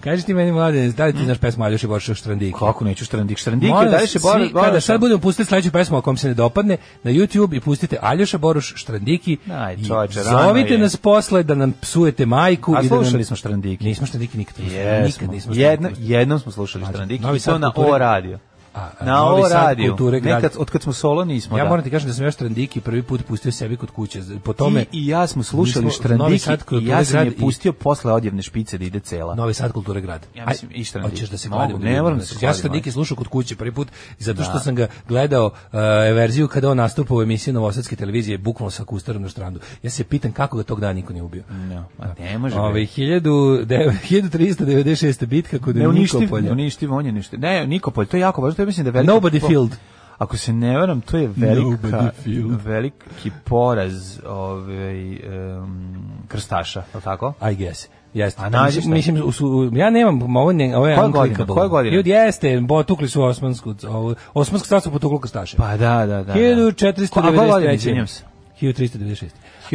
S7: Kaži ti meni, mlade, da li ti znaš pesmu Aljoše Borša Štrandiki?
S6: Kako neću Štrandik? Štrandik je
S7: Molim
S6: da
S7: vas,
S6: se
S7: svi, kada sad budemo pustiti sledeću pesmu, ako vam se ne dopadne, na YouTube i pustite Aljoša Boruš Štrandiki.
S6: Aj,
S7: i
S6: čoveče, rano
S7: Zovite
S6: je.
S7: nas posle da nam psujete majku.
S6: A
S7: i da nam-
S6: slušali smo Štrandiki.
S7: Nismo Štrandiki nikad.
S6: Jesmo.
S7: Nikad nismo
S6: Jedno,
S7: Štrandiki.
S6: jednom smo slušali Štrandiki
S7: Novi
S6: i to
S7: Sad
S6: na
S7: kulture-
S6: O radio.
S7: A, a,
S6: Na
S7: Novi
S6: O
S7: Sad
S6: radio.
S7: kulture grad.
S6: Nekad, od kad smo solo nismo,
S7: Ja
S6: da.
S7: moram ti kažem da sam ja Štrandiki prvi put pustio sebi kod kuće. Po tome,
S6: Ti i ja smo slušali
S7: Mi smo
S6: Štrandiki
S7: Novi Sad
S6: i
S7: kulture
S6: ja sam
S7: grad
S6: je
S7: i-
S6: pustio posle odjevne špice da ide cela.
S7: Pa Novi Sad kulture grad.
S6: Ja mislim, i Štrandiki.
S7: Hoćeš da se
S6: Mogu,
S7: kladimo?
S6: ne moram da se
S7: Ja
S6: kladim,
S7: sam Niki
S6: ajde.
S7: slušao kod kuće prvi put zato što sam ga gledao uh, verziju kada on nastupa u emisiji Novosadske televizije bukvalno sa akustarom na štrandu. Ja se pitam kako ga tog dana niko nije ubio.
S6: No, a ne može.
S7: Ove,
S6: bre.
S7: 1000 de- 1396. bitka kod
S6: Ne uništiv, ne
S7: Nikopolja.
S6: uništiv, on je ništiv. Ne, Nikopolj, to je jako važno, to je mislim da je velika...
S7: Nobody
S6: po-
S7: Field.
S6: Ako se ne varam, to je
S7: Nobody
S6: velika,
S7: Field.
S6: veliki poraz ovaj, em, krstaša, je li tako?
S7: I guess. Jeste.
S6: A nađeš šta?
S7: mislim, u su- ja nemam, ovo, ne, ovo je
S6: Koje godine?
S7: unclickable.
S6: Koje godine?
S7: Ljudi, jeste, potukli su Osmansku, ovo, Osmansko carstvo potuklo Krstaše.
S6: Pa da, da, da. A koje godine,
S7: 1493.
S6: izvinjam se?
S7: 1396.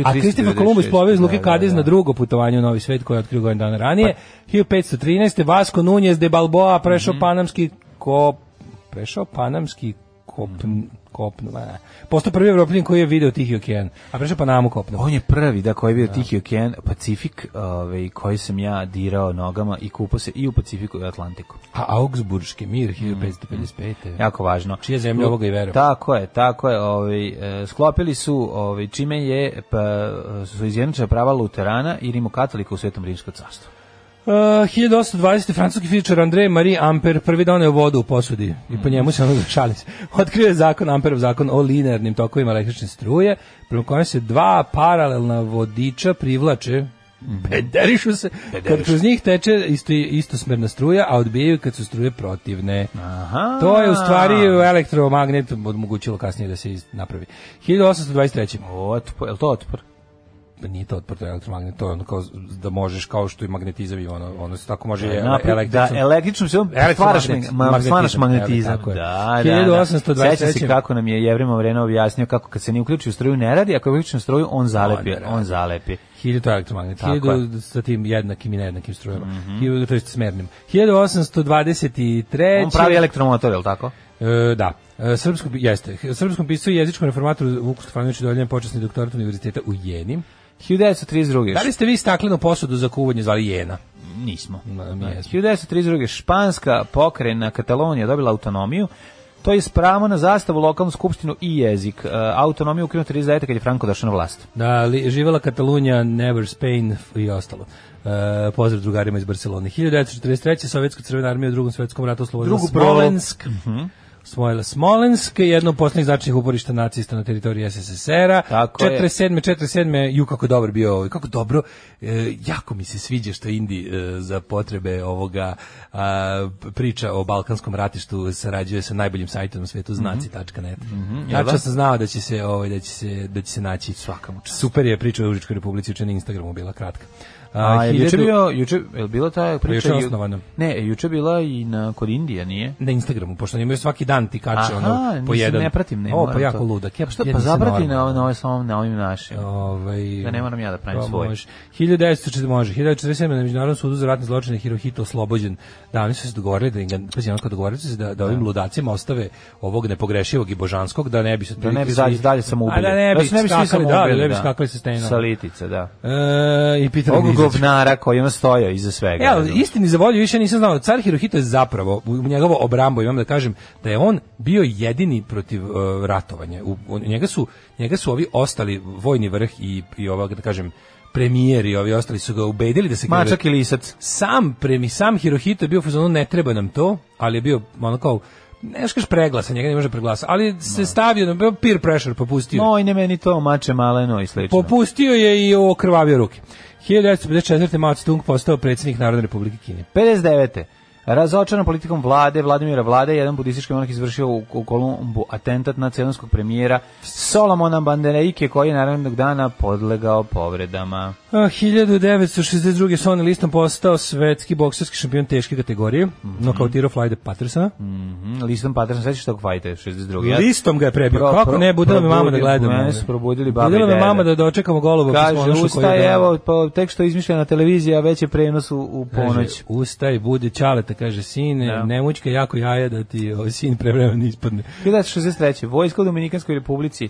S7: A Kristofer
S6: 1396,
S7: Kolumbus plovio iz Luke
S6: da, da,
S7: Cadiz
S6: da. Pa-
S7: na drugo putovanje u Novi svet koje je otkrio godinu dana ranije. 1513. Vasco Nunez de Balboa prešao
S6: Mhm.
S7: panamski kop... Prešao panamski kopn...
S6: Mhm.
S7: kopno, ma, postao prvi evropljen koji je video Tihi okean, a prešao Panamu kopno.
S6: On je prvi, da, koji je bio Tihi okean, Pacifik, ovaj, koji sam ja dirao nogama i kupao se i u Pacifiku i u Atlantiku.
S7: A Augsburgski mir 1555.
S6: Jako važno.
S7: Mhm. Čija zemlja ovoga i veruje.
S6: Tako je, tako je. Ovaj, e, sklopili su, ovaj, čime je, pa, su izjednačena prava Luterana i rimokatolika u Svetom Rimskom carstvu.
S7: Uh, 1820. francuski fizičar André Marie Amper prvi doneo vodu u posudi i po njemu se ono šalim se. Otkrio je zakon Amperov zakon o linearnim tokovima električne struje, prema kojem se dva paralelna vodiča privlače Pederišu se, kad kroz njih teče isto, istosmerna struja, a odbijaju kad su struje protivne.
S6: Aha.
S7: To je u stvari elektromagnet omogućilo kasnije da se iz- napravi. 1823.
S6: Otpor, je li to otpor?
S7: Pa nije to otpor, to je elektromagnet, to je ono kao z- da možeš kao što i magnetizam i ono, ono se tako može i ele-
S6: Napra-
S7: elektricom.
S6: Da, električnom silom stvaraš,
S7: Elektromagnet-
S6: ma- ma- stvaraš
S7: magnetizam,
S6: magnetizam.
S7: evo, tako je.
S6: Da, da, da.
S7: 1823.
S6: Sećam se kako nam je Jevremo vrena objasnio kako kad se ne uključi u struju ne radi, ako je uključi u struju on zalepi,
S7: ne radi.
S6: on zalepi.
S7: Hiljadu to je elektromagnet,
S6: Tako Mhm.
S7: hiljadu sa tim jednakim i nejednakim strujama, hiljadu, to je smernim. 1823.
S6: On pravi elektromotor, je li tako?
S7: E, da. E, srpskom, jeste, srpskom piscu i jezičkom reformatoru Vuku Stefanoviću doljen počasni doktorat univerziteta u Jeni.
S6: 1932.
S7: Da li ste vi staklenu posudu za kuvanje zvali Jena?
S6: Nismo.
S7: Ma, mi
S6: Da.
S7: jesmo.
S6: 1932. Španska pokrajina Katalonija dobila autonomiju, to je spravo na zastavu, lokalnu skupštinu i jezik. E, Autonomiju ukinuta 39. kad je Franko došao na vlast.
S7: Da, li, živela Katalunija, Never Spain f- i ostalo. E, pozdrav drugarima iz Barcelone. 1943. Sovjetska crvena armija u drugom svetskom ratu oslobodila
S6: Drugu Mhm. prolo-
S7: Smolensk. Osvojila Smolensk, jedno od poslednjih značajnih uporišta nacista na teritoriji SSSR-a.
S6: Tako je.
S7: 47. 47. Ju, kako dobro bio ovaj, kako dobro, e, jako mi se sviđa što Indi e, za potrebe ovoga a, p- priča o Balkanskom ratištu sarađuje sa najboljim sajtom na svetu,
S6: Mhm.
S7: znaci.net. Tačno sam znao da će se, ovaj, da će se, da će se naći svakam Super je priča u Užičkoj republici, juče na Instagramu bila kratka.
S6: A, je juče
S7: hiljadu-
S6: bio, Pa juče, je li bila ta priča?
S7: Juče je
S6: ju-
S7: osnovana.
S6: Ne, juče je bila i na, kod Indija, nije?
S7: na Instagramu, pošto oni imaju svaki dan ti
S6: Znači,
S7: kače ono po
S6: nisam,
S7: jedan.
S6: ne pratim, ne
S7: O, pa
S6: moram
S7: jako
S6: to.
S7: ludak. Ja,
S6: Pa što,
S7: ja
S6: pa
S7: nisam
S6: zabrati na,
S7: normalan.
S6: na, ovaj, samom- na ovim našim.
S7: Ovaj,
S6: Da ne moram ja da pravim
S7: to
S6: svoj.
S7: može. 1940 može. 1947 na Međunarodnom sudu za ratne zločine Hirohito oslobođen. Da, oni su se dogovorili da, im ga- pazi, onako dogovorili su se da, da ovim ludacima ostave ovog nepogrešivog i božanskog, da ne bi se...
S6: Da ne bi dalje, dalje sam
S7: A da ne bi,
S6: se ne bi svi
S7: skakali, da,
S6: samoubili,
S7: da ne bi skakali sa stena.
S6: Sa litice, da.
S7: E, I Peter
S6: Ovog
S7: Nizić.
S6: govnara koji ono stoja iza svega.
S7: Ja,
S6: razumeš.
S7: istini za volju više nisam znao. Car Hirohito je zapravo, u njegovo obrambo imam da kažem, da je on bio jedini protiv e, ratovanja. U, u- njega, su, njega su ovi ostali, vojni vrh i, i ovak, da kažem, premijeri, ovi ostali su ga ubedili da se...
S6: Mačak i lisac.
S7: Sam, premi, sam Hirohito je bio u fazonu, ne treba nam to, ali je bio ono kao, ne znaš kaš preglasan, njega ne može preglasati, ali se stavio, na- bio peer pressure, popustio.
S6: Moj ne meni to, mače maleno i slično.
S7: Popustio je i okrvavio ruke. 1954. Mao Tse-tung postao predsjednik Narodne republike Kine.
S6: 59. Razočaran politikom vlade Vladimira Vlade, jedan budistički monarh izvršio u, u Kolumbu atentat na celinskog premijera Solomona Bandereike, koji je naravnog dana podlegao povredama.
S7: A, 1962. Sonny Liston postao svetski bokserski šampion teške kategorije, mm -hmm. nokautirao Flyde Pattersona.
S6: Mhm, Listom Patterson, sveći tog fajta, 62. Ja-
S7: Listom ga je prebio.
S6: Pro-
S7: Kako ne,
S6: pro-
S7: budila me mama da
S6: probudili-
S7: gledam.
S6: mene
S7: ono.
S6: su probudili baba
S7: Budila
S6: i
S7: me
S6: deda.
S7: mama da dočekamo golovo.
S6: Kaže, ustaj, evo, pa, tek što je izmišljena televizija, već je prenos u, u ponoć.
S7: Ustaj, budi čaleta, kaže sine,
S6: Da.
S7: ne mučka jako jaja da ti o, sin prevremeno ispadne.
S6: 1963. Vojska u Dominikanskoj republici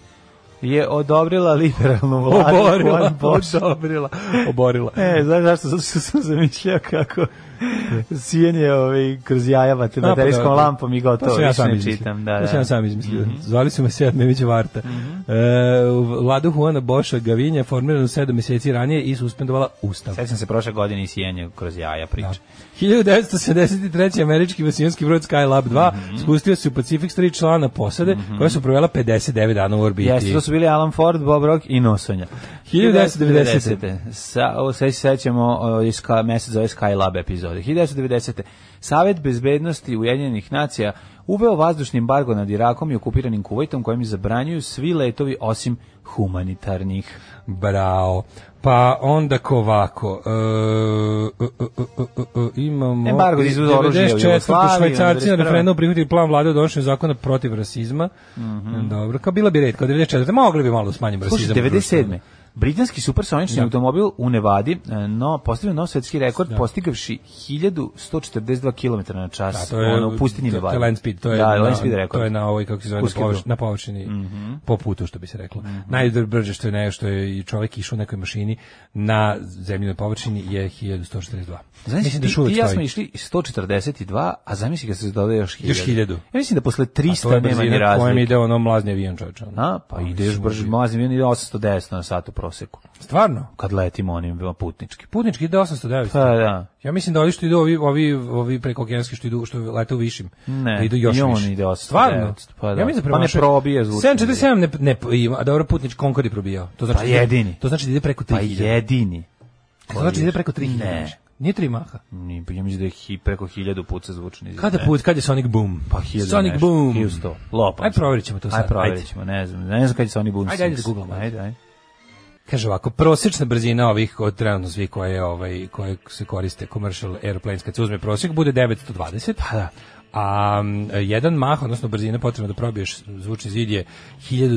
S6: je odobrila liberalnu vladu.
S7: Oborila,
S6: Juan Bosch.
S7: oborila, oborila.
S6: E, znaš zašto? Zato što sam zamišljao kako sijenje ovaj, kroz jaja vate- baterijskom
S7: da, da.
S6: lampom i gotovo.
S7: pa To sam ja
S6: više
S7: sam
S6: ne
S7: izmislio.
S6: čitam. Da,
S7: To
S6: da.
S7: sam
S6: Mhm.
S7: ja sam izmislio. Zvali su me Sead Memić Varta. E, Vladu Juana Boša Gavinja formiranu sedam mjeseci ranije i suspendovala Ustav.
S6: Sećam se prošle godine i sijenje kroz jaja priča.
S7: Pa, 1973. američki vasijonski brod Skylab 2
S6: Mhm.
S7: spustio se u Pacific s tri člana posade koja su provela 59 dana u orbiti.
S6: Jeste, to su bili Alan Ford, Bob Rock i Nosonja.
S7: 1990.
S6: Sa, o, sve se sećamo o, iz ka, mesec zove Skylab epizode. 1990. Savet bezbednosti Ujedinjenih nacija uveo vazdušni embargo nad Irakom i okupiranim Kuvajtom kojim zabranjuju svi letovi osim humanitarnih.
S7: Bravo. Pa onda kovako. E, e, e, e, e, e, imamo...
S6: Embargo za izvoz oružja u
S7: 94.
S6: Jugoslaviju,
S7: Švajcarci na
S6: 91..
S7: referendum prihvatili plan vlade o donošenju zakona protiv rasizma. Dobro, kao bila bi redka. 94. Mogli bi malo da smanjimo rasizam.
S6: Mhm. Slušaj,
S7: u društvu.
S6: 97. Britanski supersonični
S7: Ja.
S6: automobil u Nevadi e, no, postavio nov svetski rekord postigavši 1142 km na
S7: Da,
S6: čas
S7: Pa to je
S6: ono, u pustini
S7: to, to
S6: Nevadi.
S7: je land speed, to je
S6: da,
S7: na,
S6: land speed rekord.
S7: To je na ovoj kako se zove na
S6: Uski Mhm.
S7: površ-
S6: krug.
S7: na površini po putu što bi se reklo. Mm Najbrže što je ne što je i čovjek išao u nekoj mašini na zemljinoj površini je 1142.
S6: Znaš,
S7: Mislim da
S6: ti,
S7: još uvijek
S6: ti i ja
S7: stoji.
S6: smo išli 142, a zamisli kad se dodaje još 1000.
S7: Još 1000.
S6: Ja mislim da posle
S7: A to
S6: 300
S7: je
S6: nema ni
S7: brzina kojom
S6: razlike.
S7: ide ono mlazni avion čovječe. ono.
S6: A, pa ideš
S7: mislim,
S6: brže, mazim, ide 810 na sat u proseku.
S7: Stvarno?
S6: Kad letimo onim putnički.
S7: Putnički ide 809.
S6: Pa da.
S7: Ja mislim da ovi što idu ovi ovi ovi preko okeanski što idu što lete u višim.
S6: Ne,
S7: da idu još
S6: i on
S7: više.
S6: ide 800,
S7: Stvarno?
S6: 900, pa da.
S7: Ja mislim
S6: Pa ne
S7: premašuje-
S6: probije zvučno.
S7: 747 ne ne ima, a dobro putnič Concorde je probijao. To znači
S6: Pa
S7: da ide-
S6: jedini.
S7: To znači da ide preko 3000.
S6: Pa jedini.
S7: To znači da ide preko 3000.
S6: Ne.
S7: Nije tri maha.
S6: Ni, pa ja mislim da je hi, preko 1000 puta zvučni zid.
S7: Kada
S6: ne.
S7: put, kad je Sonic Boom?
S6: Pa 1000
S7: Sonic
S6: nešto,
S7: Boom.
S6: 1100. Lopam.
S7: Ajde,
S6: se.
S7: provjerit ćemo to sad.
S6: Ajde provjerit ćemo, ne znam. Ne znam kad će se oni bunsi.
S7: Ajde, ajde da googlamo.
S6: Ajde, ajde.
S7: Kaže ovako, prosječna brzina ovih od trenutno svih koje, ovaj, koje se koriste commercial airplanes, kad se uzme prosjek, bude 920. Pa da. A m, jedan mah, odnosno brzina potrebna da probiješ zvučni zid je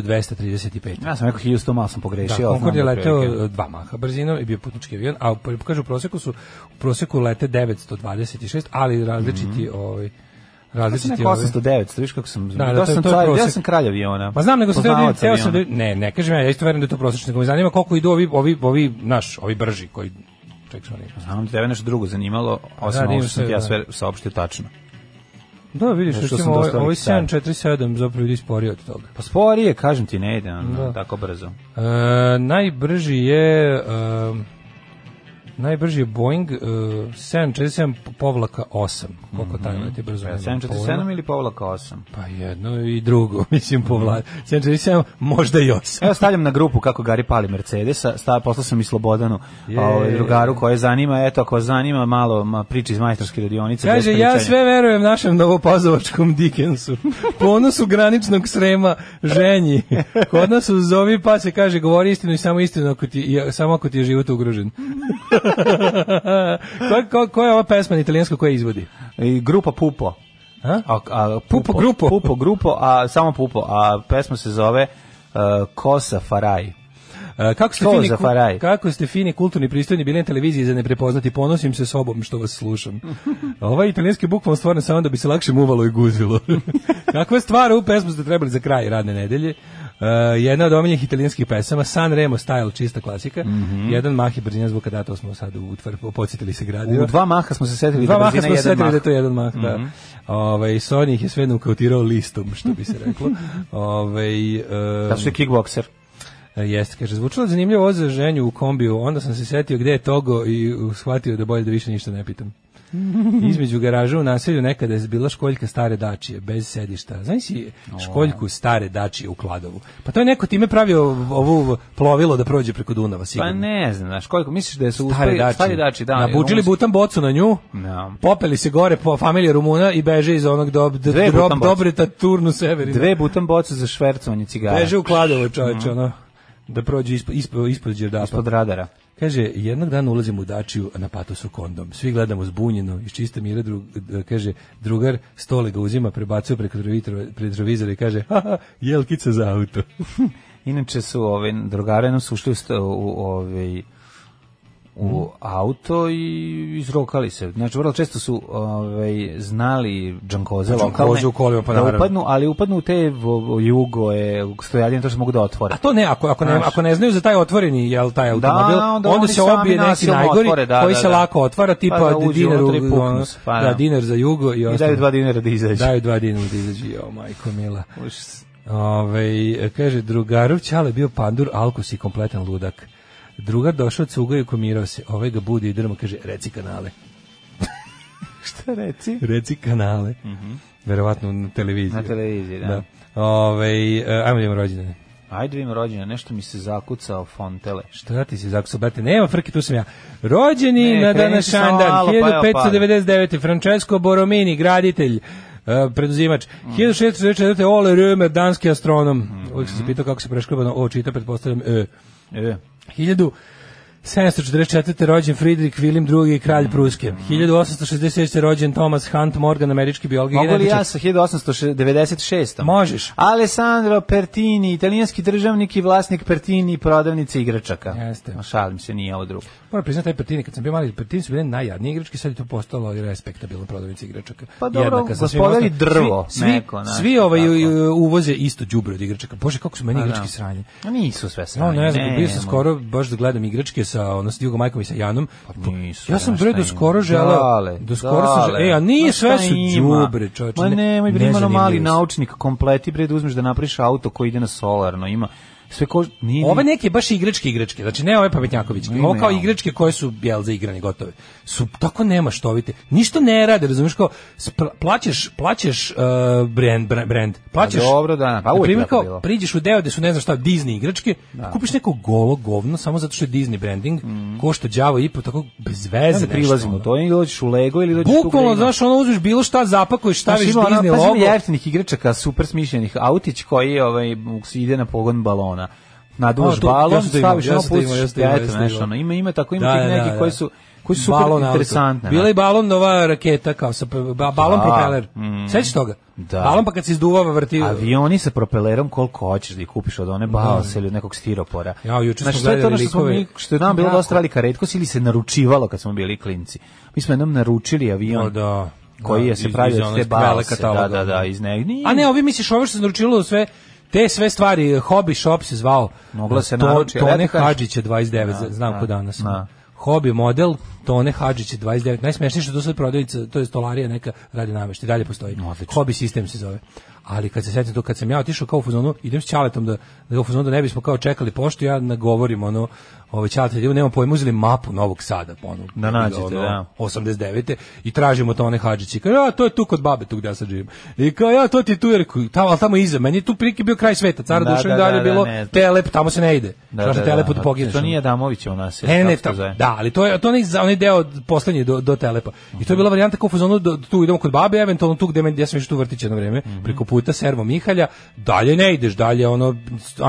S7: 1235.
S6: Ja sam rekao 1100, malo sam
S7: Da,
S6: pogrešio. ali znam
S7: Concorde je
S6: da
S7: leteo
S6: otprilike.
S7: e, dva maha brzinom i bio putnički avion, a u- kaže u prosjeku su u prosjeku lete 926, ali različiti ovaj
S6: Mislim
S7: različiti
S6: neko
S7: ovaj-
S6: 800, 900, viš kako sam...
S7: Da, da,
S6: ja
S7: to je-
S6: sam
S7: to je
S6: car, ja
S7: prosek.
S6: sam kralj aviona.
S7: Ma Pa znam, nego sam teo da
S6: Poznavac
S7: teo sam da,
S6: aviona.
S7: ne, ne kažem ja, ja isto verujem da je to prosječno, nego me zanima koliko idu ovi, ovi, ovi, naš, ovi brži koji, ček sam rekao.
S6: Znam da tebe nešto drugo zanimalo, osim
S7: Da,
S6: ovo
S7: divno
S6: što sam
S7: se,
S6: ti ja
S7: da.
S6: sve saopštio tačno.
S7: Da, vidiš,
S6: Zato što
S7: recimo,
S6: sam
S7: ovaj,
S6: dosta
S7: ovaj
S6: velik car.
S7: 747 zapravo ide sporije od toga.
S6: Pa sporije, kažem ti, ne ide ono,
S7: Da.
S6: tako brzo.
S7: E, najbrži je, e, najbrži je Boeing e, 747 povlaka 8, koliko
S6: Mhm.
S7: taj leti
S6: E,
S7: brzo. nemam
S6: 747
S7: pojma.
S6: ili povlaka 8?
S7: Pa jedno i drugo, mislim, povlaka. 747, možda i 8.
S6: Evo stavljam na grupu kako Gari pali Mercedesa, sta, poslao sam i Slobodanu, a ovaj drugaru koje zanima, eto ako vas zanima malo ma, priči iz majstorske radionice. bez
S7: Kaže, ja
S6: pričanja.
S7: sve verujem našem novopazovačkom Dickensu. Ponosu graničnog srema ženji. Kod nas u zovi pa se kaže, govori istinu i samo istinu, ako ti, i- samo ako ti je život ugrožen. ko, ko, ko je ova pesma na italijansko koja izvodi?
S6: I grupa Pupo.
S7: A?
S6: A, a,
S7: Pupo Grupo.
S6: Pupo grupo, a samo Pupo, a pesma se zove uh, Kosa Faraj.
S7: E, kako ste
S6: To
S7: fini,
S6: za
S7: ku-
S6: faraj.
S7: kako ste fini, kulturni, pristojni bili na televiziji za neprepoznati, ponosim se sobom što vas slušam. Ovaj italijanski bukvalno stvarno samo da bi se lakše muvalo i guzilo. Kakva stvar, ovu pesmu ste trebali za kraj radne nedelje. E, jedna od omiljenih italijanskih pesama, San Remo style, čista klasika.
S6: Mhm.
S7: Jedan mahi brzina zvuka data smo sad u utvar, podsjetili se gradiva.
S6: U dva maha smo se setili
S7: Dva
S6: da
S7: maha
S6: brzina
S7: smo
S6: jedan mah. Mhm.
S7: setili da je to jedan mah, da. Ovaj, Sony ih je sve nukautirao listom, što bi se reklo. Ovaj, e,
S6: Da su je kickbokser.
S7: E, Jeste, kaže, zvučilo je zanimljivo ovo za ženju u kombiju, onda sam se setio gde je Togo i uh, shvatio da bolje da više ništa ne pitam. Između garaža u naselju nekada je bila školjka stare dačije, bez sedišta. Znaš si školjku stare dačije u Kladovu? Pa to je neko time pravio ovu plovilo da prođe preko Dunava,
S6: Pa
S7: sigurno.
S6: ne znam, znaš, koliko misliš da su
S7: Stare
S6: uspeli,
S7: dači.
S6: Pa, stari dači, da.
S7: Nabuđili
S6: ono-
S7: butan bocu na nju,
S6: Da.
S7: popeli se gore po familije Rumuna i beže iz onog dob, d-
S6: Dve
S7: drob-
S6: butan boce.
S7: dobre taturnu severinu.
S6: Dve butan boce za švercovanje cigara.
S7: Beže u Kladovo, čoveče, ono, da prođe ispo- ispo- ispod Đerdapa.
S6: Ispod radara.
S7: Kaže, jednog dana ulazim u dačiju, a na patosu kondom. Svi gledamo zbunjeno, iz čiste mira, drug, d- kaže, drugar stole ga uzima, prebacuje preko retro- retrovizora i kaže, haha, jelkica za auto.
S6: Inače su ove drugare nam su ušli u, sta- u ovaj u auto i izrokali se. Znači vrlo često su ovaj znali džankoze
S7: Džankoze
S6: lokalne
S7: u kolima, pa
S6: da
S7: naravno.
S6: upadnu, ali upadnu u te vo- jugo je stojaljine to što mogu da otvore.
S7: A to ne, ako, ako, ne,
S6: Znaš.
S7: ako ne znaju za taj otvoreni jel, taj automobil,
S6: onda
S7: onda,
S6: oni
S7: se
S6: sami
S7: obije neki
S6: nasilno
S7: najgori
S6: otvore, da,
S7: koji
S6: da,
S7: se
S6: da.
S7: lako otvara, tipa
S6: Pa da uđu
S7: dinar,
S6: unutra i
S7: u-
S6: puknu
S7: ono,
S6: se, pa
S7: da,
S6: da.
S7: dinar za jugo i,
S6: I
S7: ostalo.
S6: daju dva dinara da izađu.
S7: Daju dva dinara da izađe, jo, majko mila. Ove, kaže, drugarov Ćale bio pandur, alkos i kompletan ludak. Drugar došao cuga i komirao se. Ovaj ga budi i drma, kaže, reci kanale.
S6: Šta reci?
S7: Reci kanale. Verovatno na televiziji.
S6: Mhm. Na televiziji, da.
S7: Ove, e, ajmo da imamo rođene.
S6: Ajde vidim rođena, nešto mi se zakucao fontele.
S7: Šta ti si zakucao, brate? Nema frke, tu sam ja. Rođeni
S6: Ne,
S7: na
S6: kreni
S7: današnjan
S6: samo
S7: dan,
S6: malo, pa evo,
S7: 1599. Francesco Boromini, graditelj, uh, preduzimač.
S6: Mhm.
S7: 1644. Ole Römer, danski astronom. Uvijek sam se pitao kako se preškrobano o čita, pretpostavljam e.
S6: E.
S7: 1744. rođen Friedrich Wilhelm II, kralj Pruske. 1866. rođen Thomas Hunt Morgan, američki biolog i
S6: Mogu li
S7: genetičar.
S6: ja sa 1896.
S7: Možeš.
S6: Alessandro Pertini, italijanski državnik i vlasnik Pertini prodavnice igračaka.
S7: Jeste.
S6: Ma, Šalim se, nije ovo drugo.
S7: Moram priznati taj Pertini, kad sam bio mali, Pertini su bili najjadniji igrački, sad je to postalo i respektabilna prodavnica igračaka.
S6: Pa dobro,
S7: sa svim
S6: gospodari
S7: ostalim. Svi-
S6: drvo
S7: Svi,
S6: neko, znaš,
S7: svi ovaj,
S6: tako.
S7: u- u- uvoze isto đubre od igračaka. Bože, kako su meni
S6: Pa da.
S7: igrački sranje.
S6: Ma Nisu sve
S7: Ja
S6: sranje.
S7: ne znam, bio sam
S6: nemoj.
S7: skoro baš da gledam igračke sa ono s Jugom Majkom i sa Janom.
S6: Pa nisu,
S7: ja sam
S6: znaš
S7: bre
S6: šta
S7: do skoro
S6: ima.
S7: želeo,
S6: Dale,
S7: do skoro sam
S6: dale.
S7: želeo, e, a nije
S6: Ma
S7: sve
S6: šta
S7: su
S6: ima?
S7: đubre, čoveče.
S6: Ma nemoj bre, ima ono mali
S7: nezanimljivi su.
S6: naučnik kompleti bre da uzmeš da napraviš auto koji ide na solarno, ima sve ko nije
S7: Ove neke baš igračke igračke, znači ne ove pametnjakovićke,
S6: Mhm. Ima,
S7: ovo kao
S6: ja.
S7: igračke koje su jel za igranje gotove. Su tako nema što vidite. Ništa ne rade, razumiješ kao spra- plaćaš plaćaš uh, brand bra- brand, plaćaš.
S6: Pa dobro, da, pa
S7: na
S6: uvijek
S7: primjer,
S6: tako
S7: kao
S6: bilo.
S7: priđeš u deo gde su ne znam šta Disney igračke, kupiš neko golo govno samo zato što je Disney branding, košta đavo i po tako bez veze
S6: Mhm. ne
S7: nešto,
S6: prilazimo
S7: ono.
S6: to, ili dođeš u Lego ili dođeš tu
S7: Bukvalno,
S6: gde ima.
S7: znaš, ono uzmeš bilo šta, zapakuješ, staviš
S6: Znaš, ima ono,
S7: Disney
S6: pazi,
S7: logo.
S6: ima jeftinih igračaka, super smišljenih autić koji ovaj, ide na pogon balona.
S7: A,
S6: Naduš
S7: to-
S6: balon,
S7: ja sam to imao,
S6: staviš
S7: ja
S6: ono,
S7: sam to imao, ja
S6: pustiš
S7: sam to imao, ja
S6: petu,
S7: sam to
S6: nešto,
S7: imao.
S6: ono. Ima, ima tako, ima
S7: Da,
S6: tih
S7: da,
S6: neki
S7: da.
S6: koji su, koji su super
S7: Balon auto.
S6: interesantne.
S7: Bila
S6: znaš.
S7: je balon nova raketa kao sa ba- balon
S6: Da.
S7: propeler.
S6: Mm.
S7: Sećaš toga?
S6: Da.
S7: Balon pa kad se izduvava vrti.
S6: Avioni sa propelerom koliko hoćeš da ih kupiš od one balse ili od nekog stiropora.
S7: Ja, juče
S6: Znaš,
S7: smo
S6: to je to
S7: gledali
S6: ono što smo mi-
S7: likove.
S6: Što je nam bilo
S7: Jako.
S6: dosta velika redkost ili se naručivalo kad smo bili klinci. Mi smo jednom naručili avion
S7: O, da.
S6: koji
S7: Da,
S6: je se
S7: iz- iz
S6: pravio od
S7: one
S6: te balse. Da,
S7: velekataloga.
S6: da, da, iz ne, nije-
S7: A ne, ovi misliš ovo što se naručilo sve te sve stvari, Hobby Shop se zvao.
S6: Moglo se
S7: To-
S6: naručiti, ali ja
S7: Tone
S6: ti kažem-
S7: Hadžića 29,
S6: Da,
S7: znam ko
S6: da,
S7: danas.
S6: da.
S7: Hobby model Tone Hadžića 29. Najsmešnije što to sad prodavnica, to je stolarija neka radi namešti, dalje postoji. Hobby sistem se zove. Ali kad se setim to, kad sam ja otišao kao u fuzonu, idem s Ćaletom da, da u fuzonu da ne bismo kao čekali poštu, ja nagovorim ono, ovaj Ćalet, idemo, nema pojma, uzeli mapu Novog Sada, ono,
S6: Da nađete,
S7: ono,
S6: da.
S7: 89. i tražimo to one Hadžići. Kao, ja, to je tu kod babe, tu gde ja sad živim. I kao, ja, to ti je tu, jer tamo, ali tamo iza, meni je tu prilike bio kraj sveta, cara
S6: Da,
S7: da, duša
S6: da,
S7: i dalje
S6: da, da,
S7: bilo
S6: ne znam.
S7: telep, tamo se ne ide. Da, da, telep da,
S6: A
S7: pogineš. ono?
S6: To nije Adamovićevo naselje.
S7: Ne, ne, ne,
S6: kako se
S7: ta-
S6: zove?
S7: da, ali to je to je onaj, onaj deo od- poslednji
S6: Mhm.
S7: do, do telepa. I to je bila varijanta kao u fazonu do, tu idemo kod babe, eventualno tu gde meni ja sam išao tu u vrtić jedno vreme, preko puta servo Mihalja, dalje ne ideš, dalje ono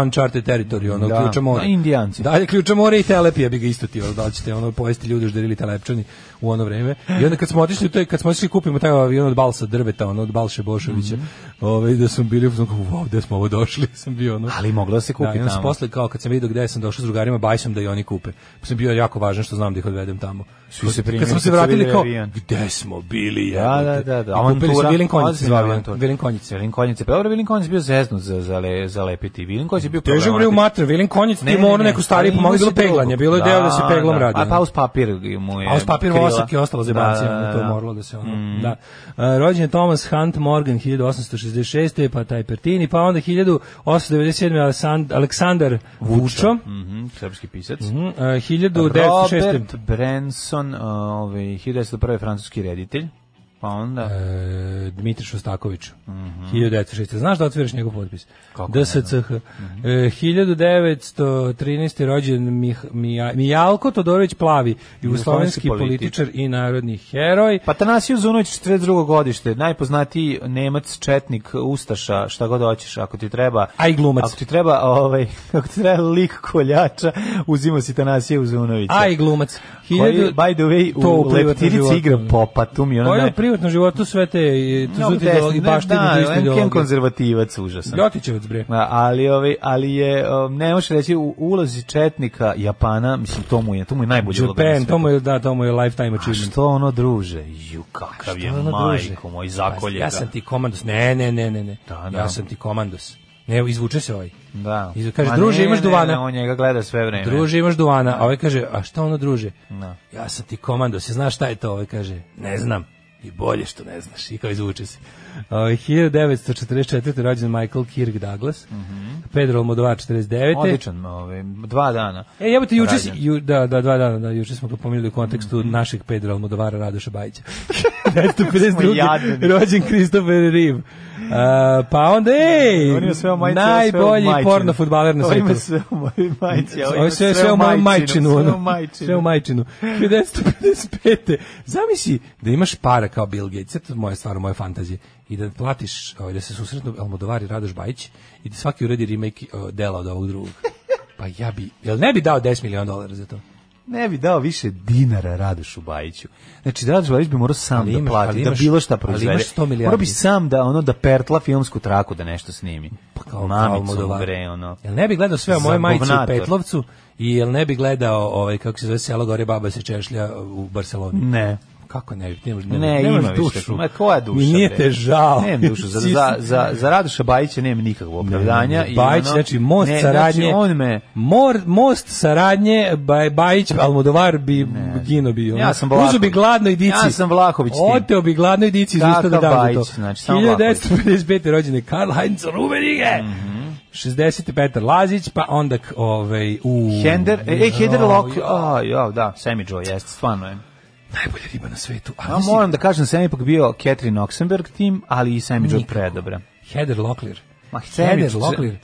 S7: uncharted territory, ono
S6: Da,
S7: ključa mora.
S6: na Indijanci.
S7: Dalje ključa mora i telepija bi ga isto ti, ono, da li ćete ono pojesti ljudi užderili telepčani u ono vreme. I onda kad smo otišli, to je, kad smo otišli kupimo taj avion od Balsa drveta, ono od Balše Bošovića,
S6: Mhm.
S7: ovaj, da sam bili, ono, wow, gde smo ovo došli, sam bio ono.
S6: Ali moglo da se kupi
S7: Da, i onda sam
S6: tamo.
S7: posle kao kad sam vidio gde sam došao s drugarima, bajsom da i oni kupe. Pa sam bio jako važan što znam da ih odvedem tamo.
S6: Svi se primili
S7: kad smo
S6: kad su
S7: se vratili
S6: videli
S7: kao,
S6: avion.
S7: gde smo bili,
S6: Da,
S7: jebote.
S6: da, da, da.
S7: I kupili smo Vilin Konjic,
S6: Ozbiljna
S7: zvao avion.
S6: avantura.
S7: Vilin Konjic.
S6: Vilin konjice. Pa dobro, Vilin konjic bio zeznut za, za, le, za lepiti. Vilin konjic je bio
S7: Teže bre u mater, Vilin Konjic, ti mora neko stari
S6: ali
S7: pomogli
S6: ima
S7: bilo
S6: se drugo.
S7: peglanje, bilo je deo da se peglom radi.
S6: A paus papir mu je
S7: A uz papir
S6: krila.
S7: vosak je ostalo za bancije, to je moralo da se ono,
S6: Mm.
S7: da. E, rođen je Thomas Hunt Morgan 1866. pa taj Pertini, pa onda 1897. Aleksan- Aleksandar Vučo,
S6: Mhm, srpski pisac.
S7: Mhm, e, 1906.
S6: Robert Branson, ovaj 1901. francuski reditelj. Pa onda
S7: E, Dmitri Šostaković, 1906. Znaš da otvoriš njegov potpis?
S6: Mhm. Kako ne
S7: DSCH. E, 1913. rođen Mih, Mija, Mijalko Todorović Plavi, jugoslovenski političar i narodni heroj.
S6: Pa Tanasiju Zunović 42. godište, najpoznatiji Nemac, četnik, ustaša, šta god hoćeš, ako ti treba.
S7: A i glumac.
S6: Ako ti treba, ovaj, ako ti treba lik koljača, uzimo si Tanasiju Zunovića.
S7: A i glumac.
S6: Koji,
S7: 1000
S6: by the way,
S7: To u
S6: u
S7: privatnom
S6: Leptirici
S7: životu.
S6: igra popa, tu mi je ona
S7: Koji je
S6: naj...
S7: u privatnom životu sve te, e, tu su ti ideologi, baš ti
S6: da,
S7: ti isti
S6: MKM
S7: ideologi.
S6: konzervativac, užasan.
S7: Ljotićevac, bre.
S6: A, ali ovaj ali je um, ne možeš reći u ulozi četnika Japana mislim to mu je to mu je najbolje uloga na
S7: Japan,
S6: svetu.
S7: to mu je, da, to mu je lifetime
S6: A
S7: achievement.
S6: što ono druže ju kakav je
S7: Šta ono, druže?
S6: majko moj
S7: Pa,
S6: zakolje
S7: Ja sam ti komandos. Ne, ne, ne, ne, ne.
S6: Da, da.
S7: Ja sam ti komandos. Ne, izvuče se ovaj.
S6: Da.
S7: I kaže,
S6: Ma
S7: druže,
S6: ne,
S7: imaš
S6: ne,
S7: duvana.
S6: ne, on njega gleda sve vreme.
S7: Druže, imaš duvana. A ovaj kaže, a šta ono druže?
S6: Da.
S7: Ja sam ti komandos. Ja znaš šta je to? Ovaj kaže, ne znam. I bolje što ne znaš. I kao izvuče se. Ovaj, 1944. rođen Michael Kirk Douglas. Pedro Almodovar 49.
S6: Mhm. Odličan, ovaj, dva dana.
S7: E, jebote, juče, si-
S6: Rađen.
S7: ju, da, da, dva dana, da, juče smo ga pomenuli u kontekstu
S6: Mhm.
S7: našeg Pedra Almodovara Radoša Bajića. 1952.
S6: jadni.
S7: rođen Christopher Reeve. A, pa onda, ej,
S6: On ima sve o majici, ovo sve o
S7: najbolji
S6: majčinu.
S7: porno futbaler na
S6: Ovo
S7: svetu.
S6: ima sve u mojoj majici, ovo
S7: Ovo
S6: ima
S7: je sve, sve u mojoj majčinu.
S6: sve
S7: ono.
S6: u majčinu.
S7: Sve u majčinu. 1955. Zamisli da imaš para kao Bill Gates, sad to je moja stvar, moje fantazije, i da platiš, ovaj, da se susretnu Almodovar i Radoš Bajić, i da svaki uredi remake eh, dela od ovog drugog. Pa ja bi, jel ne bi dao 10 miliona dolara za to?
S6: Ne bi dao više dinara Radošu Bajiću. Znači, Radoš Bajić bi morao sam
S7: Ali
S6: da
S7: imaš-
S6: plati,
S7: ali imaš-
S6: da bilo šta
S7: ali
S6: proizvede.
S7: imaš 100 milijardi.
S6: Morao bi sam da, ono, da pertla filmsku traku da nešto snimi. Pa
S7: kao
S6: Mamicu,
S7: Almodovar.
S6: bre, ono.
S7: Jel ne bi gledao sve o moje
S6: Za
S7: majici u
S6: govnator.
S7: Petlovcu i jel ne bi gledao ovaj kako se zove selo gore baba se češlja u Barseloni.
S6: Ne.
S7: Kako ne bi? Ne, ne,
S6: Ne,
S7: nemaš
S6: ima više.
S7: dušu.
S6: Ma koja duša?
S7: I nije
S6: bre?
S7: te žao.
S6: Nemam dušu. Za,
S7: Svi su-
S6: za, za, za Radoša Bajića nemam nikakvog opravdanja. i
S7: Bajić,
S6: ono-
S7: znači most
S6: Ne,
S7: saradnje.
S6: Znači, on me...
S7: Mor, most saradnje, Baj, Bajić, Almodovar bi gino bio.
S6: Ja sam Vlahović.
S7: Uzu bi gladnoj dici.
S6: Ja sam Vlahović tim.
S7: Oteo bi gladnoj dici iz usta
S6: Kakav
S7: da dam za
S6: Bajić,
S7: to.
S6: znači, samo Vlahović. Mhm.
S7: 1955. rođen je Karl Heinz Rummenigge. 60. Petar Lazić, pa onda k- ovaj, u...
S6: Hender, e, e, Hender
S7: Jao,
S6: Lok,
S7: jao.
S6: a, ja, da, Sammy Joe, jeste, stvarno je.
S7: Najbolja riba na svetu.
S6: Ja moram da kažem, sam ipak bio Catherine Oxenberg tim, ali i Sammy Joe
S7: Nikako.
S6: predobra.
S7: Heather Locklear.
S6: Ma, Sammy
S7: Heather
S6: Joe-
S7: Locklear.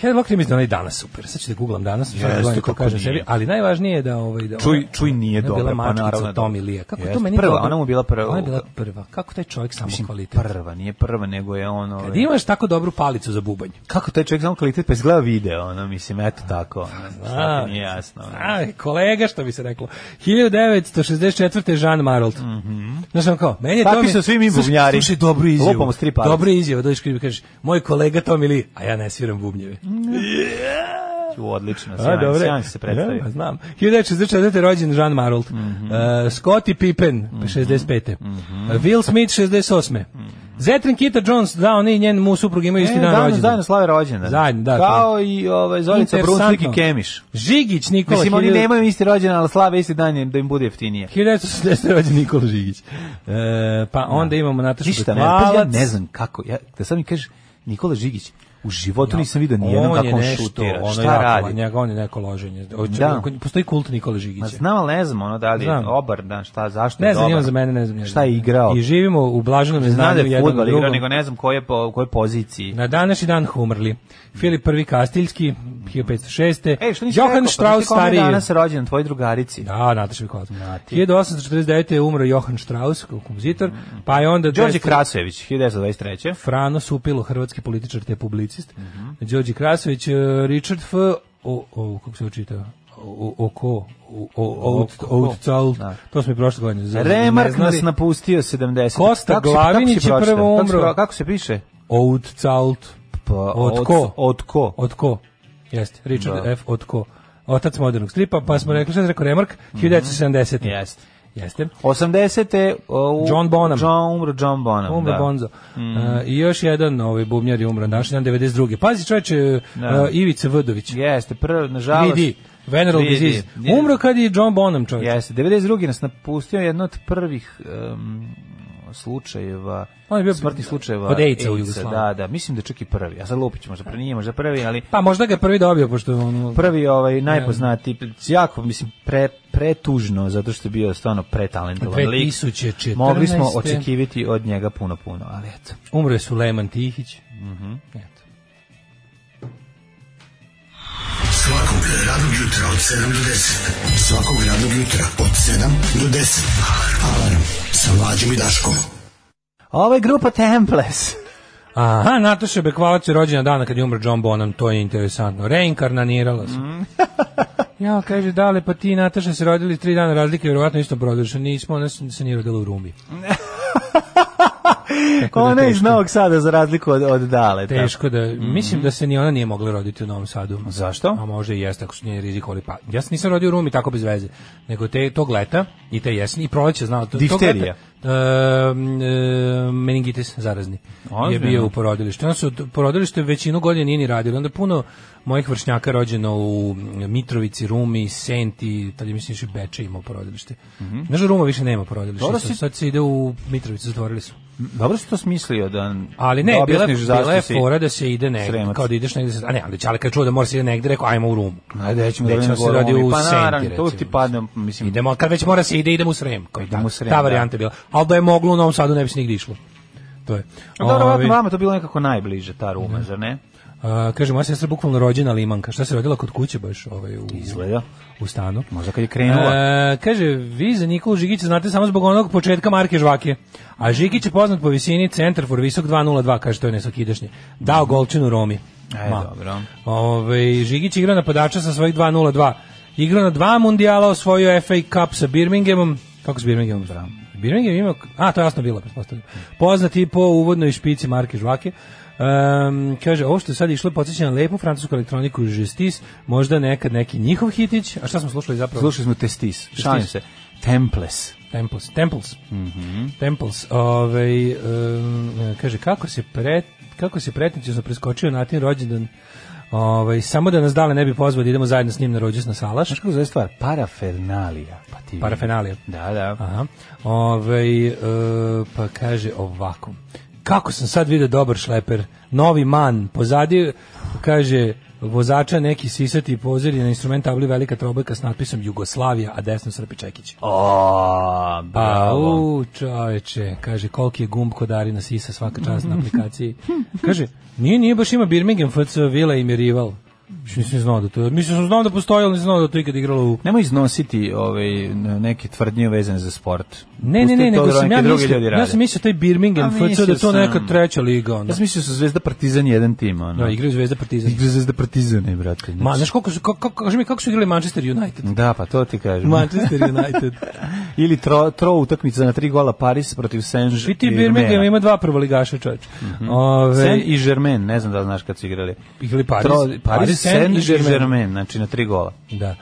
S7: Heather Locklear mislim da ona i danas super. Sad ću da googlam danas. sad da
S6: Jeste,
S7: gledam to
S6: kako
S7: kažem
S6: nije.
S7: sebi, ali najvažnije je da... Ovaj, da
S6: Čuj-
S7: ona-
S6: čuj, nije
S7: ona je
S6: dobra,
S7: bila
S6: pa
S7: mačkica
S6: naravno
S7: od
S6: da-
S7: Tommy Lee. Kako
S6: Jeste,
S7: to meni
S6: prva,
S7: dobro-
S6: ona mu je bila prva.
S7: Ona je bila prva. Kako taj čovjek samo kvalitet.
S6: Prva, nije prva, nego je ono...
S7: Kad imaš tako dobru palicu za bubanj.
S6: Kako taj čovjek samo kvalitet, pa izgleda video, ono, mislim, eto tako, ono, šta ti nije jasno. ono.
S7: A, kolega, što bi se reklo. 1964. Jean Marold. Mhm. Znaš ono kao, meni je
S6: Takvi
S7: Tomi...
S6: su svi mi
S7: Slušaj,
S6: bubnjari.
S7: Slušaj, dobru izjavu.
S6: Lupamo s tri palice.
S7: Dobru izjavu, dođeš kada kažeš, moj kolega Tomi Lee, a ja ne sviram bubnjeve.
S6: U, odlično,
S7: A,
S6: sjajan,
S7: dobro.
S6: sjajan si se predstavio. Mhm.
S7: Ja, pa, znam. 1964. je rođen Jean Marold. Uh, Scottie Pippen, 65.
S6: Mhm.
S7: Uh, Will Smith, 68. Zetrin Kita Jones, da, oni i njen mu suprug imaju isti
S6: E,
S7: dan
S6: danas,
S7: rođendan.
S6: danas slave rođendan.
S7: Zajedno, da, pa.
S6: Kao i ovaj, Zolica
S7: Interesantno.
S6: Brunslik i Kemiš.
S7: Žigić Nikola.
S6: Mislim, oni
S7: 1000
S6: nemaju isti rođendan, ali slave isti dan je da im bude jeftinije.
S7: 1980. rođen Nikola Žigić. E, pa onda imamo Natašu
S6: Ništa ne,
S7: Bekvalac.
S6: pa ja ne znam kako. Ja, da sad mi kažeš Nikola Žigić, U životu nisam vidio ni
S7: On
S6: jednom
S7: je
S6: kako on
S7: nešto,
S6: šutira.
S7: ono
S6: Šta
S7: jako,
S6: radi?
S7: Njega, on je neko loženje. Hoće-
S6: Da.
S7: Postoji kult Nikola
S6: Ma
S7: Žigića.
S6: znam, ali ne znam, ono, da li je
S7: Znam.
S6: dobar, da, šta, zašto
S7: Ne
S6: je
S7: znam,
S6: dobar.
S7: imam za mene, ne znam. njega.
S6: Šta je igrao?
S7: I živimo u blaženom
S6: Znam da
S7: neznanju
S6: je
S7: jedan
S6: futbol igrao,
S7: drugom.
S6: nego ne znam koje, po, koje poziciji.
S7: Na današnji dan umrli. Filip I Kastiljski, 1506.
S6: Ej, E, što nisi
S7: Johan
S6: rekao,
S7: Strauss,
S6: pa nisi rekao mi je
S7: stariji.
S6: danas rođen tvoj drugarici.
S7: Da, Nataša Mikolas. 1849. je umro Johan Strauss, kao kompozitor, pa je onda...
S6: Đorđe
S7: 200
S6: Krasojević, 1923.
S7: Frano Supilo, hrvatski političar te publicist. Mm
S6: Mhm.
S7: Đorđe Krasović, e, Richard F. O, o, kako se očita? O, o, oko, o, o, out,
S6: Oko.
S7: out, out,
S6: Da.
S7: to smo i prošle godine. za-
S6: Remark
S7: ne znali.
S6: nas napustio 70.
S7: Kosta
S6: Kako se-
S7: Glavinić
S6: kako si
S7: je
S6: pročitao?
S7: prvo
S6: Kako se-
S7: umro.
S6: Kako se piše?
S7: Out, out,
S6: Pa,
S7: Od ko?
S6: Od ko?
S7: od ko? Jeste, Richard
S6: Da.
S7: F. od ko? Otac modernog stripa, pa smo rekli, šta sam rekao, Remark? 1970.
S6: Mhm. Jeste.
S7: Jeste.
S6: 80. o, uh, u-
S7: John Bonham.
S6: John umro John Bonham.
S7: Umro
S6: da.
S7: Bonzo.
S6: Mhm.
S7: E, I još jedan ovaj bubnjar je umro naš dan 92. Pazi čoveče,
S6: Da.
S7: e, Ivica Vdović.
S6: Jeste, prvo, nažalost.
S7: Vidi, veneral
S6: Vidi,
S7: disease.
S6: vidi.
S7: Umro kad je John Bonham čovjek.
S6: Jeste, 92. nas napustio jedno od prvih em, slučajeva
S7: On je bio
S6: smrtnih slučajeva
S7: od AIDS-a u
S6: AIDS-a,
S7: Jugoslaviji.
S6: Da, da, mislim da čak i prvi. A sad lupić možda pre nije, možda prvi, ali
S7: Pa možda ga je prvi dobio, pošto on...
S6: prvi ovaj najpoznatiji jako mislim pre pretužno zato što je bio stvarno pretalentovan lik.
S7: 2014.
S6: Mogli smo očekivati od njega puno puno, ali eto.
S7: Umro je Sulejman Tihić.
S6: Mhm.
S7: Eto.
S2: Svakog radnog jutra od 7 do 10. Svakog radnog jutra od 7 do 10. Alarm sa mlađom i Daškom.
S6: Ovo je grupa Temples.
S7: Aha, Nataša Bekvalac je rođena dana kad je umro John Bonham, to je interesantno. Reinkarnanirala se. ja, kaže, dale, pa ti i Nataša se rodili tri dana razlike, vjerovatno isto brodoša. Nismo, ona se se nije rodila u Rumi. Tako da
S6: Ona je iz
S7: teško.
S6: Novog Sada za razliku od, od Dale. da.
S7: Teško da, mislim da se ni ona nije mogla roditi u Novom Sadu.
S6: Mhm. Zašto?
S7: A možda i jeste, ako su njeni rizikovali. Pa, ja se nisam rodio u Rumi tako bez veze, nego te, tog leta i te jeseni i proleće, znao. To,
S6: Difterija.
S7: Tog leta, em, em, meningitis zarazni je
S6: Ozbiljno?
S7: bio u porodilištu. Onda su t- porodilište većinu godina nije ni radilo. Onda puno mojih vršnjaka rođeno u Mitrovici, Rumi, Senti, tad je mislim još i Beče imao porodilište. Znaš da Ruma više nema porodilišta.
S6: Mhm. Dobro
S7: sad-
S6: si-
S7: Sad se ide u Mitrovicu, zatvorili su.
S6: Dobro si to smislio da
S7: Ali ne,
S6: da
S7: bila,
S6: objasniš
S7: bila je
S6: si-
S7: fora da se ide negde,
S6: Sremac.
S7: kao da ideš negde, sa- a ne, ali Čale kad čuo da mora se ide negde, rekao ajmo u Rumu.
S6: A da ćemo
S7: Gde
S6: da
S7: ćemo
S6: se
S7: se radi u
S6: pa naravno,
S7: Senti,
S6: tu ti
S7: recimo.
S6: padne, mislim,
S7: Idemo, kad već mora se ide, idemo u Srem. Kao,
S6: Idemo
S7: ta,
S6: u Srem,
S7: ta
S6: da.
S7: varijanta je bila. Ali da je moglo u Novom Sadu ne bi se nigde išlo. To je.
S6: A Pa Dobro,
S7: Ovi,
S6: verovatno vama to bilo nekako najbliže, ta Ruma, zar ne?
S7: a, kaže, moja sestra je bukvalno rođena limanka. Šta se rodila kod kuće baš ovaj, u,
S6: Izgleda.
S7: u stanu?
S6: Možda kad je krenula.
S7: E, kaže, vi za Nikolu Žigića znate samo zbog onog početka marke Žvake. A Žigić je poznat po visini centar for visok 2.02, kaže, to je nesakidašnje. Dao golčinu Romi.
S6: E, dobro.
S7: Ove, Žigić igra napadača sa svojih 2.02. Igrao na dva mundijala, osvojio FA Cup sa Birminghamom. Kako s Birminghamom? Bravo. Birmingham ima, a to je jasno bilo, pretpostavljam. Poznat i po uvodnoj špici Marke Žvake. Ehm, kaže, ovo što je sad išlo podsjeća na lepu francusku elektroniku Žestis, možda nekad neki njihov hitić, a šta smo slušali zapravo?
S6: Slušali smo Testis, šalim se. Temples.
S7: Temples. Temples. Temples. Ovaj, em, kaže, kako se, pre, kako se pretnicijosno preskočio na tim rođendan Ovaj, samo da nas dale ne bi pozvao da idemo zajedno s njim na rođus na salaš.
S6: Znaš kako zove stvar? Parafernalija. Pa ti vidi.
S7: Parafenalija.
S6: Da, da.
S7: Aha. Ovaj, e, pa kaže ovako. Kako sam sad vidio dobar šleper. Novi man. Pozadi, kaže, vozača neki sisati pozir je na instrument tabli velika trobojka s natpisom Jugoslavija, a desno Srpi Čekić.
S6: O,
S7: Pa,
S6: bravo.
S7: u, čoveče, kaže, koliki je gumb kod Arina Sisa svaka čast na aplikaciji. Kaže, nije, nije baš ima Birmingham, FC Vila im je rival. Još nisam znao da to, mislim sam znao da postoji, ali nisam znao da to ikad igralo u...
S6: Nemoj iznositi ovaj, neke tvrdnje vezane za sport.
S7: Ne, ne,
S6: Pusti
S7: ne,
S6: to
S7: nego
S6: da
S7: sam
S6: neke
S7: ja
S6: drugi
S7: mislio,
S6: ljudi
S7: ja
S6: rade.
S7: sam mislio taj Birmingham,
S6: A,
S7: FC da
S6: mislio
S7: je to neka
S6: sam.
S7: treća liga, ono.
S6: Ja sam mislio su Zvezda Partizan jedan tim, ono.
S7: Da, igraju Zvezda Partizan.
S6: Igra Zvezda Partizan, ne, brate.
S7: Ma, znaš koliko su, kako, kako, kaži mi, kako su igrali Manchester United?
S6: Da, pa to ti kažem.
S7: Manchester United.
S6: Ili tro, tro utakmica na tri gola Paris protiv Saint-Germain.
S7: Piti Birmingham ima dva prvoligaša, čovječ. Ove,
S6: Mhm. Sen i Germain, ne znam da li znaš kad su igrali.
S7: Igrali Paris.
S6: Paris, Paris Sen i Germain, znači na tri gola.
S7: Da.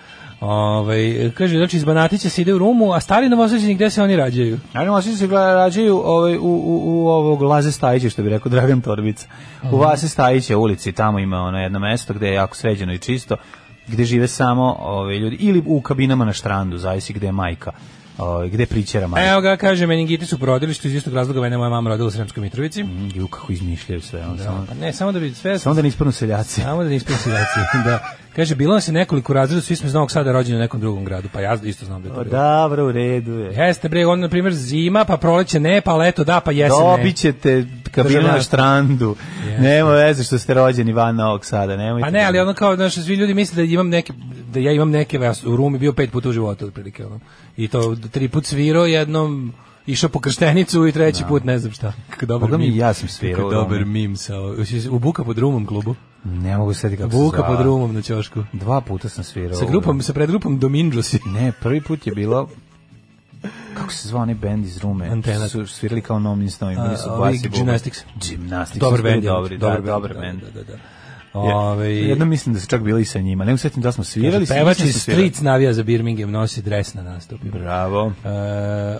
S7: Ovaj kaže znači iz Banatića se ide u Rumu, a stari Novosađani gde se oni rađaju?
S6: Ajmo, a svi se gleda, rađaju ovaj, u, u, u ovog Laze Stajića, što bi rekao
S7: Mhm.
S6: Dragan Torbica. U Vase Stajića ulici, tamo ima ono jedno mesto gde je jako sređeno i čisto. gde žive samo ove, ljudi, ili u kabinama na štrandu, zavisi gde je majka, ove, gde pričera majka.
S7: Evo ga, kaže, meningitis u porodilištu iz istog razloga mene moja mama rodila u Sremskoj Mitrovici.
S6: Mm, Ju, kako izmišljaju sve. Ono, samo,
S7: Pa ne, samo da bi sve...
S6: samo da ne isprnu seljaci.
S7: Samo da ne ispred seljaci, da. Kaže, bilo nas je nekoliko razreda, svi smo iz Novog Sada rođeni u nekom drugom gradu, pa ja isto znam da je to bilo.
S6: Dobro, u redu je.
S7: Jeste bre, on na primjer zima, pa proleće ne, pa leto da, pa jesen ne.
S6: Dobit ćete kabinu na
S7: Državljanstvo.
S6: štrandu. Nema veze što ste rođeni van Novog Sada. Nemojte
S7: Pa ne, ali
S6: da-
S7: ono kao, znaš, svi ljudi misle da imam neke, da ja imam neke, ja sam u Rumi bio pet puta u životu, otprilike, ono. I to tri put svirao, jednom išao po krštenicu i treći put ne znam šta. Kako dobar
S6: Boga mi,
S7: mim.
S6: ja sam svirao
S7: Kako
S6: u
S7: dobar
S6: Rumi.
S7: mim sa, u Buka pod Rumom klubu.
S6: Ne mogu sedi kako se
S7: Buka
S6: zvala.
S7: ono- pod Rumom na ćošku.
S6: Dva puta sam svirao.
S7: Sa grupom, sa predgrupom Domindrosi.
S6: Ne, prvi put je bilo kako se zvao onaj bend iz Rume?
S7: Antena.
S6: Su svirali kao Nomnin Snovi,
S7: A,
S6: bili su
S7: ovi
S6: basi. bubanj.
S7: Gymnastics.
S6: Gymnastics.
S7: Dobar
S6: su bili
S7: bend, je,
S6: Dobri, dobar, da, dobar bend.
S7: Da, da, da.
S6: Ove...
S7: Ove,
S6: Jedno mislim da se čak bili i sa njima. Ne mogu setim da smo svirali. sa njima
S7: pevač
S6: sam
S7: iz
S6: svirao.
S7: Streets navija za Birmingham, nosi dres na nastupu.
S6: Bravo.
S7: E,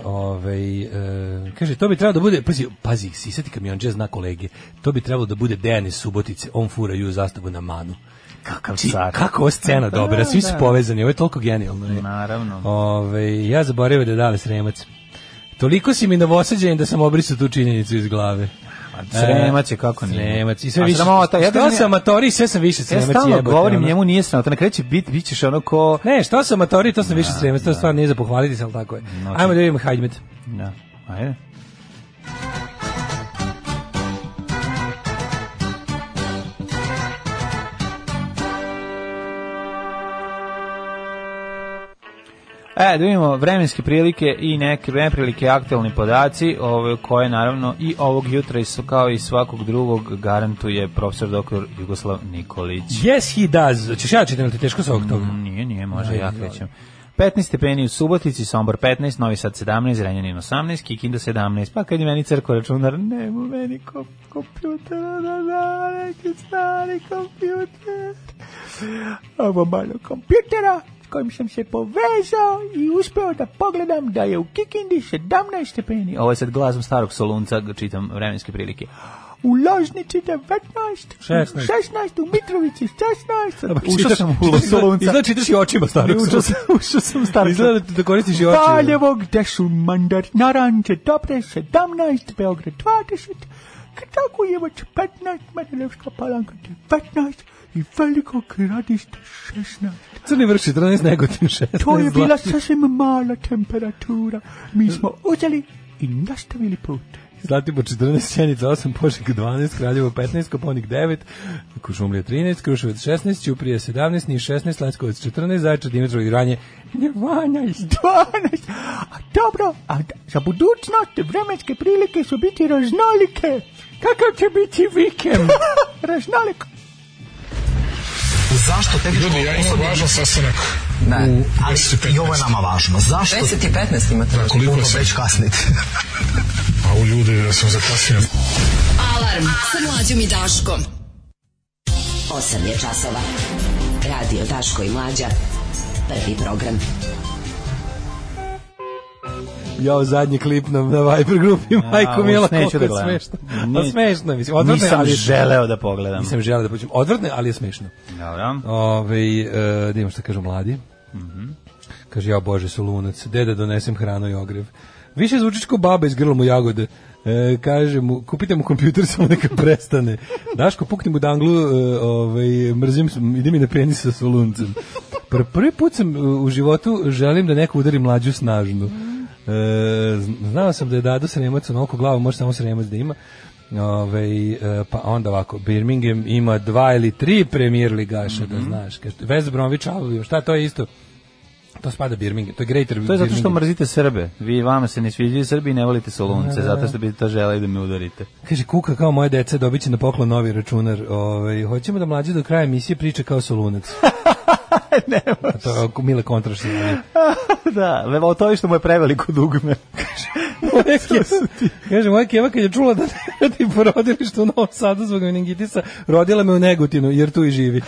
S7: ovaj, e, kaže, to bi trebalo da bude, pazi, pazi, sisati kamionđe zna kolege, to bi trebalo da bude Dejan iz Subotice, on fura ju zastavu na manu.
S6: Kakav
S7: Ti,
S6: car.
S7: kako ova scena
S6: Pa
S7: dobra,
S6: da,
S7: svi su
S6: da.
S7: povezani, ovo je toliko genijalno. je.
S6: Naravno.
S7: Ove, ja zaboravio da je dale sremac. Toliko si mi novosađen da sam obrisao tu činjenicu iz glave.
S6: Pa E, Sremac je kako nije.
S7: Sremac. I sve
S6: A
S7: više.
S6: sramota, ja
S7: što
S6: kažem,
S7: sam amatori, sve sam više
S6: Ja
S7: sremac.
S6: stalno
S7: jebote,
S6: govorim,
S7: ono.
S6: njemu nije sramota. Na kraju će biti, bit ćeš ono ko...
S7: Ne, što sam amatori, to sam više sremac, to stvarno nije za pohvaliti se, ali tako je.
S6: Znači-
S7: Ajmo da vidimo Hajdmet.
S6: Da. Ajde. E, da vidimo vremenske prilike i neke vreme prilike aktualni podaci, ove, koje naravno i ovog jutra i su kao i svakog drugog garantuje profesor doktor Jugoslav Nikolić.
S7: Yes, he does. Češ ja čitam, ili ti je teško sa ovog toga?
S6: Mm, Nije, nije, može,
S7: Ajde,
S6: ja
S7: izvoli.
S6: krećem. 15 stepeni u Subotici, Sombor 15, Novi Sad 17, Renjanin 18, Kikinda 17, pa kad je meni crko računar, nemu meni kom, kompjuter, da, da, neki stari kompjuter, ovo malo kompjutera s kojim sam se povezao i uspeo da pogledam da je u Kikindi 17 stepeni. Ovo je sad glasom starog solunca, čitam vremenske prilike. U Ložnici 19, 16
S7: 16.
S6: u Mitrovici 16,
S7: Čitaš-
S6: ušao sam u
S7: čitaš-
S6: Losolunca.
S7: Izgleda čitaš i očima starog
S6: Ušao sam, ušao sam starca.
S7: Izgleda da koristiš i oči.
S6: Valjevog, gde su mandar, naranđe, dobre, 17, Beograd 20, Kragujevac 15, Madelevska palanka 19 i veliko gradište 16.
S7: Crni vrh 14, Negotin 16.
S6: To je bila
S7: Zlati-
S6: sasvim mala temperatura. Mi smo uzeli i nastavili put.
S7: Zlatibor 14, Sjenica 8, Požeg 12, Kraljevo 15, Koponik 9, Kušumlija 13, Kruševac 16, Ćuprije 17, Niš 16, Leskovac 14, Zaječar, Dimitrov i Ranje 12.
S6: 12. A dobro, a d- za budućnost vremenske prilike su biti raznolike. Kakav će biti vikend? Raznoliko.
S2: Zašto tehničko Ljudi, ja imam važan sastanak. Ne, ali i ovo je nama važno. Zašto? 10 i 15 imate. Da, koliko se? Već kasnite.
S4: Alarm sa mlađom i Daškom.
S8: 8 je časova. Radio Daško i Mlađa. Prvi program.
S7: Jao, zadnji klip na, na Viber grupi, majko
S6: ovo
S7: Mila,
S6: neću
S7: koliko
S6: da
S7: je
S6: gledam.
S7: smešno.
S6: Ni-
S7: A smešno, je, mislim, odvrtno je,
S6: Nisam
S7: ali...
S6: želeo da pogledam.
S7: Nisam želeo da pođem. Odvrtno je, ali je smešno.
S6: Dobro.
S7: Ove, e, da imam šta kažu mladi. Kaže, ja bože, su lunac. Deda, donesem hranu i ogrev. Više zvučiš ko baba iz grla mu jagode. E, kaže mu, kupite mu kompjuter, samo neka prestane. Daško, pukni mu danglu, e, ovaj, mrzim, se, ide mi na penis sa soluncem. Pr prvi put sam e, u životu želim da neko udari mlađu snažnu. E, zn- znao sam da je Dado Sremac onoliko glavu, može samo Sremac da ima. Ove, pa onda ovako, Birmingham ima dva ili tri premier ligaša, da znaš. Kaže, West Bromwich Albion, šta to je isto? To spada Birmingham, to je Greater
S6: To je zato što
S7: Birmingham.
S6: mrzite Srbe. Vi vama se ne sviđaju Srbi i ne volite solunce, zato što bi to želeli da me udarite.
S7: Kaže, kuka kao moje dece, dobit će na poklon novi računar. Ove, hoćemo da mlađe do kraja emisije priča kao solunac. ne To je ako mile kontraš.
S6: da, o to je što mu je preveliko dugme.
S7: Kaže, moja keva kad je čula da ne radi porodilište u Novom Sadu zbog meningitisa, rodila me u Negutinu, jer tu i živi.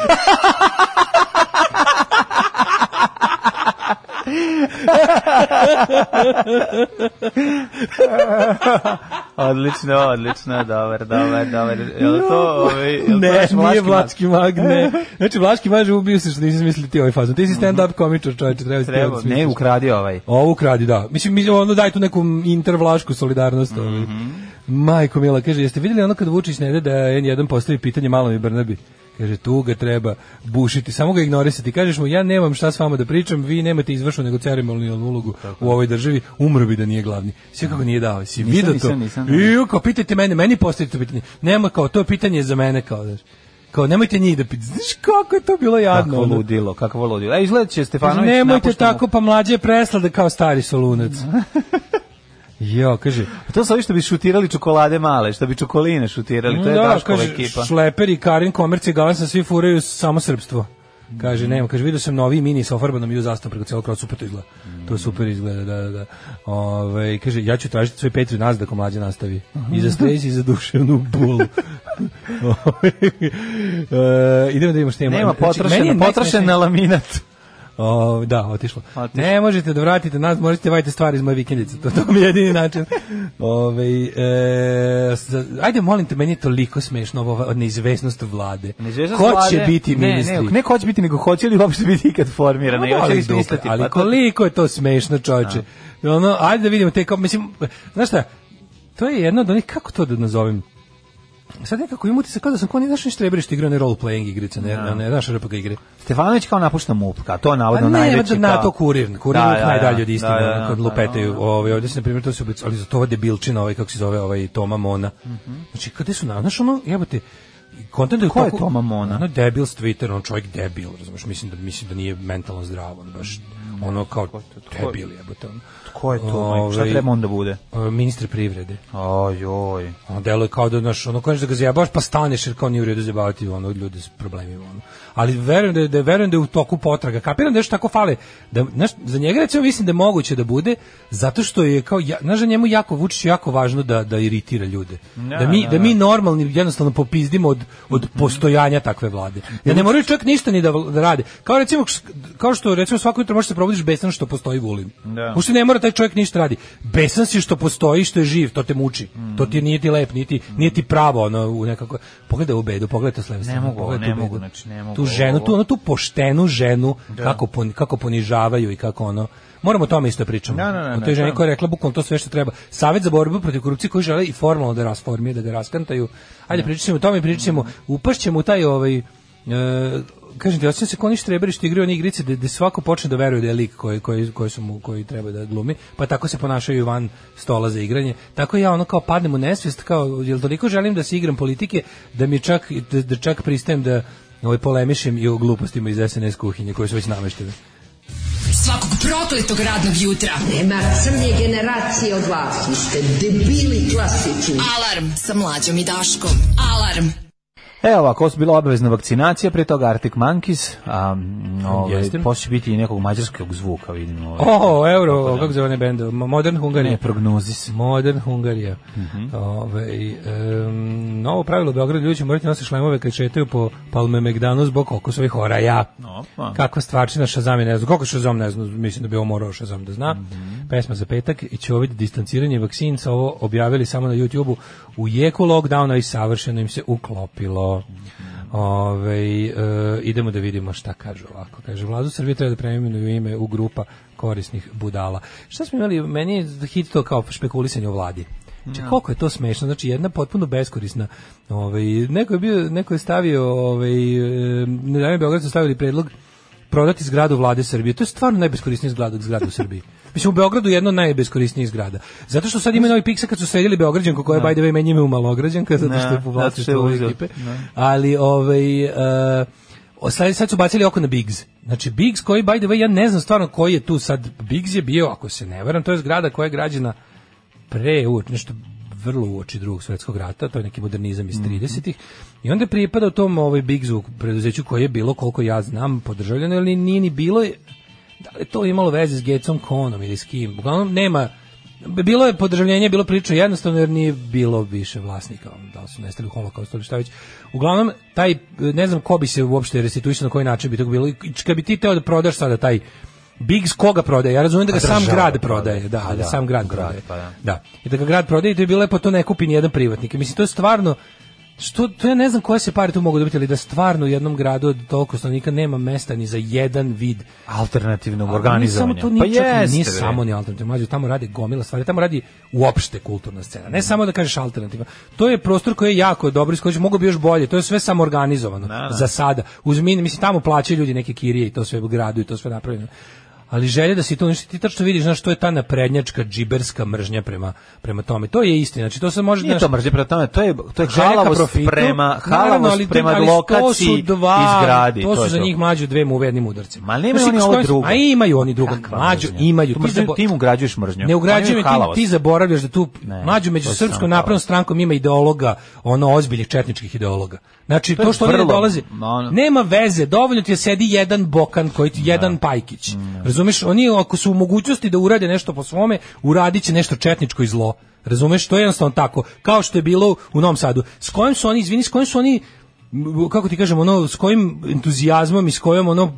S6: odlično, odlično, dobar, dobar, dobar. Je li to, ovaj, je li to
S7: Ne,
S6: naš
S7: nije
S6: vlaški
S7: Vlaški mag, ne. Znači, Vlaški mag je ubio se što nisi smislili ti ovaj fazon. Ti si stand-up komičar, čovječe, treba si ti
S6: Treba,
S7: da
S6: ne,
S7: smisliš.
S6: ukradi ovaj.
S7: Ovo kradi, da. Mislim, mi, ono daj tu neku intervlašku solidarnost. ovaj.
S6: Mhm.
S7: Majko Mila, kaže, jeste vidjeli ono kad Vučić ne da da N1 postavi pitanje malom i Brnabi? Kaže, tu ga treba bušiti, samo ga ignorisati. Kažeš mu, ja nemam šta s vama da pričam, vi nemate izvršnu nego ceremonijalnu ulogu u ovoj državi, umro bi da nije glavni. Sve kako nije dao, si
S6: Nisam,
S7: vidio to.
S6: nisam, nisam.
S7: Ju, kao, pitajte mene, meni postavite to pitanje. Nema, kao, to pitanje je za mene, kao, znaš. Kao, nemojte njih da pitate. Znaš kako je to bilo jadno.
S6: Kakvo
S7: ono.
S6: ludilo, kakvo ludilo. E, izgleda će
S7: Kaže,
S6: Stefanović
S7: nemojte
S6: napuštamo.
S7: tako, pa mlađe je preslada kao stari solunac. jo, kaže,
S6: To su ovi što bi šutirali čokolade male, što bi čokoline šutirali, to je
S7: da,
S6: Daškova
S7: kaže,
S6: ekipa.
S7: šleper i Karin Komerc i Galansa svi furaju samo srpstvo. Kaže, nema, kaže, vidio sam novi mini sa ofarbanom ju zastavom preko celog kroja, super to izgleda. To super izgleda, da, da, da. Ove, kaže, ja ću tražiti svoj Petri nazad ako mlađe nastavi. I za stres i za duševnu bolu. Ove, Ovaj, e, idemo da vidimo što ima.
S6: Nema
S7: Znači, meni je
S6: potrošen, potrošen
S7: najsmešnije-
S6: na laminat.
S7: O, da, otišlo.
S6: Otišlo.
S7: Ne možete da vratite nas, možete vadite stvari iz moje vikendice. To, to mi je jedini način. Ove, e, sa- ajde, molim te, meni je toliko smešno ovo od neizvesnost vlade.
S6: Neizvesnost
S7: Ko
S6: vlade-
S7: će biti
S6: ne,
S7: ministri?
S6: Ne, ne, ko će biti, nego hoće li uopšte biti ikad formirana?
S7: Ma
S6: Ja
S7: da,
S6: hoće li
S7: ali dok-
S6: smisliti?
S7: Ali
S6: Pa to-
S7: koliko je to smešno, čoveče. Ono, ajde da vidimo te kao, mislim, znaš šta, to je jedno od onih, kako to da nazovem, Sad nekako imam utisak kao da sam kao ni znaš ništa rebrišta igra ne role-playing igrice, ne, ne, ne znaš RPG igre.
S6: Stefanović kao napušta MUP, kao to je
S7: Pa
S6: navodno Ono
S7: ne,
S6: najveći
S7: valjda
S6: kao...
S7: na to kurir, kurir
S6: Da,
S7: je
S6: da,
S7: najdalje
S6: da,
S7: od istine,
S6: da, da,
S7: ono, kad
S6: da,
S7: lupetaju, ovaj, ovdje se, na primjer, to se ali za to ova debilčina, ovaj, kako se zove, ovaj, Toma Mona. Znači, kada su, na- znaš, ono, jebote, Kontent
S6: Mhm. Ko je Toma Mona?
S7: Ono debil s Twittera, on čovjek debil, razumeš, mislim da, mislim da nije mentalno zdrav, ono baš, ono kao debil jebote. Ono.
S6: Ko je to? majko? Šta
S7: Ovaj,
S6: treba onda bude?
S7: e, Ministar privrede.
S6: Ojoj.
S7: Ono deluje kao da naš, ono kažeš da ga zajebavaš pa staneš jer kao nije u redu zajebavati ono ljude s problemima ono. Ali verujem da je, da je- verujem da je u toku potraga. Kapiram da još tako fale. Da znaš, za njega recimo mislim da je moguće da bude zato što je kao ja, znaš da njemu jako Vučiću jako važno da da iritira ljude. da mi da mi normalni jednostavno popizdimo od od
S6: Mhm.
S7: postojanja takve vlade. Da ne moraju čak ništa ni da, vl- da rade. Kao recimo š- kao što recimo svako jutro možeš se probudiš besan što postoji Vulin.
S6: Da.
S7: Uopšte ne mora taj čovjek ništa radi. Besan si što postoji, što je živ, to te muči.
S6: Mhm.
S7: To ti nije ti lep, niti nije ti pravo ono u nekako. Pogledaj u bedu, pogledaj to s leve strane.
S6: mogu,
S7: pogledaj
S6: ne
S7: tu
S6: mogu,
S7: bedu.
S6: znači, ne mogu
S7: Tu ženu,
S6: ovo.
S7: tu ono tu poštenu ženu kako pon- kako ponižavaju i kako ono Moramo o tome isto pričamo.
S6: Da, da, da,
S7: o toj
S6: da,
S7: ženi
S6: da.
S7: koja je rekla bukvalno to sve što treba. Savet za borbu protiv korupcije koji žele i formalno da rasformije, da ga raskantaju. Ajde, pričat ćemo o tome, pričat ćemo, upašćemo u taj ovaj... E, kažem ti, osjećam se kao ništa što igraju one igrice gde, gde svako počne da veruje da je lik koji, koji, koji, su mu, koji treba da glumi, pa tako se ponašaju i van stola za igranje. Tako ja ono kao padnem u nesvijest, kao, jel toliko želim da se igram politike, da mi čak, da, da čak pristajem da ovaj, polemišem i o glupostima iz SNS kuhinje koje su već nameštene.
S4: Svakog prokletog radnog jutra.
S8: Nema crnje generacije od vas. Vi ste debili klasični.
S4: Alarm sa mlađom i Daškom. Alarm.
S6: E, ovako, ovo su bila obavezna vakcinacija, prije toga Arctic Monkeys, a mm, ovaj,
S7: Jeste.
S6: poslije će biti i nekog mađarskog zvuka, vidim. Ovaj.
S7: O, euro, kako zove one bende? Mo- Modern Hungarija.
S6: Ne, prognozis.
S7: Modern Hungarija. Ovaj, em, novo pravilo u Beogradu, ljudi će morati nositi šlemove kad šetaju po Palmemegdanu zbog okosovih oraja.
S6: Opa.
S7: Kakva stvarčina Shazam je ne znam. Koliko Shazam ne znam, mislim da bi ovo morao Shazam da zna. Pesma za petak i će ovdje distanciranje vakcinca ovo objavili samo na YouTube-u u jeku lockdowna i savršeno im se uklopilo. Ove, idemo da vidimo šta kaže ovako. Kaže, vladu Srbije treba da preimenuju ime u grupa korisnih budala. Šta smo imali? Meni je hit to kao špekulisanje o vladi. Znači, koliko je to smešno, znači jedna potpuno beskorisna. Ovaj neko je bio neko je stavio ovaj e, ne znam, Beograd su stavili predlog prodati zgradu vlade Srbije. To je stvarno najbeskorisniji zgrada, zgrada u Srbiji. Mislim, u Beogradu je jedno od najbeskorisnijih zgrada. Zato što sad ima novi piksa kad su sredili Beograđanku, koja je, by the way, meni ime u Malograđanka, zato što je
S6: Ne,
S7: po
S6: zato što je
S7: vlasništvu ove
S6: uzeo.
S7: ekipe. Ali, ovaj, e, o, sad, sad su bacili oko na Biggs. Znači, Biggs koji, by the way, ja ne znam stvarno koji je tu sad. Biggs je bio, ako se ne varam, to je zgrada koja je građena pre uoč, nešto vrlo uoči drugog svjetskog rata, to je neki modernizam iz 30-ih. I onda je pripadao tom ovaj Bigzu preduzeću koje je bilo, koliko ja znam, podržavljeno, ali nije ni bilo, je- da li je to imalo veze s Getsom Konom ili s kim, uglavnom nema, bilo je podržavljenje, bilo priča jednostavno jer nije bilo više vlasnika, ono, da li su nestali u holokaustu ili šta već. Uglavnom, taj, ne znam ko bi se uopšte restituisao, na koji način bi to bilo, i kad bi ti teo da prodaš sada taj Biggs koga prodaje? Ja razumijem da ga
S6: Pa
S7: sam
S6: država
S7: grad
S6: prodaje.
S7: prodaje, da,
S6: Pa
S7: da,
S6: da,
S7: sam grad
S6: grad,
S7: prodaje.
S6: pa da.
S7: Da. I da ga grad prodaje, i to je bilo lepo, to ne kupi ni jedan privatnik. Mislim to je stvarno što to ja ne znam koje se pare tu mogu dobiti, ali da stvarno u jednom gradu od toliko stanovnika nema mesta ni za jedan vid
S6: alternativnog
S7: ali nije
S6: organizovanja.
S7: Samo to nije, pa čak, nije
S6: bre.
S7: samo ni alternativno, mlađe, tamo radi gomila stvari, tamo radi uopšte kulturna scena. Ne samo da kažeš alternativa. To je prostor koji je jako dobro, iskoristit, mogu bi još bolje. To je sve samo organizovano za sada. Uz min, mislim tamo plaćaju ljudi neke kirije i to sve u gradu i to sve napravljeno. Ali želje da se to nešto ti tačno vidiš, znaš, to je ta naprednjačka džiberska mržnja prema prema tome. To je istina. Znači to se može
S6: Nije
S7: znaš,
S6: to mržnje prema tome, to je, to je
S7: želja ka
S6: halavost
S7: profitu,
S6: prema,
S7: naravno,
S6: halavost
S7: ali to-
S6: prema
S7: ali to
S6: lokaciji
S7: su dva-
S6: izgradi.
S7: To su za
S6: je
S7: njih mlađu dve muve jednim udarcem.
S6: Ma nemaju
S7: Znaš,
S6: oni
S7: s
S6: ovo
S7: kojim-
S6: drugo.
S7: A imaju oni drugo.
S6: Kakva
S7: Mlađu
S6: mržnja?
S7: imaju.
S6: Tu
S7: Ti,
S6: mržnju-
S7: zabo-
S6: ti im ugrađuješ mržnju.
S7: Ne
S6: Oni
S7: ugrađuju,
S6: imaju
S7: ti,
S6: halavost.
S7: ti zaboravljaš da tu
S6: Ne,
S7: mlađu
S6: to
S7: među
S6: je
S7: srpskom
S6: samo
S7: naprednom
S6: halavost.
S7: strankom ima ideologa, ono ozbiljnih četničkih ideologa. Znači,
S6: To
S7: to,
S6: je
S7: što oni ne
S6: vrlo-
S7: dolaze,
S6: ono-
S7: nema veze, dovoljno ti je sedi jedan Bokan, koji ti, jedan Pajkić.
S6: Mm,
S7: Razumeš, oni ako su u mogućnosti da urade nešto po svome, uradit će nešto četničko i zlo. Razumeš, to je jednostavno tako. Kao što je bilo u Novom Sadu. S kojim su oni, izvini, s kojim su oni, m, kako ti kažem, ono, s kojim entuzijazmom i s kojim ono,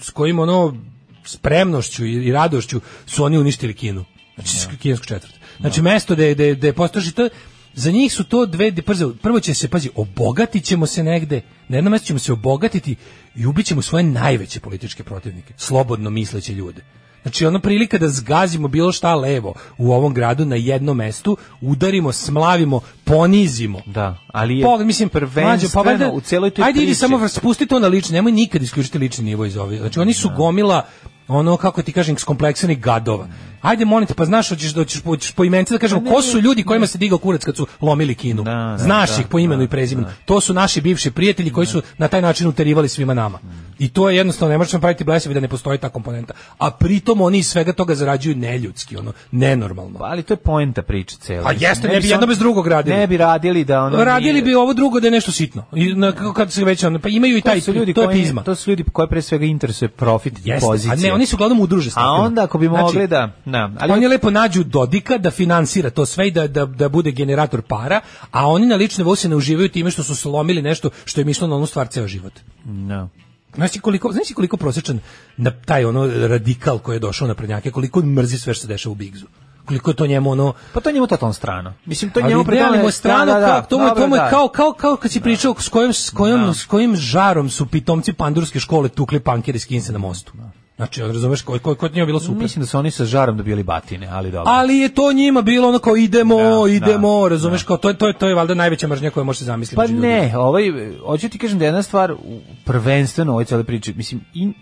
S7: s kojim ono, spremnošću i, i radošću su oni uništili Kinu. Znači, kinesku četvrt. Znači, mesto da je, da je, da je postoši to, za njih su to dve, di- prze- prvo će se, pazi, obogatit ćemo se negde, na jednom mjestu ćemo se obogatiti i ubit ćemo svoje najveće političke protivnike, slobodno misleće ljude. Znači, ono prilika da zgazimo bilo šta levo u ovom gradu na jednom mestu, udarimo, smlavimo, ponizimo.
S6: Da, ali je
S7: Pogled, mislim,
S6: prvenstveno
S7: mlađo, pa valjda-
S6: u celoj toj
S7: Ajde, idi
S6: priči.
S7: samo spusti to na lični, nemoj nikad isključiti lični nivo iz ove. Znači, oni su gomila ono, kako ti kažem, skompleksnih gadova. Ajde, molim te, pa znaš, hoćeš, da hoćeš, hoćeš po imenicima da kažemo,
S6: Pa
S7: ko su ljudi kojima se digao kurac kad su lomili kinu?
S6: Da, da,
S7: znaš
S6: da,
S7: ih po imenu
S6: da,
S7: i prezimenu. To su naši bivši prijatelji koji su na taj način uterivali svima nama. I to je jednostavno, ne možemo praviti blesavi da ne postoji ta komponenta. A pritom oni iz svega toga zarađuju neljudski, ono, nenormalno.
S6: Pa, ali to je poenta priče cele.
S7: A Pa jeste, ne bi jedno
S6: on-
S7: bez drugog radili.
S6: Ne bi radili da ono
S7: radili
S6: nije-
S7: bi ovo drugo da je nešto sitno. I na, kako- kad se već ono, pa imaju i taj
S6: to su ljudi
S7: to je
S6: koji-
S7: pizma.
S6: To su ljudi koje pre svega interesuje profit i
S7: Jeste,
S6: pozicija.
S7: A ne, oni su uglavnom udruže
S6: A onda ako bi mogli da, da, ali
S7: Ali oni lepo nađu Dodika da finansira to sve i da, da, da bude generator para, a oni na lične vose ne uživaju time što su slomili nešto što im je išlo na onu stvar ceo život.
S6: No.
S7: Znaš ti koliko, znaš ti koliko prosječan na taj ono radikal koji je došao na prednjake, koliko on mrzi sve što se dešava u Bigzu. Koliko je to njemu ono
S6: Pa to je njemu totalno strano. Mislim to je
S7: ali
S6: njemu
S7: idealno
S6: predano
S7: je strano
S6: da, da,
S7: kao to mu
S6: dobro,
S7: to mu je
S6: da.
S7: kao kao kao kad si pričao s kojim s kojim s kojim žarom su pitomci pandurske škole tukli pankere skinse na mostu. Znači, on razumeš koji koji kod njega bilo super.
S6: Mislim da su oni sa žarom dobili batine, ali dobro.
S7: Ali je to njima bilo ono kao idemo,
S6: Da,
S7: idemo,
S6: da,
S7: razumeš kao to je to je to je valjda najveća mržnja koju možeš zamisliti.
S6: Pa
S7: među ljudima.
S6: ne, ovaj, hoću ti kažem da je jedna stvar u- prvenstveno u ovoj cijele priče, mislim, in,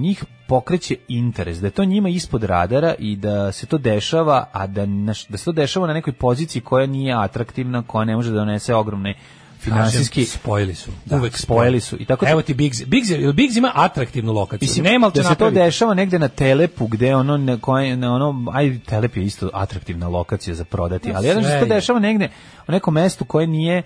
S6: njih pokreće interes, da je to njima ispod radara i da se to dešava, a da, naš- da se to dešava na nekoj poziciji koja nije atraktivna, koja ne može da donese ogromne finansijski...
S7: Kažem, spojili su.
S6: Da,
S7: Uvek
S6: spojili su. I tako to-
S7: Evo ti Biggs, Biggs, je- Biggs ima atraktivnu lokaciju. Mislim, nema ali će
S6: da se to
S7: napraviti.
S6: dešava negde na Telepu gde ono na koje na ono aj Telep je isto atraktivna lokacija za prodati, ali jedan
S7: sve
S6: se to
S7: je.
S6: dešava negde u nekom mestu koje nije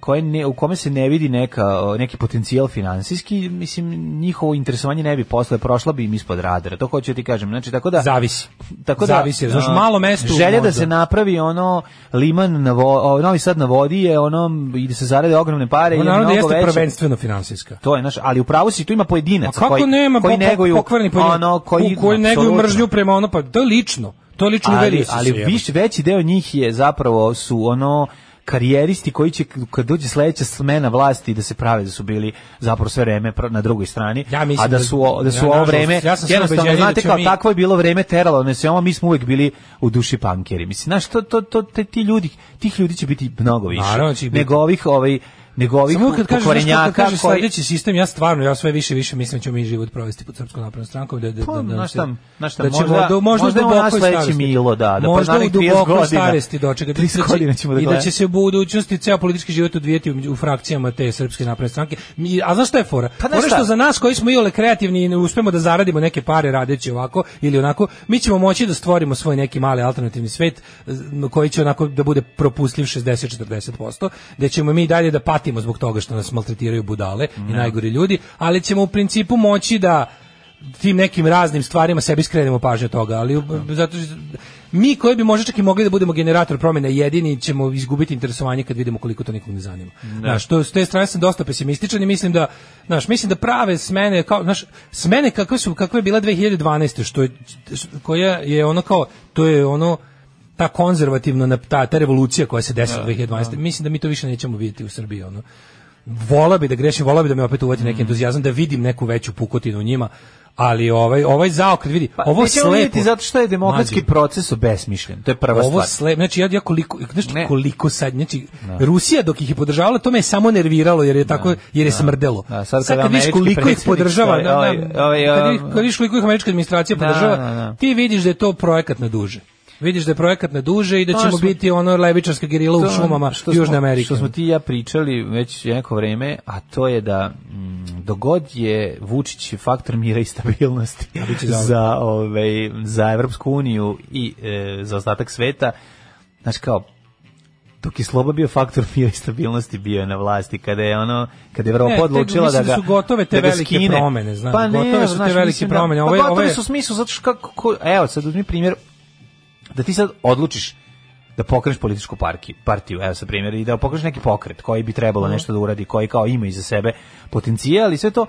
S6: koje ne, u kome se ne vidi neka, o, neki potencijal finansijski, mislim, njihovo interesovanje ne bi posle, prošla bi im ispod radara, to hoću ti kažem, znači, tako da...
S7: Zavisi.
S6: Tako da,
S7: Zavisi, znaš,
S6: a,
S7: malo mesto
S6: Želja da
S7: možda.
S6: se napravi ono liman na vo, o, Novi Sad na vodi je ono i da se zarade ogromne pare i
S7: Ono, Naravno
S6: mnogo
S7: da jeste
S6: veće.
S7: prvenstveno finansijska.
S6: To je naš, ali u pravu si tu ima
S7: A
S6: pojedinac
S7: Pa kako
S6: koji
S7: nema
S6: koji
S7: koji
S6: neguju
S7: pokvarni pojedinac?
S6: ono koji
S7: U koji neguju
S6: apsolutno.
S7: mržnju prema ono pa to je lično. To je lično
S6: Ali
S7: uverili su se,
S6: ali
S7: jebote.
S6: viš, veći deo njih je zapravo su ono karijeristi koji će k- kad dođe sledeća smena vlasti da se prave da su bili zapravo sve vreme pro- na drugoj strani
S7: Ja mislim
S6: a da
S7: da-
S6: su o- da su
S7: ja,
S6: ovo
S7: nažalost,
S6: vreme
S7: ja sam sve
S6: jednostavno
S7: ubeđeniji da
S6: znate
S7: ćemo
S6: kao
S7: mi-
S6: takvo je bilo vreme teralo ne sve mi smo uvek bili u duši pankeri mislim znaš to to to te, ti ljudi tih ljudi će biti mnogo više
S7: Naravno će biti.
S6: nego ovih ovaj nego ovih
S7: Samo kad kažeš nešto,
S6: pokvarenjaka
S7: kad kažeš
S6: koji-
S7: sledeći sistem, ja stvarno, ja sve više i više mislim da ćemo mi život provesti pod srpskom naprednom strankom. Da, da, da,
S6: Pa,
S7: da,
S6: znaš
S7: se-
S6: šta, znaš šta,
S7: da ćemo
S6: možda-
S7: do, možda,
S6: možda je
S7: u
S6: ovo
S7: dubokoj
S6: naš sledeći
S7: starosti.
S6: Milo, da, da, pa
S7: možda u
S6: narednih 30
S7: dubokoj
S6: godina.
S7: starosti dočega. da
S6: 30
S7: će-
S6: godina ćemo da
S7: I da
S6: gledamo.
S7: će se u budućnosti ceo politički život odvijeti u, u frakcijama te srpske napredne stranke. Mi, a znaš šta je fora?
S6: Pa, znaš
S7: fora je što
S6: šta?
S7: za nas koji smo iole kreativni i ne uspemo da zaradimo neke pare radeći ovako ili onako, mi ćemo moći da stvorimo svoj neki mali alternativni svet m, koji će onako da bude propustljiv 60-40%, da ćemo mi i dalje da patimo zbog toga što nas maltretiraju budale i najgori ljudi, ali ćemo u principu moći da tim nekim raznim stvarima sebi skrenemo pažnju od toga, ali zato što- mi koji bi možda čak i mogli da budemo generator promjena jedini ćemo izgubiti interesovanje kad vidimo koliko to nikog ne zanima. Znaš, to, s te strane sam dosta pesimističan i mislim da, znaš, mislim da prave smene, kao, znaš, smene kakve su, kakva je bila 2012. što je, koja je ono kao, to je ono, ta konzervativna nap- ta, ta revolucija koja se desila 2012. Mislim da mi to više nećemo vidjeti u Srbiji ono. Vola bi da grešim, vola bi da me opet uvati
S6: Mm.
S7: neki entuzijazam da vidim neku veću pukotinu u njima, ali ovaj ovaj zaokret vidi, ovo
S6: nećemo
S7: slepo.
S6: Pa, vidjeti zato što je demokratski
S7: Mlađe,
S6: proces obesmišljen. To je prva
S7: ovo
S6: stvar.
S7: slepo, znači ja, ja koliko, znaš ti
S6: Ne.
S7: koliko sad, znači Rusija dok ih je podržavala, to me je samo nerviralo jer je tako, jer je smrdelo.
S6: Da, sad kad
S7: vidiš
S6: američki
S7: koliko ih
S6: predsjednik
S7: podržava, da,
S6: stoji, ovaj,
S7: da,
S6: ovaj,
S7: kad
S6: um,
S7: vidiš- kad vidiš koliko ih američka administracija
S6: Da,
S7: podržava,
S6: da, da.
S7: ti vidiš da je to projekat na duže. Vidiš da je projekat na duže i da
S6: To
S7: ćemo
S6: smo-
S7: biti ono levičarska gerila u
S6: Pa, To je
S7: šumama
S6: ono što
S7: Južne
S6: smo-
S7: Amerike.
S6: Što smo ti i ja pričali već neko vreme, a to je da mm, dogod je Vučić faktor mira i stabilnosti
S7: biće zauvek.
S6: za, ovaj, za Evropsku uniju i e, za ostatak sveta, znači kao, dok je Sloba bio faktor mira i stabilnosti bio je na vlasti kada je ono kada je Evropa
S7: Ne, tek
S6: odlučila da
S7: mislim
S6: ga
S7: da su gotove te
S6: da ga
S7: velike
S6: skine.
S7: promene, znaš,
S6: pa ne,
S7: gotove su te
S6: znaš,
S7: velike
S6: mislim da-
S7: promene.
S6: pa
S7: Ovo je- ovo
S6: gotove
S7: je-
S6: su u smislu zato što kako ko- evo sad uzmi primjer da ti sad odlučiš da pokreneš političku parki, partiju, evo sa primjer, i da pokreneš neki pokret koji bi trebalo
S7: Mhm.
S6: nešto da uradi, koji kao ima iza sebe potencijal i sve to,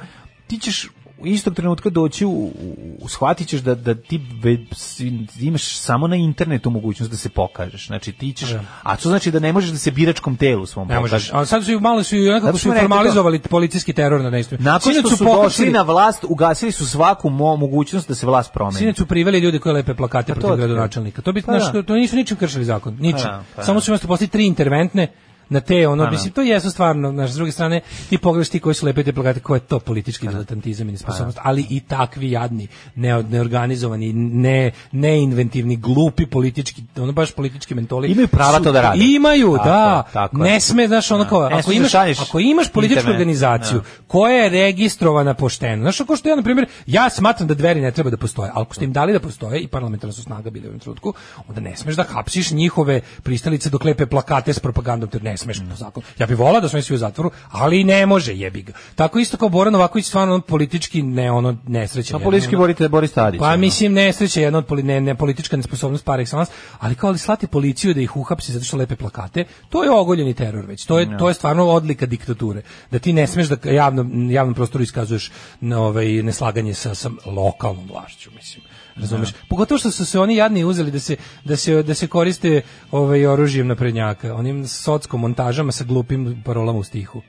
S6: ti ćeš u istog trenutka doći, u, u, u- shvatit ćeš da, da ti ve- si- imaš samo na internetu mogućnost da se pokažeš. Znači ti ćeš, a to znači da ne možeš da se biračkom telu svom
S7: Ne
S6: pokažeš.
S7: možeš. A sad su i malo su i nekako
S6: Zato
S7: su
S6: smo
S7: i
S6: rekli to.
S7: formalizovali policijski teror na nešto.
S6: Nakon što su došli na vlast, ugasili su svaku mo- mogućnost da se vlast promeni. Pa
S7: Sinoć su priveli ljude koji lepe plakate
S6: to
S7: protiv
S6: otkrio.
S7: gradonačelnika. To bi
S6: Pa
S7: znaš,
S6: da.
S7: to nisu ničim kršili zakon, ničim.
S6: Pa da, pa
S7: Samo su imali poslije tri interventne na te ono,
S6: Pa da.
S7: mislim, to jesu stvarno, znaš, s druge strane, ti pogledaš ti koji su lepe te plakate, ko je to
S6: Pa
S7: politički diletantizam i nesposobnost, ali i takvi jadni, ne, neorganizovani, ne, neinventivni, glupi politički, ono baš politički mentoli.
S6: Imaju prava
S7: su-
S6: to da rade.
S7: Imaju,
S6: Tako
S7: da.
S6: je, tako je.
S7: ne sme, znaš, ono
S6: Da.
S7: kao,
S6: Ne
S7: ako
S6: smeš da
S7: imaš,
S6: šalješ
S7: ako imaš političku
S6: intervent.
S7: organizaciju,
S6: Da.
S7: koja je registrovana pošteno. Znaš, ako što ja, na primjer, ja smatram da dveri ne treba da postoje, ali ako ste im dali da postoje i parlamentarna su snaga bili u ovom trenutku, onda ne smeš da hapsiš njihove pristalice dok lepe plakate s propagandom, te ne smeš po zakonu. Ja bih volao da smo svi u zatvoru, ali ne može jebi ga. Tako isto kao Boran Novaković, stvarno on politički ne ono nesrećan.
S6: Pa politički borite Boris Tadić.
S7: Pa
S6: ono.
S7: mislim nesreća je jedna od poli, ne, ne politička nesposobnost par excellence, ali kao ali slati policiju da ih uhapsi zato što lepe plakate, to je ogoljeni teror već. To je to je stvarno odlika diktature. Da ti ne smeš da javno javnom prostoru iskazuješ na ovaj neslaganje sa sa lokalnom vlašću, mislim. Razumeš? Pogotovo što su se oni jadni uzeli da se da se da se koriste ovaj oružjem naprednjaka, onim sockom montažama sa glupim parolama u stihu.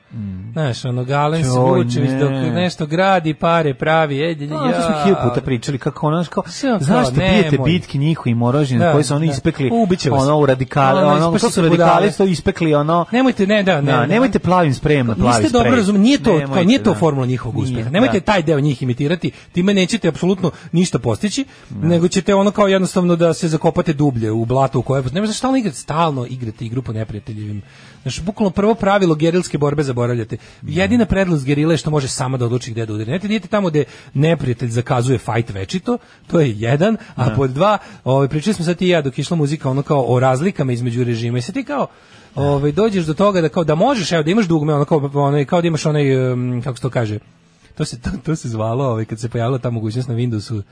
S7: Znaš, ono Galen
S6: Joj,
S7: Vučević
S6: Mm. ne.
S7: dok nešto gradi, pare pravi, e, ej,
S6: Da, ja. to smo hiljadu puta pričali kako ono znaš, kao
S7: Sve
S6: zašto
S7: kao,
S6: pijete
S7: nemoj.
S6: bitki njihovim oružjem
S7: Da,
S6: koji su oni
S7: da.
S6: ispekli
S7: Ubiće vas.
S6: ono u radikali
S7: Ono,
S6: ono,
S7: ispašite
S6: to su
S7: budale.
S6: radikali što ispekli ono
S7: Nemojte, ne, da, ne.
S6: Da,
S7: ne,
S6: nemojte plavim sprejem na plavi
S7: Niste
S6: sprej.
S7: dobro razumeli, nije to, kao, nije to
S6: da.
S7: formula njihovog
S6: Nije,
S7: uspeha. nemojte
S6: da.
S7: taj deo njih imitirati, time nećete apsolutno ništa postići, nego ćete ono kao jednostavno da se zakopate dublje u blato u koje... Ne možete stalno igrati, stalno igrate igru po neprijateljevim. Znači, bukvalno prvo pravilo gerilske borbe zaboravljate. Jedina prednost gerile je što može sama da odluči gde da udari. Nemojte da idete tamo gde neprijatelj zakazuje fajt večito, to je jedan, a pod dva, ovaj, pričali smo sad ti i ja dok je išla muzika ono kao o razlikama između režima i sad ti kao, ovaj dođeš do toga da kao da možeš, evo da imaš dugme, ono kao onaj kao da imaš onaj um, kako se to kaže. To se to, to se zvalo, ovaj kad se pojavila ta mogućnost na Windowsu uh,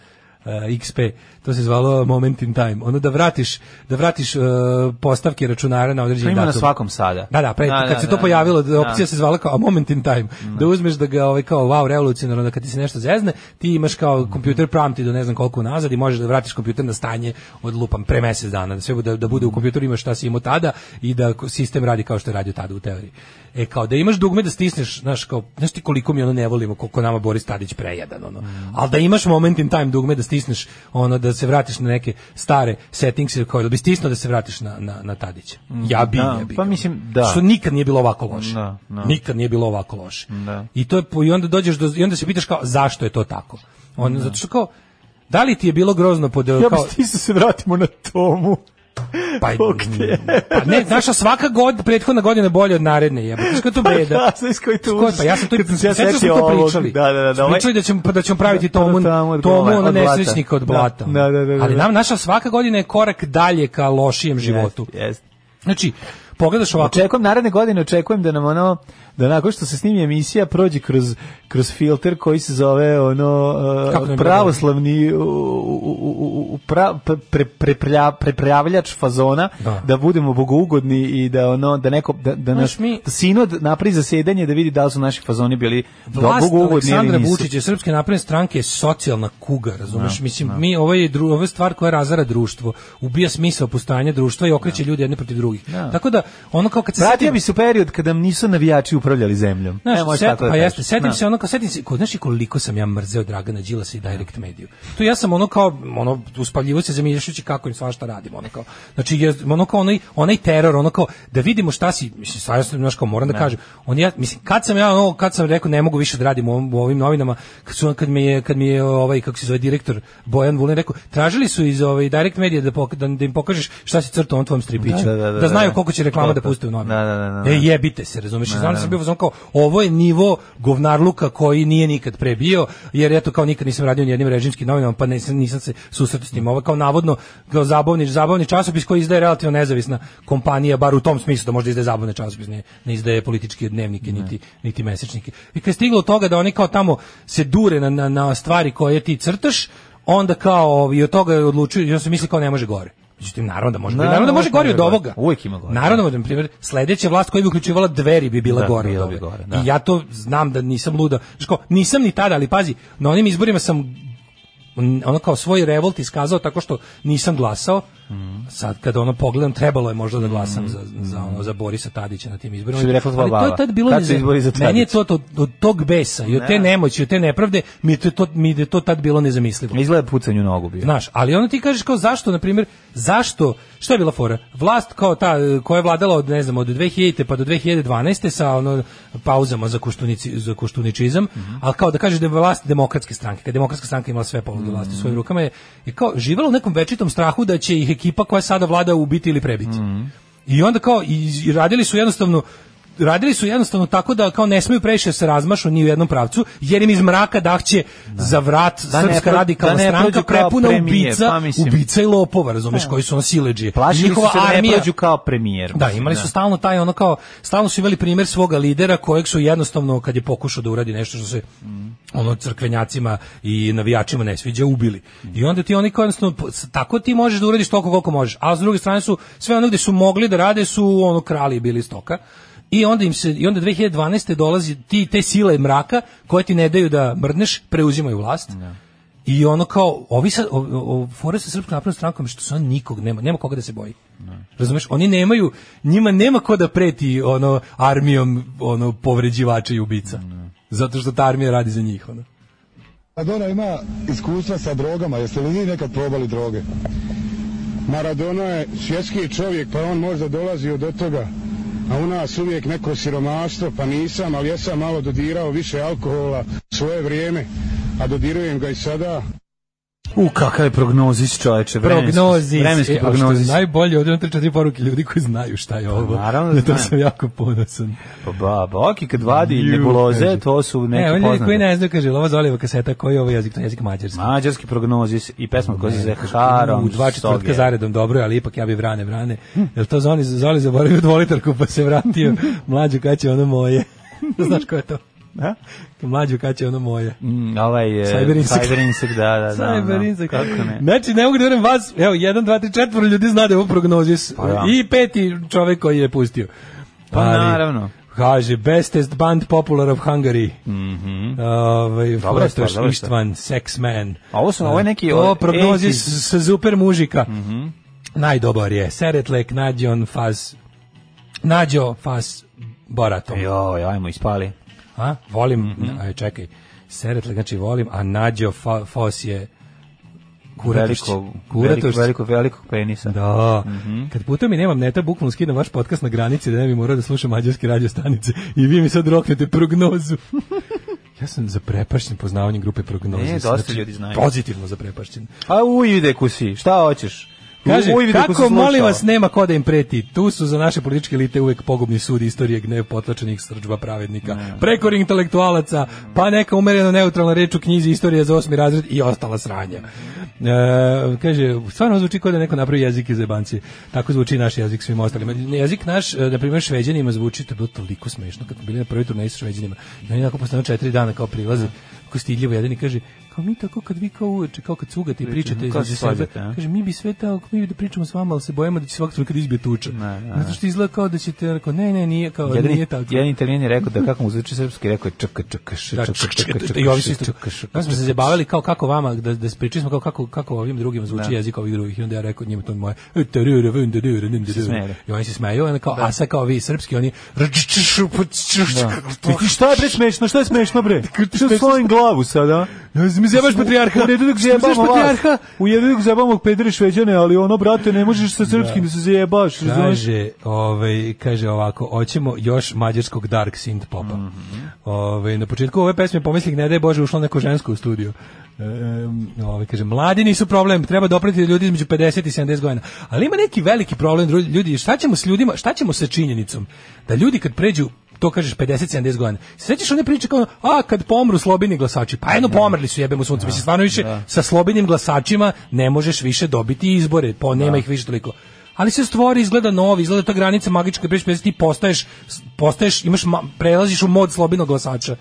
S7: XP, to se zvalo moment in time. Ono da vratiš, da vratiš uh, postavke računara na
S6: To
S7: određeni
S6: ima
S7: datum.
S6: na svakom sada.
S7: Da, da, pre,
S6: Da,
S7: kad
S6: da,
S7: se to
S6: da,
S7: pojavilo,
S6: da.
S7: opcija se zvala kao a moment in time. Da uzmeš da ga ovaj kao wow revolucionarno da kad ti se nešto zezne, ti imaš kao kompjuter pamti do ne znam koliko nazad i možeš da vratiš kompjuter na stanje od lupam pre mjesec dana, da sve bude da bude u kompjuteru imaš šta si imao tada i da ko- sistem radi kao što je radio tada u teoriji. E kao da imaš dugme da stisneš, znaš kao, znaš ti koliko mi ono ne volimo, koliko nama Boris Tadić prejedan ono.
S6: Mm.
S7: Ali da imaš moment in time dugme da stisneš ono da se vratiš na neke stare settings kao da bi stisnuo da se vratiš na na, na Tadića. Ja bi,
S6: Da,
S7: ja bi
S6: pa
S7: ga. ono.
S6: mislim, da.
S7: Što nikad nije bilo ovako loše.
S6: Da, da.
S7: Nikad nije bilo ovako loše.
S6: Da.
S7: I to je po- i onda dođeš do i onda se pitaš kao zašto je to tako. On zato što kao da li ti je bilo grozno pod
S6: Ja bi
S7: kao
S6: stisao se vratimo na tomu.
S7: pa,
S6: Bog te.
S7: pa ne, naša svaka god prethodna godina je bolja od naredne, jebote. Što je to breda?
S6: Pa Da, znaš koji to
S7: Skoj, pa ja sam to
S6: Kad se ja
S7: sećam da smo
S6: setio
S7: to
S6: ovog,
S7: pričali.
S6: Da, da, da.
S7: Smo
S6: ovaj-
S7: Pričali da ćemo pa da ćemo praviti
S6: Da, da,
S7: tomu
S6: tamo od
S7: tomu
S6: gola,
S7: ono
S6: od blata.
S7: nesrećnika od
S6: Da,
S7: blata.
S6: da, da, da, da.
S7: Ali nam naša svaka godina je korak dalje ka lošijem životu.
S6: Jest, jest.
S7: Znači, pogledaš ovako,
S6: Pa Očekujem naredne godine, očekujem da nam ono da nakon što se snimi emisija prođe kroz, kroz filter koji se zove ono
S7: Kako ne
S6: uh,
S7: bi
S6: pravoslavni u, u, u, u, pra, pre, pre, preprlja- prepravljač fazona da.
S7: Da.
S6: budemo bogougodni i da ono da neko da, da naš
S7: Znaš, mi-
S6: da sinod napravi zasedanje da vidi da li su naši fazoni bili do
S7: Vlast
S6: bogougodni ili
S7: Aleksandra
S6: nisu.
S7: Vučića, i Srpske napredne stranke je socijalna kuga, razumeš? Mislim, mi ovo je, dru, ovo je stvar koja razara društvo, ubija smisao postojanja društva i okreće ljudi jedni protiv drugih. Tako da, ono kao kad se
S6: Vratio
S7: setim-
S6: bi se u period kada nisu navijači upravljali zemljom.
S7: Znaš,
S6: E, možeš
S7: set,
S6: tako da
S7: pa
S6: kažeš.
S7: jeste, setim
S6: Da.
S7: se ono kao setim se, kod znaš i koliko sam ja mrzeo Dragana Đilasa i Direct Mediju. Tu ja sam ono kao ono uspavljivo se zamišljajući kako im svašta radimo, ono kao. Znači je ono kao onaj onaj teror, ono kao da vidimo šta si, mislim stvarno sam znaš kao moram da kažem. On ja mislim kad sam ja ono kad sam rekao ne mogu više da radim u, ovom- u ovim novinama, kad su kad mi je kad mi je ovaj kako se zove direktor Bojan Vulin rekao, tražili su iz ovaj Direct Medije da, pok, da, da im pokažeš šta si crtao on tvom stripiću,
S6: Da,
S7: da,
S6: da, da, da.
S7: znaju koliko će reklama da puste u novine.
S6: Da, da, da, da.
S7: E, jebite se, razumeš? Da, Znam da sam bio u fazonu kao ovo je nivo govnarluka koji nije nikad prebio, jer eto kao nikad nisam radio ni jednim režimskim novinama, pa nisam, nisam se susretao s tim. Ovo je kao navodno kao zabavni, zabavni časopis koji izdaje relativno nezavisna kompanija, bar u tom smislu da možda izdaje zabavne časopis, ne, ne izdaje političke dnevnike, niti, niti mesečnike. I kad je stiglo do toga da oni kao tamo se dure na, na, na stvari koje ti crtaš, onda kao i od toga je odlučio, i onda se misli kao ne može gore. Međutim, naravno da može.
S6: Naravno,
S7: Naravno, da može
S6: uvek
S7: gore
S6: može
S7: od
S6: gore.
S7: ovoga.
S6: Uvek ima gore.
S7: Naravno, na primjer, sledeća vlast koja bi uključivala dveri bi bila
S6: Da,
S7: gore. od
S6: bila bi
S7: ove.
S6: gore, da.
S7: I ja to znam da nisam luda. Znaš kao, nisam ni tada, ali pazi, na onim izborima sam n- ono kao svoj revolt iskazao tako što nisam glasao. Sad kad ono pogledam, trebalo je možda da glasam za, za ono za Borisa Tadića na tim izborima.
S6: Mm. Što bi rekla tvoja
S7: ali to
S6: baba.
S7: je tad bilo
S6: Kad su
S7: nezamislivo.
S6: izbori za
S7: Meni je
S6: Tadića?
S7: to od, od tog besa i od te nemoći, od te nepravde, mi je to, to mi je to tad bilo nezamislivo.
S6: Izgleda pucanju nogu bio.
S7: ono- Znaš, ali onda ti kažeš kao zašto, na primjer, zašto, šta je bila fora? Vlast kao ta e, koja je vladala od, ne znam, od 2000. pa do 2012. sa ono pauzama za, kuštunici, za kuštuničizam, ali kao da kažeš da je vlast demokratske stranke, kad je demokratska stranka imala sve povode vlasti u svojim rukama, je, je kao živela u nekom večitom strahu da će ih ekipa koja sada vlada ubiti ili prebiti. I onda kao, i, i radili su jednostavno radili su jednostavno tako da kao ne smeju previše da se razmašu ni u jednom pravcu, jer im iz mraka dahće za vrat
S6: Da ne
S7: Srpska
S6: pro-
S7: radikalna
S6: da ne
S7: stranka
S6: prođu kao
S7: prepuna
S6: premijer,
S7: ubica,
S6: pa mislim.
S7: ubica i lopova, razumeš, koji su ono sileđije.
S6: Plašili su
S7: Njihova
S6: se da ne
S7: armija-
S6: prođu kao premijer.
S7: Da, imali su stalno taj ono kao, stalno su imali primjer svoga lidera kojeg su jednostavno kad je pokušao da uradi nešto što se ono crkvenjacima i navijačima ne sviđa, ubili. I onda ti oni kao jednostavno, po- s- tako ti možeš da uradiš toliko koliko možeš. A s druge strane su, sve ono gde su mogli da rade su ono krali bili stoka. I onda im se i onda 2012 dolazi ti te sile mraka koje ti ne daju da mrdneš, preuzimaju vlast. I ono kao, ovi sad, o, o, o, fora sa srpskom naprednom strankom je što sad nikog nema, nema koga da se boji. Razumeš, oni nemaju, njima nema ko da preti ono armijom ono povređivača i ubica. Zato što ta armija radi za njih. Ono.
S9: Maradona ima iskustva sa drogama, jeste li vi nekad probali droge? Maradona je svjetski čovjek, pa on možda dolazi od toga. A u nas uvijek neko siromaštvo, pa nisam, ali ja sam malo dodirao više alkohola svoje vrijeme, a dodirujem ga i sada.
S6: U, kakav je prognozis, čoveče. vremenski-
S7: Prognozi.
S6: Vremenski prognozis.
S7: Najbolje ovdje imam tri, četiri poruke ljudi koji znaju šta je ovo.
S6: naravno da
S7: Na to
S6: znaju.
S7: sam jako ponosan.
S6: Pa ba, ba, ok, kad vadi nebuloze, to su
S7: Ne,
S6: neke
S7: oni ljudi E, koji
S6: poznate.
S7: ne znaju, kaže, ovo zove Oliva kaseta, koji je ovo jezik, to je jezik mađarski.
S6: Mađarski prognozis i pesma koja se zove Harom
S7: U dva
S6: Soge.
S7: četvrtka zaredom dobro, je, ali ipak ja bi vrane, vrane. Jel to Zoli, Zoli zaboravio dvolitarku pa se vratio? Mlađu, kad će ono moje? Znaš ko je to?
S6: Da?
S7: Mlađu, kad će ono moje?
S6: Mm, ovaj je...
S7: Cyber insect.
S6: Cyber insect, da, da, da.
S7: Cyber
S6: da.
S7: insect.
S6: Kako ne?
S7: Znači, ne mogu da verujem vas, evo, jedan, dva, tri, četvoro ljudi zna da je ovo prognozis.
S6: Pa da.
S7: I peti čovek koji je pustio.
S6: Pa naravno.
S7: Kaže, bestest band popular of Hungary. Mm -hmm. Ovaj,
S6: Mhm. Dobra je stvar,
S7: Fotoš
S6: dobra je stvar.
S7: Ištvan, Sex Man.
S6: A ovo su- Pa, ovo je neki Mhm.
S7: Ovo
S6: od
S7: prognozis
S6: 80s.
S7: sa super mužika. Mm -hmm. Najdobar je. Seretlek, Nađon, Faz... Nađo, Faz, Boratom.
S6: Joj, ajmo, ispali.
S7: A? Volim,
S6: Mhm.
S7: aj čekaj. Seretle, znači volim, a Nađo fa, Fos je kuratošć.
S6: Veliko, veliko,
S7: Kuratošć.
S6: veliko, Mhm. velikog penisa.
S7: Da. Kad putem i nemam neta, bukvalno skidam vaš podcast na granici da ne bi morao da slušam mađarske radio stanice i vi mi sad roknete prognozu. ja sam zaprepašćen poznavanjem grupe prognoze.
S6: E, dosta ljudi znaju.
S7: Pozitivno zaprepašćen.
S6: A ujide kusi, šta hoćeš?
S7: Kaže,
S6: Ujvide kusi
S7: kako
S6: slušao.
S7: molim vas nema ko da im preti. Tu su za naše političke elite uvek pogubni sud istorije gnev potlačenih srđba pravednika, prekor intelektualaca, pa neka umereno neutralna reč u knjizi istorije za osmi razred i ostala sranja. E, kaže, stvarno zvuči kao da je neko napravi jezik iz jebanci. Tako zvuči i naš jezik svim ostalima. Jezik naš, e, na primjer, šveđanima zvuči, to je bilo toliko smešno kad smo bili na prvi turnej sa šveđanima. I oni nakon postavljeno četiri dana kao prilaze, ako stiljivo jedan i kaže, kao mi tako kad vi kao uveče, kao kad cugate i pričate
S6: Pričate, kao
S7: između
S6: se
S7: sebe,
S6: svađate, a?
S7: kaže, mi bi sve tako, mi bi da pričamo s vama, ali se bojimo da će svakog trenutka da izbije tuča.
S6: Ne, ne,
S7: Zato što izgleda kao da ćete, rekao, ne, ne, nije, kao,
S6: Jedan,
S7: nije tako.
S6: jedan italijan je rekao da kako mu zvuči srpski, rekao je čka, čka, š,
S7: Da,
S6: čka, čka, čka, čka,
S7: I ovi su isto.
S6: čka, š,
S7: Onda smo se zabavili kao kako vama, da, da pričali smo kao kako, kako ovim drugima zvuči jezik ovih drugih. I onda ja rekao njima to je moje. e, terure, vunde, dure, ninde, dure.
S6: smejali.
S7: I oni se smeju, onda kao, a sad kao vi srpski, oni...
S6: Da. Ti šta je bre smešno, šta je smešno bre? Što slojim glavu sada?
S7: Mi zebaš patrijarha.
S6: U redu dok
S7: Znaš
S6: zajebamo vas.
S7: patrijarha?
S6: U redu dok zajebamo pedere šveđane, ali ono, brate, ne možeš sa srpskim da se zajebaš. razumeš?
S7: Kaže, ovaj, kaže ovako, hoćemo još mađarskog dark synth popa. ovaj, na početku ove pesme pomislih, ne daj Bože, ušlo neko žensko u studiju. Um, ovaj, kaže, mladi nisu problem, treba dopratiti ljudi između 50 i 70 godina. Ali ima neki veliki problem, dru- ljudi, šta ćemo s ljudima, šta ćemo sa činjenicom? Da ljudi kad pređu to kažeš 50 70 godina. Se Sećaš one priče kao a kad pomru slobini glasači. Pa eno pomrli su jebemo sunce. Mislim stvarno više sa slobinim glasačima ne možeš više dobiti izbore. Po nema ih više toliko ali se stvori izgleda novi, izgleda ta granica magička priče, pa ti postaješ postaješ imaš ma- prelaziš u mod slobodnog glasača.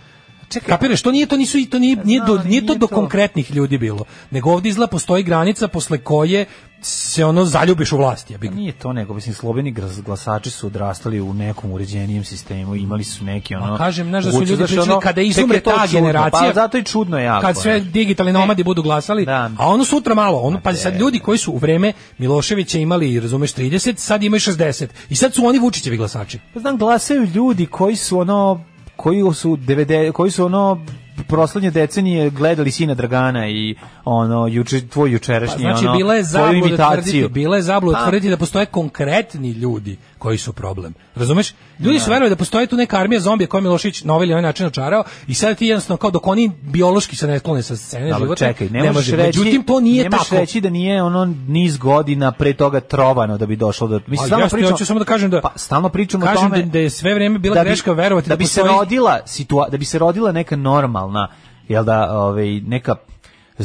S7: Čekaj, kapiraš, to nije to nisu i to nije nije do,
S6: Znam,
S7: nije to
S6: nije
S7: do
S6: to.
S7: konkretnih ljudi bilo, nego ovdje izgleda postoji granica posle koje se ono zaljubiš u vlast, jebi ga.
S6: Nije to nego, mislim, slobeni glas- glasači su odrastali u nekom uređenijem sistemu, imali su neki ono...
S7: Pa kažem, znaš da su
S6: mogućnost,
S7: ljudi
S6: znaš,
S7: pričali
S6: ono,
S7: kada
S6: tek je
S7: izumre
S6: to
S7: ta
S6: čudno,
S7: generacija.
S6: Pa zato je čudno jako.
S7: Kad sve
S6: znaš.
S7: digitalni nomadi budu glasali,
S6: Da.
S7: a ono sutra malo, ono pa sad ljudi koji su u vreme Miloševića imali, razumeš, 30, sad imaju 60. I sad su oni Vučićevi glasači.
S6: Pa znam, glasaju ljudi koji su ono koji su 90 koji su ono proslednje decenije gledali sina Dragana i ono juče tvoj
S7: Pa,
S6: jučerašnji
S7: znači,
S6: ono
S7: bila je
S6: tvoju
S7: zabluda tvrditi,
S6: imitaciju.
S7: bila je zabluda
S6: Pa.
S7: tvrditi da postoje konkretni ljudi koji su problem. Razumeš? Ljudi su verovali da postoji tu neka armija zombija koja je Milošević na ovaj ili onaj način očarao i sad ti jednostavno kao dok oni biološki se ne sklone sa scene
S6: Dobro,
S7: života,
S6: čekaj, ne, možeš
S7: može.
S6: reći,
S7: Međutim, to nije
S6: ne možeš
S7: tako.
S6: reći da nije ono niz godina pre toga trovano da bi došlo do... Mislim,
S7: Ali
S6: stalno
S7: jasno, ja
S6: pričamo,
S7: ću samo da kažem da-
S6: Pa, stalno pričamo o
S7: Kažem
S6: tome...
S7: da- da je sve vrijeme bila
S6: bi-
S7: greška verovati
S6: da,
S7: da
S6: bi se
S7: postoji-
S6: rodila situa, da bi se rodila neka normalna, jel da, ovaj, neka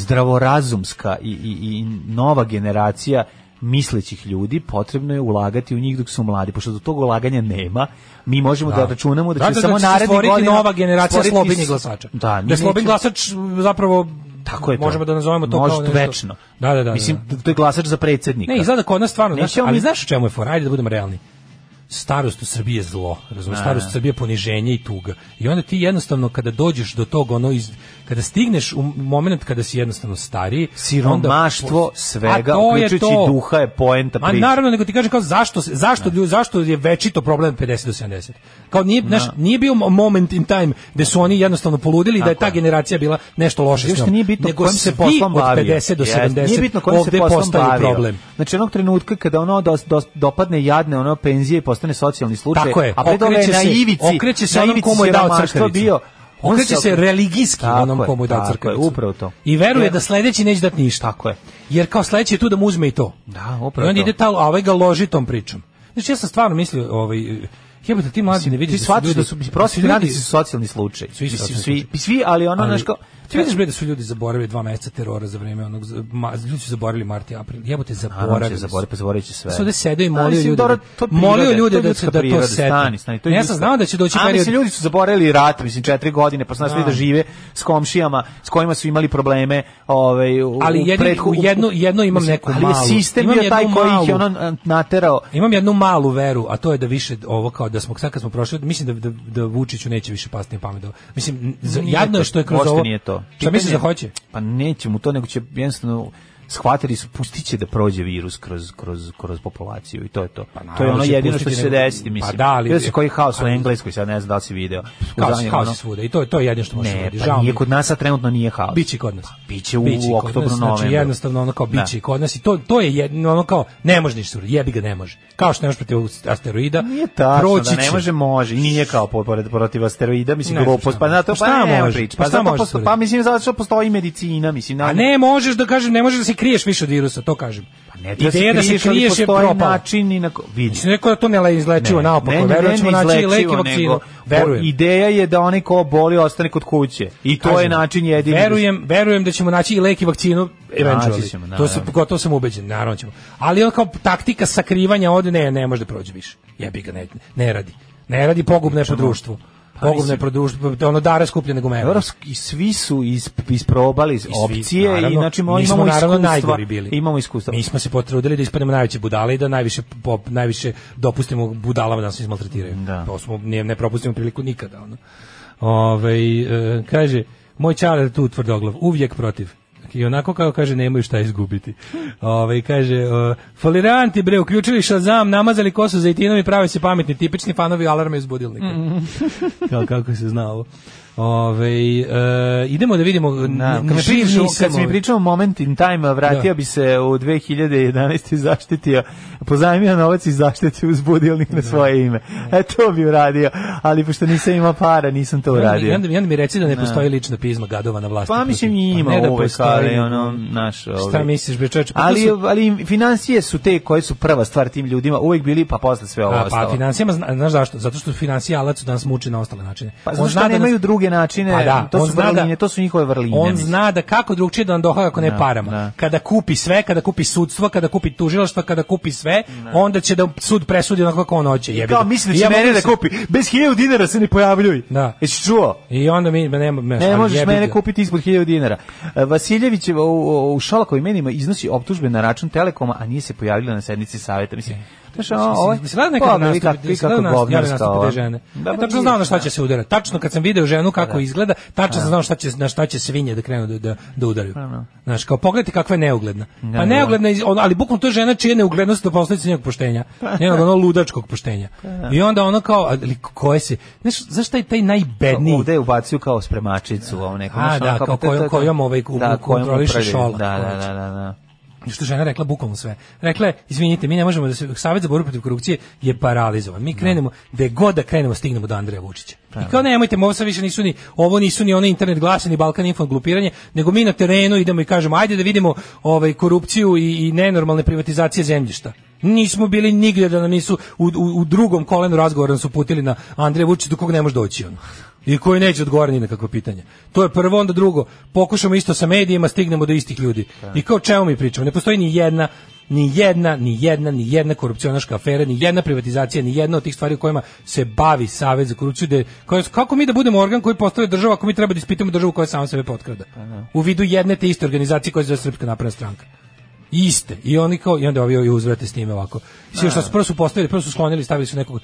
S6: zdravorazumska i, i, i nova generacija mislećih ljudi, potrebno je ulagati u njih dok su mladi, pošto do tog ulaganja nema, mi možemo da, računamo da će
S7: Zato da
S6: samo
S7: će se
S6: narednih
S7: stvoriti
S6: godina
S7: nova generacija
S6: stvoriti
S7: slobodnih
S6: s-
S7: glasača.
S6: Da,
S7: da je slobin
S6: glasač
S7: glasač zapravo
S6: tako je to.
S7: Možemo da nazovemo to
S6: Može
S7: kao
S6: to
S7: nešto-
S6: večno.
S7: Da, da, da.
S6: Mislim,
S7: da.
S6: to je glasač za predsjednika.
S7: Ne, izgleda kod nas stvarno, znaš,
S6: Nećemo
S7: ali
S6: mi-
S7: znaš u čemu je fora, ajde da budemo realni. Starost u Srbiji je zlo, razumiješ, starost u Srbiji je poniženje i tuga. I onda ti jednostavno kada dođeš do tog, ono, iz, kada stigneš u moment kada si jednostavno stariji,
S6: Siromaštvo
S7: onda-
S6: svega,
S7: A to je
S6: uključujući
S7: to.
S6: duha, je poenta
S7: Ma
S6: priče.
S7: naravno, nego ti kažem kao zašto, se- zašto, ljudi, zašto je večito problem 50 do 70. Kao nije, znaš, nije bio moment in time gde su oni jednostavno poludili i da je ta generacija bila nešto loše s
S6: Uopšte
S7: njom.
S6: nije bitno
S7: nego
S6: kojim se
S7: svi
S6: poslom
S7: od
S6: bavio.
S7: 50 do
S6: Jeste,
S7: 70
S6: Nije bitno kojim se
S7: ovde
S6: poslom
S7: postaju
S6: bavio.
S7: problem.
S6: Znači onog trenutka kada ono dos, dos, dopadne jadne ono penzije i postane socijalni slučaj,
S7: Tako je.
S6: a pre toga je
S7: okreće
S6: na
S7: se-
S6: ivici,
S7: okreće se
S6: na
S7: onom
S6: ivici
S7: komu je dao
S6: siromaštva
S7: crkavicu.
S6: bio, on
S7: Okreće se religijski
S6: Tako
S7: onom
S6: je,
S7: komu je dao
S6: tako je,
S7: crkavicu.
S6: upravo to.
S7: I veruje
S6: Jer-
S7: da sledeći neće dati ništa.
S6: Tako je.
S7: Jer kao sledeći je tu da mu uzme i to.
S6: Da, upravo
S7: I onda
S6: to.
S7: ide ta, a ovaj ga loži tom pričom. Znači ja sam stvarno mislio, ovaj, jebote ti mladi ne
S6: Ti
S7: vidiš
S6: shvatiš da su
S7: ljudi-
S6: prosvjetni
S7: ljudi-
S6: radnici su socijalni slučaj.
S7: Svi su
S6: Mislim,
S7: socijalni
S6: svi, svi, ali ono,
S7: ali,
S6: znaš kao...
S7: Ti vidiš bre da su ljudi zaboravili dva meseca terora za vreme onog za- ma, ljudi su zaboravili mart i april. Jebote
S6: Naravno će
S7: zaboravili. su.
S6: zaboraviti, pa zaboravit će sve.
S7: Sve ovde sede i
S6: A,
S7: molio
S6: mislim,
S7: ljude
S6: dobro,
S7: da-
S6: to je
S7: molio
S6: priroda,
S7: ljude
S6: to je
S7: da-
S6: ljudska
S7: da to
S6: priroda,
S7: sete.
S6: Stani, stani, to je
S7: Ja sam
S6: ljudska.
S7: znao da će doći
S6: A,
S7: period-
S6: mislim, ljudi su zaboravili rat, mislim, četiri godine, pa su nastavili
S7: Da.
S6: da žive s komšijama, s kojima su imali probleme ovaj, u,
S7: Ali
S6: u
S7: jedni-
S6: prethu-
S7: u jedno- jedno imam
S6: mislim,
S7: neku
S6: Ali
S7: malu.
S6: je sistem
S7: Imam
S6: bio taj
S7: jednu
S6: koji ih je
S7: malu.
S6: ono eh, naterao.
S7: Imam jednu malu veru, a to je da više ovo kao da smo sad kad smo prošli, mislim da da, da Vučiću neće više pasti na pamet. ovo. Mislim za,
S6: Nije
S7: jadno je
S6: to,
S7: što je kroz
S6: uopšte
S7: ovo.
S6: nije to.
S7: Šta
S6: Pitanje-
S7: misliš da hoće?
S6: Pa neće mu to, nego će jednostavno shvatili su, pustit će da prođe virus kroz, kroz, kroz populaciju i to je to. to je
S7: Pa naravno
S6: ono
S7: će
S6: jedino što će
S7: pustiti
S6: se
S7: nego-
S6: desiti,
S7: Pa
S6: mislim.
S7: da, ali-
S6: Vidio si koji haos u
S7: ali-
S6: Engleskoj, sad ne znam da li si video. U
S7: Kao,
S6: zadnjem,
S7: kao
S6: ono-
S7: se svuda i to to je jedino što može.
S6: Ne,
S7: uraditi.
S6: pa
S7: Žao mi
S6: nije
S7: je.
S6: kod nas, sad trenutno nije haos.
S7: biće kod nas.
S6: Biće u
S7: Biće kod
S6: oktobru,
S7: nas, Znači
S6: novembru.
S7: jednostavno ono kao
S6: Da.
S7: biće i kod nas i to to je jedno ono kao ne može ništa uraditi, jebi ga ne može. Kao što ne može protiv asteroida.
S6: Nije tačno,
S7: proći
S6: da ne
S7: će.
S6: može, može. I nije kao po- pored protiv asteroida, mislim,
S7: Ne,
S6: glupost.
S7: šta
S6: Pa
S7: može.
S6: na to,
S7: Pa
S6: pa,
S7: šta
S6: ne,
S7: može?
S6: prič.
S7: Pa
S6: Pa,
S7: šta
S6: zato
S7: može
S6: posto-
S7: uraditi?
S6: pa mislim, zato što postoji medicina, mislim.
S7: A
S6: na-
S7: ne možeš da kažem, ne možeš da si kriješ više od virusa, to kažem.
S6: Pa ne treba
S7: Ideja da se
S6: kriješ, ali
S7: kriješ je
S6: postoji
S7: propala.
S6: način i na ko... vidi.
S7: Mislim, neko da to ne izlečivo naopako, verujem da ćemo naći i lek i
S6: neizlečivo,
S7: vakcinu.
S6: nego-
S7: Verujem.
S6: O, Ideja je da onaj ko boli ostane kod kuće. I to je
S7: Kažem,
S6: način jedini. da se-
S7: Verujem, verujem da ćemo naći i lek i vakcinu eventually.
S6: ćemo,
S7: to se
S6: naravno.
S7: gotovo sam ubeđen, naravno ćemo. Ali on kao taktika sakrivanja od ne, ne može da prođe više. Jebi ga ne, ne radi. Ne radi pogubno je po društvu. Pogubno je po društvu, ono dare skuplje nego mere.
S6: Pa Dobro, i svi su is, isprobali iz
S7: svi,
S6: opcije i
S7: naravno.
S6: znači
S7: Mi
S6: imamo
S7: smo,
S6: imamo
S7: naravno,
S6: iskustva.
S7: najgori bili.
S6: Imamo iskustva.
S7: Mi smo se potrudili da ispadnemo najveće budale i da najviše pop, najviše dopustimo budalama da nas izmaltretiraju.
S6: Da.
S7: To smo ne, ne propustimo priliku nikada ono. Ovaj e, kaže moj čale je tu tvrdoglav, uvijek protiv. Dakle, I onako kao kaže nemaju šta izgubiti. Ovaj kaže e, faliranti bre uključili Shazam, namazali kosu zejtinom i prave se pametni tipični fanovi alarma iz budilnika. Kao kako se zna ovo. Ovaj, e, idemo da vidimo
S6: Na,
S7: n-
S6: kad mi
S7: živ
S6: pričamo,
S7: nisam
S6: kad si mi
S7: ovaj.
S6: pričao moment in time, vratio
S7: Da.
S6: bi se u 2011. i zaštitio, pozajmio novac i zaštitio uz budilnik na svoje ime. E, to bi uradio, ali pošto nisam imao para, nisam to
S7: Ja Pa mi,
S6: uradio.
S7: onda mi- onda mi reci da ne postoji lična pizma gadova na vlasti.
S6: Pa mislim
S7: protiv-
S6: i ima
S7: ne da
S6: uvek,
S7: postoji.
S6: ali ono, naš...
S7: Šta misliš, bre čoveče? Pa to
S6: ali,
S7: su-
S6: ali financije su te koje su prva stvar tim ljudima, uvek bili, pa posle sve ovo
S7: A, pa
S6: ostalo.
S7: financijama, zna- znaš zašto? Zato što financijalac danas muči na ostale načine.
S6: Pa
S7: On
S6: zato
S7: zna
S6: što
S7: da nas-
S6: nemaju druge načine,
S7: Pa da,
S6: to
S7: on
S6: su
S7: zna da-
S6: vrline, to su njihove vrline.
S7: On
S6: mislim.
S7: zna da kako drugčije da nam dohoda ako ne
S6: Da,
S7: parama.
S6: da.
S7: Kada kupi sve, kada kupi sudstvo, kada kupi tužilaštvo, kada kupi sve, onda će da sud presudi onako kako on hoće. jebi
S6: Kao
S7: ga.
S6: misli
S7: I
S6: da će
S7: mogu
S6: mene da
S7: se-
S6: kupi. Bez 1000 dinara se ne pojavljuj.
S7: Da.
S6: Jesi čuo?
S7: I onda mi ne, ne,
S6: Ne možeš mene kupiti ispod 1000 dinara. E, Vasiljević je u, u, u Šolakovim menima iznosi optužbe na račun Telekoma, a nije se pojavila na sednici saveta. Mislim, znaš, a, ovo je...
S7: E, Mislim, Mislim, nekad
S6: pogledaj
S7: nastupi,
S6: kako-
S7: kako,
S6: kako
S7: kako
S6: govnarska ova.
S7: te žene.
S6: Da,
S7: Ja
S6: pa
S7: tačno
S6: nije,
S7: znam na šta
S6: da.
S7: će se udarati. Tačno kad sam video ženu kako izgleda, tačno sam znao šta će, na šta će svinje da krenu da, da, da udaraju. Znaš, kao pogledajte kakva je neugledna.
S6: Da,
S7: Pa
S6: Pa, da.
S7: neugledna, iz- on- ali bukvalno to je žena čija je neuglednost do posledice njenog poštenja.
S6: Pa.
S7: Njenog ono ludačkog poštenja. I onda ono kao, ali koje se, znaš, zašto je taj najbedniji?
S6: Ovde ubacuju kao spremačicu, ovo neko.
S7: E, A,
S6: znaš, ono
S7: da,
S6: kao,
S7: kao
S6: pa to-
S7: kojom-
S6: to- to-
S7: kojom ovaj
S6: da, kojom
S7: kontroliše
S6: upravljaju.
S7: Šolak,
S6: Da, da,
S7: konačno.
S6: da, da, da.
S7: I što je žena rekla bukvalno sve. Rekla je, izvinite, mi ne možemo da se Savjet za borbu protiv korupcije je paralizovan. Mi krenemo gde god da krenemo stignemo do Andreja Vučića. I kao nemojte, ovo sad više nisu ni ovo nisu ni one internet glasi ni Balkan info glupiranje, nego mi na terenu idemo i kažemo ajde da vidimo ovaj korupciju i, i nenormalne privatizacije zemljišta. Nismo bili nigdje da nam nisu u, u, u drugom kolenu razgovora nas uputili na Andreja Vučića do kog ne može doći on. I koji neće odgovarati ni na kakvo pitanje. To je prvo, onda drugo. Pokušamo isto sa medijima, stignemo do istih ljudi. I kao o čemu mi pričamo? Ne postoji ni jedna ni jedna, ni jedna, ni jedna korupcionaška afera, ni jedna privatizacija, ni jedna od tih stvari u kojima se bavi Savez za korupciju. gde- koje- kako mi da budemo organ koji postavlja država ako mi treba da ispitamo državu koja sama sebe potkrada? U vidu jedne te iste organizacije koja se zove Srpska napredna stranka iste. I oni kao i onda ovi ovi uzvrate s time ovako. Sve što su prvo su postavili, prvo su sklonili, stavili su nekog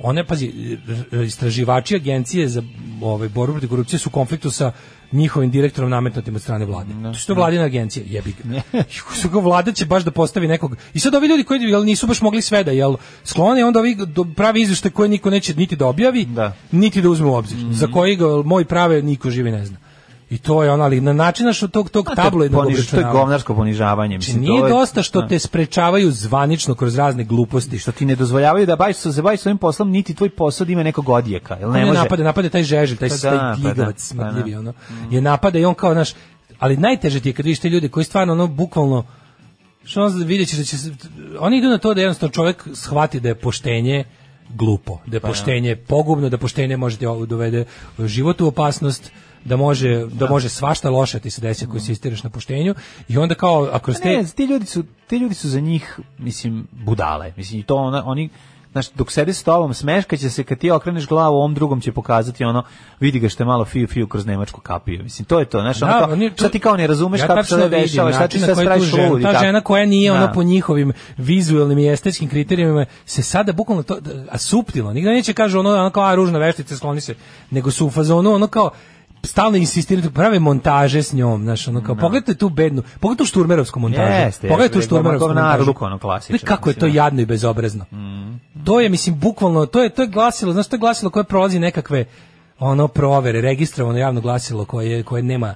S7: one pazi r- r- istraživači agencije za ovaj borbu protiv korupcije su u konfliktu sa njihovim direktorom nametnutim od strane vlade. To su to vladine agencije, jebi ga. Su kao vlada će baš da postavi nekog. I sad ovi ljudi koji jel, nisu baš mogli sve da jel sklone onda ovi do- pravi izveštaj koje niko neće niti da objavi,
S6: Da. Mhm.
S7: niti da uzme u obzir. Za koji ga moj prave niko živi ne zna. I to je ona, ali na način što tog tog
S6: A to je
S7: tabloidnog
S6: poniž- To je
S7: obračunavanja.
S6: govnarsko ponižavanje.
S7: Znači,
S6: Mislim,
S7: nije
S6: to je-
S7: dosta što
S6: Da.
S7: te sprečavaju zvanično kroz razne gluposti. Što
S6: što ti ne dozvoljavaju da baviš se baviš svojim poslom, niti tvoj posao da ima nekog odjeka, jel Pa ne
S7: on je
S6: može?
S7: napade, napade taj žeželj, taj,
S6: Pa
S7: taj
S6: da, pa
S7: gigavac
S6: da, pa
S7: smrdljivi,
S6: da.
S7: ono, je napada i on kao, znaš, ali najteže ti je kad vidiš te ljude koji stvarno, ono, bukvalno, što on vidjet ćeš da će se, oni idu na to da jednostavno čovjek shvati da je poštenje glupo, da je
S6: Pa
S7: poštenje pogubno, da poštenje može ti dovede život u opasnost, da može, da može svašta loše ti se desi ako insistiraš na poštenju i onda kao, ako ste...
S6: Pa Ne, ti ljudi su ti ljudi su za njih mislim budale. Mislim i to ona, oni znaš, dok sede s tobom, smeškaće se kad ti okreneš glavu, ovom drugom će pokazati ono, vidi ga što je malo fiu fiu kroz nemačku kapiju. Mislim, to je to, znaš,
S7: Da,
S6: ono kao,
S7: oni-
S6: šta ti kao ne razumeš
S7: ja
S6: kako se
S7: tačno
S6: da
S7: vidim
S6: dešava, šta ti
S7: način na
S6: sad
S7: koji tu
S6: spraviš
S7: ženu-
S6: ludi.
S7: Ta
S6: tako.
S7: žena koja nije
S6: Da.
S7: ona po njihovim vizuelnim i estetskim kriterijumima se sada bukvalno to, a suptilno, nigde neće kaže ono, ono kao a, ružna veštica, skloni se, nego su u fazonu ono kao stalno insistiraju, prave montaže s njom, znaš, ono kao, pogledajte tu bednu, pogledajte tu šturmerovsku montažu,
S6: Jeste,
S7: pogledajte tu
S6: jeste,
S7: šturmerovsku
S6: Gormakov
S7: montažu,
S6: naruk, ono, klasičan,
S7: Znaš kako je to
S6: mislim, da.
S7: jadno i bezobrazno, to je, mislim, bukvalno, to je, to je glasilo, znaš, to je glasilo koje prolazi nekakve, ono, provere, registrovano javno glasilo koje, koje nema,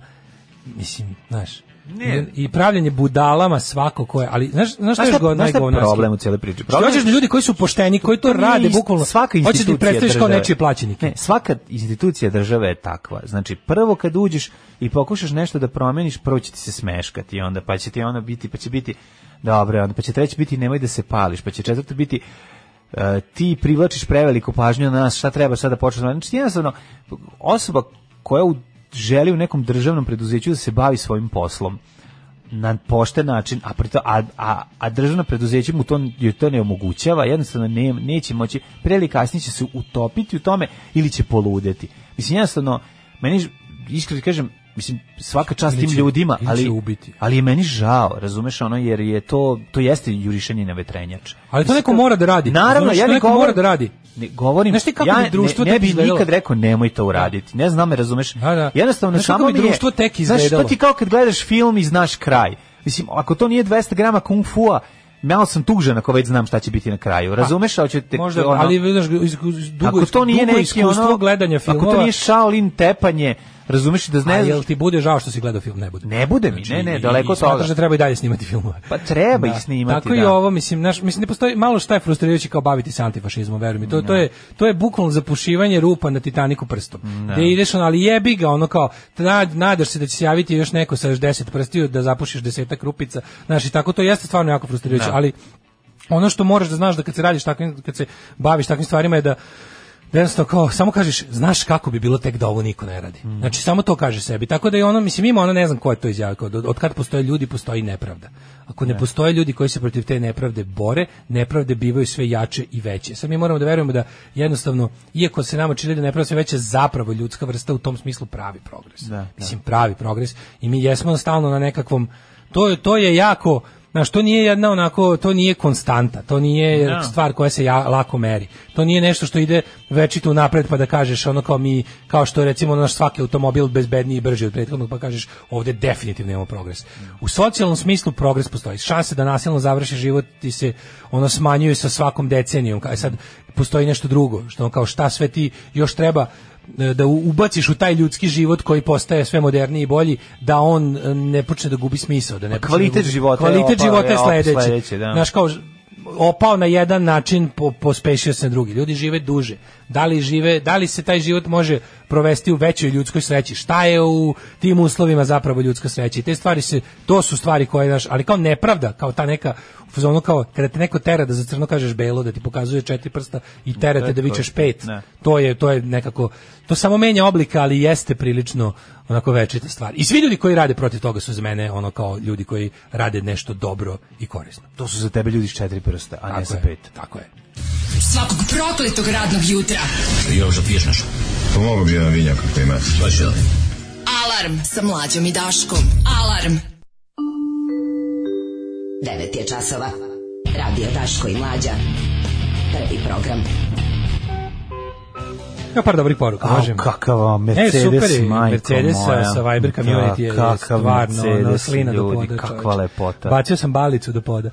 S7: mislim, znaš,
S6: Ne.
S7: i pravljanje budalama svako koje, ali znaš, znaš,
S6: Znaš
S7: znaš,
S6: šta,
S7: znaš,
S6: znaš šta je
S7: najgovnarski?
S6: problem u cijeloj priči?
S7: ono Što
S6: Problem
S7: hoćeš da ljudi koji su pošteni, koji to,
S6: To nije
S7: rade,
S6: ist-
S7: bukvalno,
S6: svaka
S7: hoćeš da
S6: institucija
S7: ih predstaviš kao
S6: države.
S7: nečije plaćenike.
S6: Ne, svaka institucija države je takva. Znači, prvo kad uđeš i pokušaš nešto da promeniš, prvo će ti se smeškati i onda, pa će ti ono biti, pa će biti, dobro, onda, pa će treći biti nemoj da se pališ, pa će četvrti biti, e, ti privlačiš preveliku pažnju na nas, šta treba sada početi? Znači, jednostavno, osoba koja u, želi u nekom državnom preduzeću da se bavi svojim poslom, na pošten način, a, prito, a, a, a državno preduzeće mu to, joj to ne omogućava, jednostavno ne, neće moći, pre ili kasnije će se utopiti u tome ili će poludeti. Mislim, jednostavno, meni, ž- iskreno ti kažem, mislim, svaka čast
S7: Ili
S6: tim
S7: će-
S6: ljudima,
S7: ili
S6: ali,
S7: će ubiti.
S6: ali je meni žao, razumeš ono, jer je to, to jeste jurišenje na vetrenjač.
S7: Ali to
S6: Mislim,
S7: neko mora da radi.
S6: Naravno,
S7: Razumeš,
S6: ja
S7: to
S6: ne
S7: neko
S6: govorim-
S7: mora da radi.
S6: Ne, govorim,
S7: Znaš ti kako
S6: ja
S7: bi
S6: ne-
S7: društvo
S6: ne,
S7: tek
S6: bi
S7: izgledalo?
S6: nikad rekao nemoj to uraditi. Ne znam, me razumeš?
S7: Da, da.
S6: Jednostavno,
S7: Znaš kako
S6: samo
S7: bi
S6: mi je-
S7: društvo tek
S6: Znaš,
S7: izgledalo?
S6: to ti kao kad gledaš film i znaš kraj. Mislim, ako to nije 200 grama kung fua, malo sam tužan ako već znam šta će biti na kraju. Razumeš? A hoćete
S7: Pa, Možda,
S6: ono-
S7: ali znaš, iz- iz- dugo,
S6: ako to nije
S7: dugo
S6: neki
S7: iskustvo
S6: ono
S7: gledanja filmova,
S6: Ako to nije Shaolin tepanje, razumeš da
S7: a
S6: ne
S7: jel ti bude žao što si gledao film? Ne bude. Znači,
S6: Ne bude mi, ne, ne, daleko
S7: i smatraš
S6: toga.
S7: da treba i dalje snimati filmove.
S6: Pa treba ih snimati,
S7: Tako i
S6: da.
S7: ovo, mislim, naš, mislim, ne postoji malo šta je frustrirajuće kao baviti se antifašizmom, veruj mi. To, to, je, to je bukvalno zapušivanje rupa na Titaniku prstom. Gde ideš, ono, ali jebi ga, ono kao, nad, nadaš se da će se javiti još neko sa još deset prstiju da zapušiš desetak rupica. Znaš, i tako to jeste stvarno jako frustrirajuće, ali ono što moraš da znaš da kad se radiš takvim, kad se baviš takvim stvarima je da da jednostavno kao, samo kažeš, znaš kako bi bilo tek da ovo niko ne radi. Znači, samo to kaže sebi. Tako da je ono, mislim, ima ono, ne znam ko je to izjavio, kao da od, od kad postoje ljudi, postoji nepravda. Ako ne, postoje ljudi koji se protiv te nepravde bore, nepravde bivaju sve jače i veće. Sad mi moramo da verujemo da jednostavno, iako se nama čini da je nepravda sve veća, zapravo ljudska vrsta u tom smislu pravi progres. Mislim, pravi progres. I mi jesmo stalno na nekakvom, to, je- to je jako, Znaš, to nije jedna onako, to nije konstanta, to nije stvar koja se ja, lako meri. To nije nešto što ide večito napred pa da kažeš ono kao mi, kao što je recimo naš svaki automobil bezbedniji i brži od prethodnog pa kažeš ovde definitivno imamo progres. U socijalnom smislu progres postoji. Šanse da nasilno završi život ti se ono smanjuje sa svakom decenijom. Kaj sad postoji nešto drugo, što ono kao šta sve ti još treba e, da u- ubaciš u taj ljudski život koji postaje sve moderniji i bolji da on e, ne počne da gubi smisao da ne počne da
S6: Pa kvalitet
S7: gubi-
S6: života je
S7: kvalitet
S6: opao-
S7: života je
S6: je opao
S7: sledeći,
S6: sledeći, da.
S7: Znaš, kao ž- opao na jedan način po, pospešio se na drugi. Ljudi žive duže. Da li žive, da li se taj život može provesti u većoj ljudskoj sreći? Šta je u tim uslovima zapravo ljudska sreća? I te stvari se, to su stvari koje, znaš, ali kao nepravda, kao ta neka u fazonu kao kada te neko tera da za crno kažeš belo, da ti pokazuje četiri prsta i tera te da vičeš pet.
S6: Ne.
S7: To je to je nekako to samo menja oblika, ali jeste prilično onako večita stvar. I svi ljudi koji rade protiv toga su za mene ono kao ljudi koji rade nešto dobro i korisno.
S6: To su za tebe ljudi s četiri prsta, a ne sa
S7: je.
S6: pet.
S7: Tako je.
S4: Svakog prokletog radnog jutra.
S3: Pomogu Pa bi jedan vinjak ako imate.
S4: Alarm sa mlađom i Daškom. Alarm.
S8: 9 je časova. Radio Daško i Mlađa. Prvi program.
S7: Ja par dobrih poruka,
S6: Au,
S7: možemo.
S6: kakav vam
S7: E,
S6: Mercedes,
S7: super je,
S6: majko
S7: Mercedes
S6: moja.
S7: sa Viber Community je
S6: Da, kakav
S7: stvarno ono,
S6: Mercedes,
S7: slina do
S6: ljudi,
S7: poda.
S6: kakva
S7: čoveče.
S6: lepota. Mm.
S7: Bacio sam balicu do poda.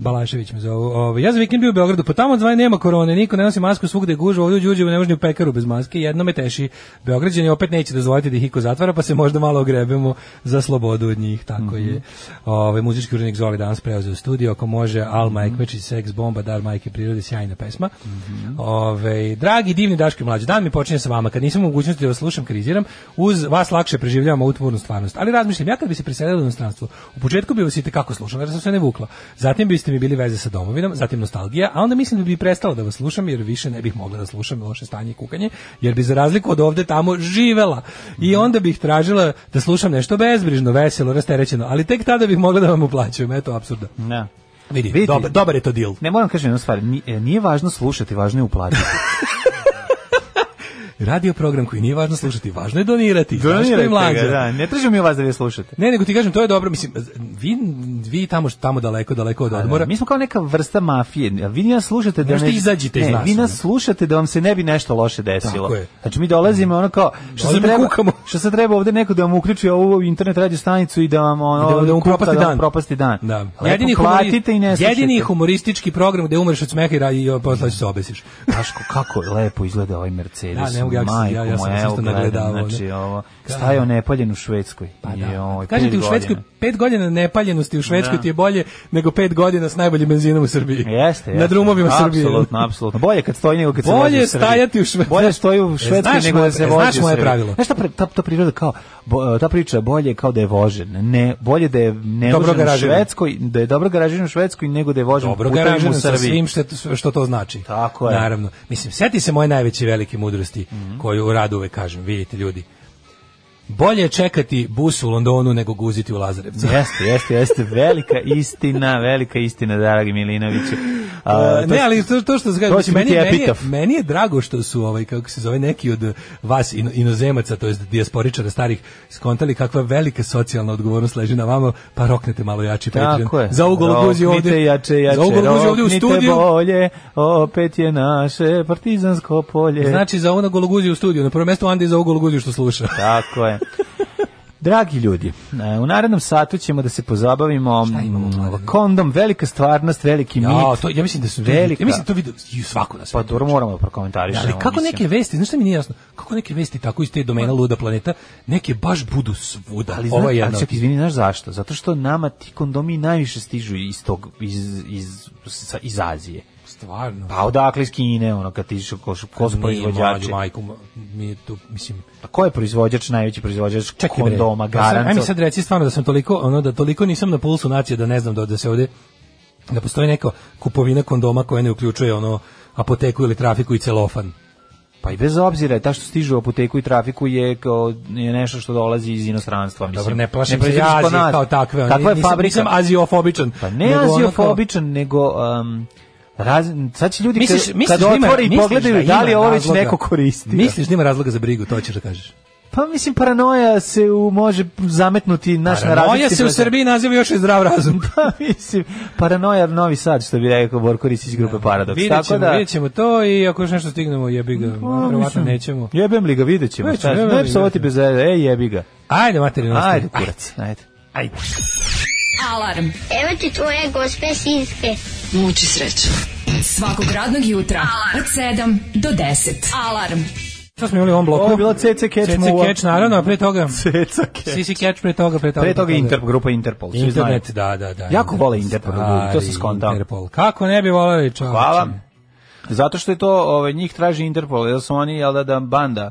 S7: Balašević me zovu. Ovaj, ja za vikend bio u Beogradu, pa tamo zvanje nema korone, niko ne nosi masku svugde je gužva, ovdje u Đurđevu ne može ni u pekaru bez maske, jedno me teši. Beograđani opet neće dozvoliti da ih iko zatvara, pa se možda malo ogrebemo za slobodu od njih, tako
S6: Mhm.
S7: je. Ovaj, muzički urednik Zoli danas preuzeo studio, ako može,
S6: Mhm.
S7: Alma Ekmečić, Seks Bomba, Dar Majke Prirode, sjajna pesma.
S6: Mhm.
S7: Ovaj, dragi divni Daško i mlađi, dan mi počinje sa vama. Kad nisam u mogućnosti da vas slušam, kriziram, uz vas lakše preživljavam ovu tvornu stvarnost. Ali razmišljam, ja kad bi se preselila u inostranstvo, u početku bi vas i kako slušala, jer sam sve ne vukla. Zatim biste mi bili veze sa domovinom, zatim nostalgija, a onda mislim da bi prestala da vas slušam, jer više ne bih mogla da slušam loše stanje i kukanje, jer bi za razliku od ovde tamo živela. I
S6: Mhm.
S7: onda bih tražila da slušam nešto bezbrižno, veselo, rasterećeno, ali tek tada bih mogla da vam uplaćujem, eto, apsurda.
S6: Ne.
S7: Vidi,
S6: Vidi.
S7: dobar, dobar je to deal.
S6: Ne moram kažem jednu stvar, ni- e, nije važno slušati, važno je uplatiti.
S7: Radio program koji nije važno slušati, važno je donirati. Daško i
S6: Donirajte
S7: Mlađa.
S6: ga, da, ne tražimo mi od vas da vi slušate.
S7: Ne, nego ti kažem, to je dobro, mislim, vi, vi tamo, tamo daleko, daleko od odmora.
S6: Mi smo kao neka vrsta mafije. a Vi nas slušate da
S7: Možete izađite iz
S6: ne,
S7: nas,
S6: Vi
S7: ono.
S6: nas slušate da vam se ne bi nešto loše desilo.
S7: Tako je.
S6: Znači mi dolazimo ono kao što se
S7: Dolazimo i
S6: treba
S7: kukamo.
S6: što se treba ovde neko da vam uključi ovu internet radio stanicu i da vam ono
S7: I da, da mu
S6: kuka,
S7: propasti
S6: da vam
S7: dan.
S6: propasti dan.
S7: Da.
S6: Lepo platite i ne slušate.
S7: jedini humoristički program gde umreš od smeha i, ra- i posle pa se obesiš.
S6: Daško, kako lepo izgleda ovaj Mercedes.
S7: Da, ne mogu, ja, ja, ja, ja sam
S6: moja,
S7: se isto
S6: evo, gledam,
S7: nagledavao.
S6: Znači,
S7: da.
S6: ovo, stajao nepaljen u Švedskoj.
S7: Pa da.
S6: Joj,
S7: Kažem ti,
S6: pet
S7: u Švedskoj
S6: godina.
S7: pet godina nepaljenosti u Švedskoj
S6: Da.
S7: ti je bolje nego pet godina s najboljim benzinom u Srbiji.
S6: Jeste, jeste.
S7: Na drumovima Srbije.
S6: Apsolutno, apsolutno. Bolje kad stoji nego kad se vozi
S7: Bolje
S6: u Srbiji.
S7: stajati u Švedskoj.
S6: Bolje stoji u
S7: E,
S6: Švedskoj
S7: znaš
S6: nego
S7: moje-
S6: da se
S7: e,
S6: vozi
S7: znaš
S6: u Srbiji.
S7: moje pravilo?
S6: Znaš šta pre- ta, ta priroda kao, bo- ta priča bolje je kao da je vožen. Ne, bolje da je ne
S7: Dobro
S6: vožen u
S7: garažiran.
S6: Švedskoj, da je dobro garažiran u Švedskoj nego da je vožen
S7: Dobro
S6: putem
S7: garažiran
S6: u
S7: sa
S6: Srbiji.
S7: svim što, što to znači.
S6: Tako je. Mhm.
S7: Naravno. Mislim, seti se moje najveće velike mudrosti koju u radu uvek kažem. Vidite, ljudi, bolje je čekati bus u Londonu nego guziti u Lazarevcu.
S6: Jeste, jeste, jeste. Velika istina, velika istina, dragi Milinoviću. A,
S7: E,
S6: to
S7: ne, ali to, to što se kaže,
S6: to će
S7: mislim, meni,
S6: biti
S7: meni, je,
S6: epitaf.
S7: meni je drago što su ovaj kako se zove neki od vas ino- inozemaca, to jest dijasporičara starih skontali kakva velika socijalna odgovornost leži na vama, pa roknete malo jači
S6: Tako
S7: Patreon.
S6: je.
S7: Za ugol guzi
S6: Roknite
S7: ovde.
S6: Jače, jače,
S7: za ugol guzi ovde u
S6: roknite
S7: studiju.
S6: bolje, opet je naše partizansko polje.
S7: Znači za ono gologuziju u studiju, na prvom mestu Andi za ovo gologuziju što sluša.
S6: Tako je. Dragi ljudi, e, u narednom satu ćemo da se pozabavimo
S7: Šta imamo,
S6: mm,
S7: mlade?
S6: kondom, velika stvarnost, veliki mit.
S7: Ja, to, ja mislim da su
S6: Velika.
S7: Ja mislim da to vidio i svako na
S6: Pa
S7: svetu.
S6: dobro, moramo da
S7: Da,
S6: prokomentarišemo.
S7: ali kako
S6: mislim. Pa-
S7: neke vesti, znaš šta mi nije jasno, kako neke vesti tako iz te domena Luda planeta, neke baš budu svuda.
S6: Ali, zna,
S7: Ovo je
S6: ali
S7: jedna od
S6: čak, izvini, znaš zašto? Zato što nama ti kondomi najviše stižu iz, tog, iz, iz, sa- iz Azije.
S7: Stvarno.
S6: Pa odakle iz Kine, ono, kad ti išao ko, ko su
S7: Nije, mlađo,
S6: proizvođači?
S7: majku, ma- mi je tu, mislim...
S6: A ko je proizvođač, najveći proizvođač
S7: Čekaj bre,
S6: kondoma,
S7: ja sam-
S6: garanca?
S7: Ajde mi sad reci stvarno da sam toliko, ono, da toliko nisam na pulsu nacije da ne znam da, da se ovde, da postoji neka kupovina kondoma koja ne uključuje ono apoteku ili trafiku i celofan.
S6: Pa i bez obzira, ta što stiže u apoteku i trafiku je, kao, je nešto što dolazi iz inostranstva. Mislim,
S7: Dobro, ne plašim se
S6: proizvodiš
S7: ja
S6: kod
S7: Azije
S6: nas.
S7: kao takve. ono,
S6: Kakva je
S7: nisam,
S6: fabrika?
S7: Nisam aziofobičan.
S6: Pa ne
S7: nego ono kao-
S6: aziofobičan, nego... Um, raz, sad će ljudi
S7: Misliš,
S6: kad,
S7: misliš
S6: kad
S7: da ima,
S6: otvore i
S7: misliš
S6: pogledaju da,
S7: ima
S6: li je ovo već
S7: razloga-
S6: neko koristi.
S7: Misliš da ima razloga za brigu, to ćeš da kažeš.
S6: Pa mislim, paranoja se u, može zametnuti naš na
S7: Paranoja
S6: različite
S7: se u
S6: načine.
S7: Srbiji naziva još i zdrav razum.
S6: Pa mislim, paranoja Novi Sad, što bi rekao Borko Risić iz grupe Paradox.
S7: Vidjet
S6: Tako
S7: ćemo,
S6: da,
S7: vidjet ćemo to i ako još nešto stignemo, jebi ga,
S6: Pa,
S7: verovatno
S6: mislim,
S7: nećemo.
S6: Jebem li ga, vidjet ćemo.
S7: Vidjet ćemo,
S6: šta je.
S7: jebem
S6: Ne
S7: li ga,
S6: psovati bez veze, ej jebi ga.
S7: Ajde, materijalno.
S6: Ajde, kurac, ajde.
S4: Alarm.
S5: Evo ti tvoje gospe sinske.
S8: Muči sreću.
S4: Svakog radnog jutra od 7 do 10. Alarm.
S7: Šta smo imali u ovom bloku?
S6: Ovo je bila CC Catch
S7: CC
S6: Mova.
S7: Catch, naravno, a pre toga...
S6: Ceca Catch.
S7: CC Catch, pre toga, pre toga.
S6: Pre toga Inter, grupa Interpol. svi znaju.
S7: Internet, da, da, da.
S6: Jako vole Interpol, ljudi, to sam skontao.
S7: Interpol. Kako ne bi volali, čao.
S6: Hvala. Zato što je to, ovaj, njih traži Interpol, jer su oni, jel da, da banda.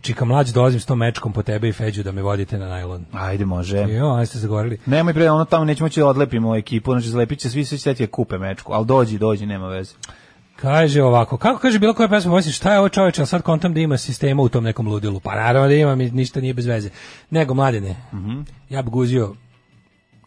S7: Čika mlađ, dolazim s tom mečkom po tebe i Feđu da me vodite na najlon.
S6: Ajde, može.
S7: Jo, ajde ste zagorili.
S6: Nemoj pre, ono tamo nećemo moći da odlepimo ekipu, znači zlepit će svi, svi će da kupe mečku, ali dođi, dođi, nema veze. kaže
S7: Kaže ovako, kako kaže bilo koja pesma, mislim šta je ovo čoveče, ali sad kontam da ima sistema u tom nekom ludilu. Pa naravno da ima, mi- ništa nije bez veze. Nego mladine. Ja bi guzio
S6: Jel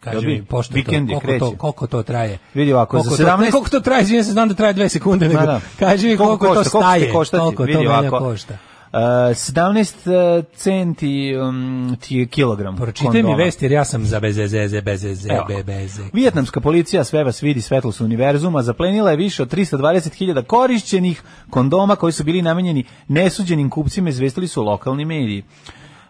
S7: Kaže
S6: Mhm. bi?
S7: mi, pošto to,
S6: Vikend je,
S7: koliko, to,
S6: kreće.
S7: koliko to traje?
S6: Vidi ovako,
S7: koliko
S6: za
S7: to-
S6: 17
S7: ne, koliko to traje, izvijem se, znam da traje dve sekunde, nego,
S6: Da, da.
S7: kaži mi koliko, to
S6: košta,
S7: staje,
S6: će koštati?
S7: koliko to
S6: Vidi
S7: mene
S6: ovako,
S7: košta.
S6: e, 17 e, centi um, ti je kilogram.
S7: Pročitaj mi
S6: kondoma.
S7: vest, jer ja sam za bezezeze, bezeze,
S6: Evo.
S7: bezeze.
S6: Vijetnamska policija sve vas vidi svetlost univerzuma, zaplenila je više od 320.000 korišćenih kondoma koji su bili namenjeni nesuđenim kupcima, izvestili su lokalni mediji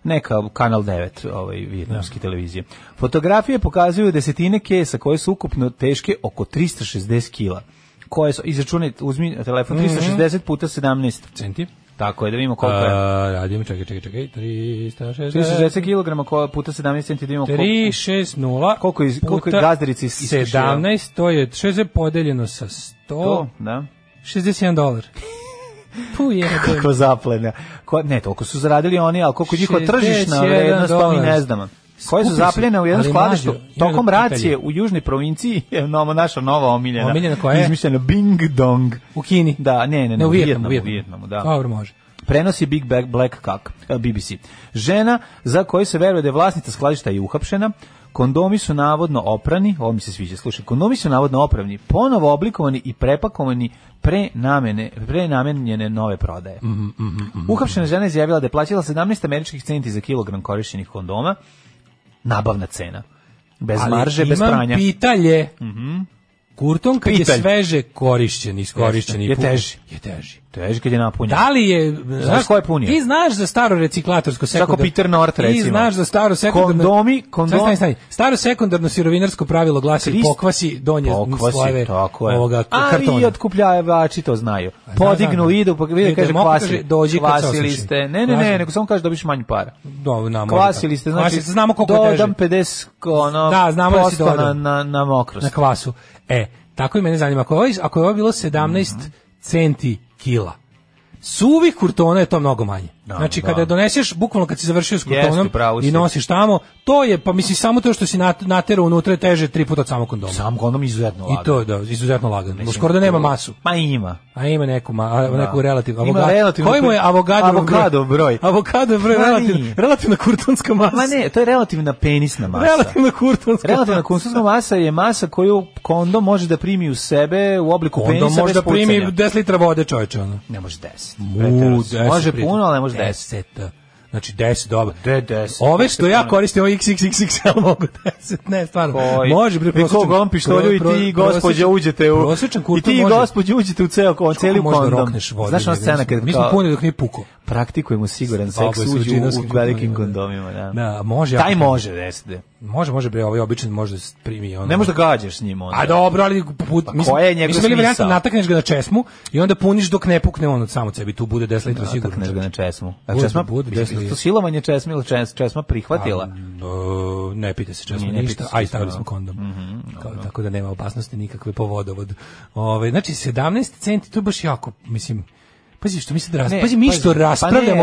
S6: neka Kanal 9 ovaj, vijetnamske televizije. Fotografije pokazuju desetine kesa koje su ukupno teške oko 360 kila. Koje su, izračunaj, uzmi telefon, 360 puta 17.
S7: Centi?
S6: Tako je, da vidimo koliko je.
S7: A, radimo, čekaj, čekaj, čekaj, 360.
S6: 360 kilograma ko- puta 17 centi, da vidimo koliko.
S7: 360
S6: Koliko je- koliko je
S7: puta
S6: gazdarica is- iskešila?
S7: 17, to je 60 podeljeno sa 100,
S6: To, da.
S7: 61 dolar. Pu je.
S6: Kako zaplena. Ko, ne, toliko su zaradili oni, ali koliko njihova tržišna
S7: 61
S6: vrednost, to mi
S7: dolar.
S6: ne znamo. Koje su
S7: Skupi su,
S6: zapljene u jednom
S7: ali
S6: skladištu
S7: mlađo, imam
S6: tokom
S7: pitanje.
S6: racije u južnoj provinciji je novo, naša nova omiljena.
S7: Omiljena koja je?
S6: Izmišljena Bing Dong.
S7: U Kini.
S6: Da, ne, ne, ne,
S7: u Vijetnamu,
S6: u Vijetnamu, u Vijetnamu, da.
S7: Dobro, može.
S6: Prenosi Big Black, Black Cock, eh, BBC. Žena za koju se veruje da je vlasnica skladišta je uhapšena, kondomi su navodno oprani, ovo mi se sviđa, slušaj, kondomi su navodno opravni, ponovo oblikovani i prepakovani pre namene, pre namenjene nove prodaje.
S7: Mhm,
S6: Uhapšena žena je izjavila da je plaćala 17 američkih centi za kilogram korišćenih kondoma, nabavna cena. Bez
S7: Ali
S6: marže, bez
S7: imam
S6: pranja. Mhm.
S7: pitanje. Kurton kad je
S6: Pitalj.
S7: sveže korišćen, iskorišćen i
S6: Je
S7: pun-
S6: teži.
S7: Je teži.
S6: Teži kad je napunjen.
S7: Da li je...
S6: Znaš ko je punio?
S7: Ti znaš za staro reciklatorsko sekundarno...
S6: Peter North,
S7: Ti
S6: recimo.
S7: znaš za staro sekundarno...
S6: Kondomi, kondom-
S7: Stani, stani, stani. Staro sekundarno sirovinarsko pravilo glasi
S6: Krist-
S7: pokvasi donje
S6: Pokvasi,
S7: slojeve
S6: tako je.
S7: ovoga
S6: Ali
S7: kartona.
S6: i otkupljači to znaju.
S7: znam,
S6: Podignu,
S7: znam.
S6: idu, pa
S7: Ili
S6: vide, kaže,
S7: demokrat kaže,
S6: kvasili,
S7: dođi kad se
S6: kvasili
S7: osveži.
S6: ste. Ne, ne,
S7: Kvasili.
S6: ne, nego samo kaže dobiš manje para.
S7: Do, na, može
S6: Kvasili
S7: tako.
S6: ste, znači,
S7: Kvasili ste, znamo koliko je teže.
S6: dodam 50 ono,
S7: Da, znamo da si
S6: posto
S7: dodao.
S6: na, na, na mokrost.
S7: na kvasu. E, tako i mene zanima. Ako je ovo, ako je ovo bilo 17
S6: Mhm.
S7: centi kila, suvih kurtona je to mnogo manje.
S6: Da,
S7: znači,
S6: da.
S7: kada doneseš, bukvalno kad si završio s kurtonom
S6: Jeste, pravo
S7: i
S6: si.
S7: nosiš tamo, to je, pa mislim, samo to što si nat- naterao unutra je teže tri puta od samog kondoma.
S6: Sam kondom izuzetno
S7: I to je da, izuzetno lagano. Skoro da nema masu.
S6: Ma ima.
S7: A ima neku, ma, a, neku relativnu.
S6: Ima relativno-
S7: Koji mu je avogado,
S6: Avogadov broj.
S7: Avogado broj,
S6: Ma
S7: relativna,
S6: nije.
S7: relativna kurtonska masa.
S6: Ma ne, to je relativna penisna masa.
S7: Relativna kurtonska
S6: Relativna
S7: masa.
S6: konsumska masa je masa koju kondom može da primi u sebe u obliku
S7: Onda
S6: penisa
S7: možda
S6: bez pucanja.
S7: primi 10 litra vode čoveče. Ono.
S6: Ne može 10.
S7: Mu, deset E,
S6: Može
S7: pritom.
S6: puno, ali ne može 10.
S7: Deset, da. Znači 10 dobro.
S6: De, deset,
S7: Ove
S6: deset
S7: što ja
S6: puno.
S7: koristim, ovo XXXXL mogu 10, ne, stvarno.
S6: Koji?
S7: Može, bre,
S6: I ko golom pištolju i ti, gospođa, uđete u...
S7: Prosječan kurton
S6: I ti,
S7: može...
S6: gospođa, uđete u ceo, kon, cijeli
S7: Možda
S6: kondom.
S7: rokneš vodu.
S6: Znaš ona
S7: bre,
S6: scena
S7: mislim.
S6: kad pa
S7: Mi smo punili dok nije puko.
S6: praktikujemo siguran
S7: Slabo
S6: seks
S7: je sa
S6: uđu
S7: džinovskim
S6: u velikim
S7: kondomima,
S6: kondomima. Da.
S7: Da, može,
S6: Taj
S7: ako-
S6: može 10.
S7: Može, može, bre, ovaj običan može da primi. Ono.
S6: Ne može da gađaš s njim onda.
S7: A dobro, ali put, mislim,
S6: koja je njegov
S7: mi smo imali varijantu,
S6: smisao?
S7: natakneš ga na česmu i onda puniš dok ne pukne on od samo sebi, tu bude 10 litra sigurno.
S6: Natakneš ga na česmu. A
S7: Bude,
S6: česma,
S7: bude, Pa,
S6: mislim,
S7: desno je.
S6: to silovanje česme ili čes, česma prihvatila.
S7: E, ne pita se česma
S6: Nije, ne pita
S7: ništa,
S6: se
S7: a i
S6: česma,
S7: stavili
S6: da. Mhm,
S7: smo kondom. Kao, tako da nema opasnosti nikakve po vodovod. Ove, znači, 17 centi, to je baš jako, mislim, Pazi što mi sad raz...
S6: Ne,
S7: pazi, mi
S6: pazi,
S7: što
S6: pa
S7: raspravljamo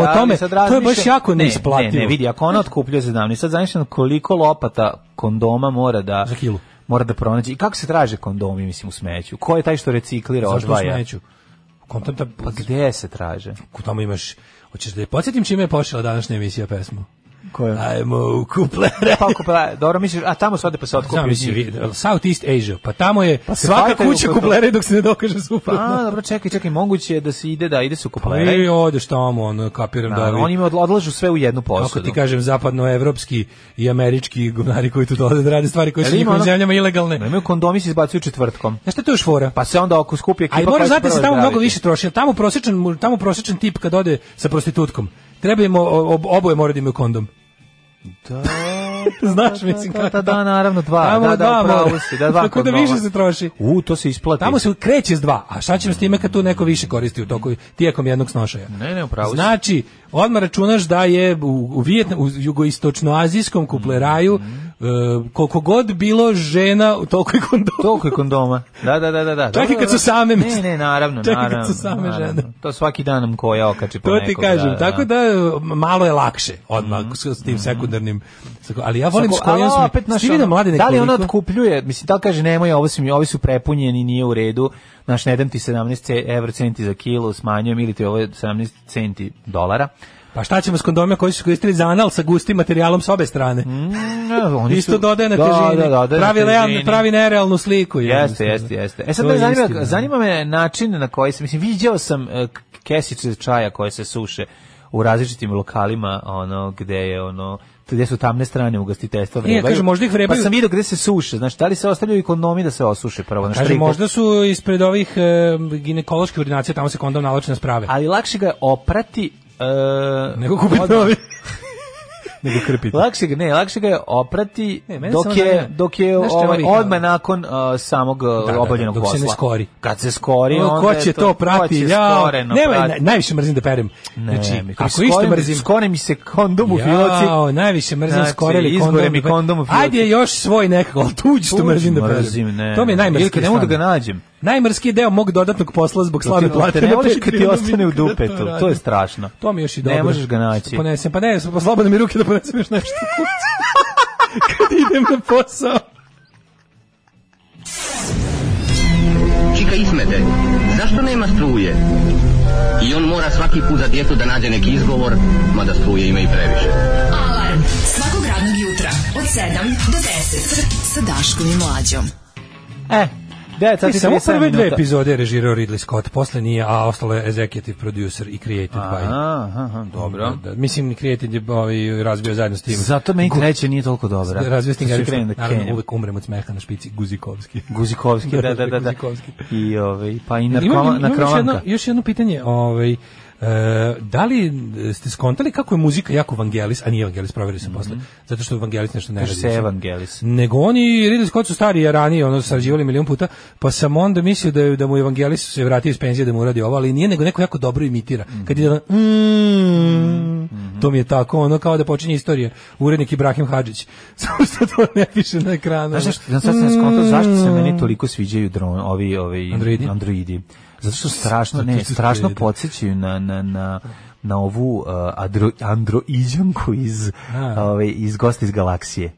S6: ne,
S7: o
S6: ali
S7: tome,
S6: sad
S7: to je baš
S6: razmišljam-
S7: jako
S6: Ne,
S7: neisplativo.
S6: Ne, ne, vidi, ako ona otkupljuje 17, sad zamišljam koliko lopata kondoma mora da...
S7: Za kilu.
S6: Mora da pronađe. I kako se traže kondomi, mislim, u smeću? Ko je taj što reciklira,
S7: Zašto
S6: odvaja?
S7: smeću? Kontanta,
S6: Pa gde se traže?
S7: Ku tamo imaš... Hoćeš da je podsjetim čime je počela današnja emisija pesmu?
S6: Ko je?
S7: Ajmo u kuplere.
S6: Pa, ako pa, dobro, misliš, a tamo se ode pa se
S7: Znam,
S6: otkupi.
S7: mislim, vi- Southeast Asia, pa tamo je
S6: se
S7: svaka
S6: fajtaju
S7: kuća
S6: oko toga.
S7: kuplere dok se ne dokaže suprotno.
S6: A, Pa, dobro, čekaj, čekaj, moguće je da se ide, da ide su
S7: Pa i
S6: kuplere.
S7: odeš tamo, ono, kapiram da,
S6: Da,
S7: ovi-
S6: oni im odla- odlažu sve u jednu posudu.
S7: kako ti kažem, zapadnoevropski i američki gumnari koji tu dolaze da rade stvari koje
S6: Jel
S7: su u
S6: ima
S7: njihovim
S6: ono-
S7: zemljama ilegalne.
S6: Da imaju kondomi se izbacuju četvrtkom.
S7: Znaš šta je to još fora?
S6: Pa se onda oko skupi ekipa.
S7: Ali moraš
S6: koja će
S7: znati da se
S6: prva
S7: tamo mnogo
S6: zdraviti.
S7: više troši. jer Tamo prosječan, mu- tamo prosječan tip kad ode sa prostitutkom, treba im o- o- ob- oboje mora da imaju kondom.
S6: Da.
S7: Znaš, mislim,
S6: Da, da,
S7: kako-
S6: da, naravno dva.
S7: Tamo
S6: da, da,
S7: dva
S6: upravo
S7: mora.
S6: si, da, dva
S7: Tako da
S6: kondoma.
S7: više se troši.
S6: U, to se isplati.
S7: Tamo se kreće s dva, a šta ćemo s time kad tu neko više koristi u toku tijekom jednog snošaja?
S6: Ne, ne, upravo si.
S7: Znači, odmah računaš da je u, u, Vijetna- u jugoistočnoazijskom kupleraju
S6: Mhm.
S7: e, koliko god bilo žena, toliko i kondoma.
S6: Toliko je kondoma. Da, da, da, da. da.
S7: Čak i kad su same,
S6: Ne,
S7: mislim.
S6: ne, naravno,
S7: Čak i kad
S6: naravno.
S7: su same
S6: naravno.
S7: žene.
S6: To svaki dan nam koja okači po
S7: To ti
S6: nekog, Mhm.
S7: kažem, tako da e, malo je lakše odmah s, s tim sekundarnim. Ali ja volim s
S6: Tako,
S7: kojom
S6: ali
S7: smo...
S6: opet, znaš,
S7: Ti vidim
S6: ono,
S7: mlade
S6: Da li ona
S7: nekoliko-
S6: otkupljuje? Mislim, da li kaže, nemoj, ovo su mi, ovi su prepunjeni, nije u redu, znaš, ne dam ti 17 ce- evra centi za kilo, smanjujem, ili ti ovo je 17 centi dolara.
S7: Pa šta ćemo s kondomima koji su koristili za anal sa gustim materijalom s obe strane?
S6: Mhm. Ne, oni
S7: Isto
S6: su-
S7: dodaje na težini.
S6: Da, da, da, dodaje na
S7: pravi, leal-
S6: težini.
S7: pravi nerealnu sliku.
S6: Jeste,
S7: jednostavno.
S6: jeste, jeste. E sad
S7: To
S6: me
S7: je
S6: zanima,
S7: istina.
S6: zanima me način na koji sam, mislim, viđao sam e, k- kesice čaja koje se suše u različitim lokalima, ono, gde je, ono, gde su tamne strane ugostiteljstva
S7: Nije,
S6: vrebaju.
S7: kažem, možda ih vrebaju-
S6: Pa sam vidio gde se suše, znači, da li se ostavljaju i kondomi da se osuše prvo? Znaš,
S7: Kaže,
S6: tri-
S7: možda su ispred ovih e, ginekoloških ordinacija, tamo se kondom nalače na sprave.
S6: Ali lakše ga je oprati... e,
S7: Nego kupiti
S6: od-
S7: novi. Nego krpiti.
S6: Lakše ga, ne, lakše ga je oprati
S7: Ne, mene samo
S6: dok je,
S7: zanima-
S6: dok je
S7: Znaš šta je
S6: ovaj,
S7: ovih- ono-
S6: odmah nakon e, samog e,
S7: da, da,
S6: obavljenog
S7: dok se
S6: posla.
S7: ne skori.
S6: Kad se skori,
S7: O,
S6: onda
S7: ko
S6: je
S7: će to
S6: ko će
S7: prati? Ja,
S6: skoreno
S7: nema,
S6: prati.
S7: naj- najviše mrzim da perem.
S6: Ne,
S7: znači,
S6: mi to-
S7: ako
S6: skore
S7: isto
S6: mi-
S7: mrzim...
S6: Skore mi se kondom u filoci.
S7: Jao, najviše mrzim
S6: Znači,
S7: skoreli
S6: izgore
S7: kondom.
S6: mi
S7: da-
S6: kondom u fijoci.
S7: Ajde još svoj nekako, ali tuđ što
S6: Tuđ
S7: mrzim da
S6: mrzim,
S7: mrzim.
S6: ne.
S7: To mi je najmrski.
S6: Ili kad ne mogu da ga nađem.
S7: Najmrski deo mog dodatnog posla zbog slabe
S6: Ti-
S7: plate.
S6: te ne
S7: na
S6: voliš kad ti
S7: Patreonu,
S6: ostane u
S7: kada to
S6: dupetu. To
S7: radim.
S6: je strašno.
S7: To mi je još i dobro.
S6: Ne možeš ga naći.
S7: Što Ponesem, pa ne, pa slobodno mi ruke da ponesem još nešto u kuću. Kad idem na posao.
S1: Čika Ismete, zašto nema struje? I on mora svaki put za djetu da nađe neki izgovor, mada struje ima i previše.
S4: Alarm. Svakog radnog jutra od 7 do 10. Sa Daškom i Mlađom.
S6: E, 9 sati
S7: I samo
S6: 37
S7: prve dve
S6: minuta.
S7: epizode je režirao Ridley Scott, posle nije, a ostalo je executive producer i created by.
S6: Aha, aha, aha, dobro.
S7: Da, da, mislim, created je ovaj, razbio zajedno s tim.
S6: Zato meni treće nije toliko dobra.
S7: Razvio Sting
S6: Sad ću
S7: Eriksson.
S6: krenem da
S7: Naravno,
S6: kenjam.
S7: uvek umrem od smeha na špici Guzikovski.
S6: Guzikovski, da, da, da. da.
S7: Guzikovski.
S6: I, ovaj, pa i
S7: Imam-
S6: narkoma,
S7: imam još, jedno,
S6: narkomanka.
S7: još jedno pitanje. Ovaj, e, da li ste skontali kako je muzika jako Vangelis, a nije Vangelis, proverio sam posle, zato što Vangelis nešto ne
S6: Mhm. Kaže
S7: radi.
S6: se
S7: više.
S6: Evangelis.
S7: Nego oni Ridley Scott su stari ja ranije, ono sarađivali milion puta, pa sam onda mislio da je, da mu Evangelis se vratio iz penzije da mu uradi ovo, ali nije nego neko jako dobro imitira.
S6: Mhm.
S7: Kad ide ono, mm, to mi je tako, ono kao da počinje istorija. Urednik Ibrahim Hadžić. Samo što to ne piše na ekranu.
S6: Znaš, zašto, sad sam skontao zašto se meni toliko sviđaju dron, ovi, ovi
S7: Mm. Androidi?
S6: androidi. Zato što strašno,
S7: Zato
S6: ne,
S7: što
S6: strašno
S7: su
S6: podsjećaju na, na, na, na ovu uh, adro, androiđanku iz,
S7: A.
S6: ovaj, iz Gosta iz galaksije.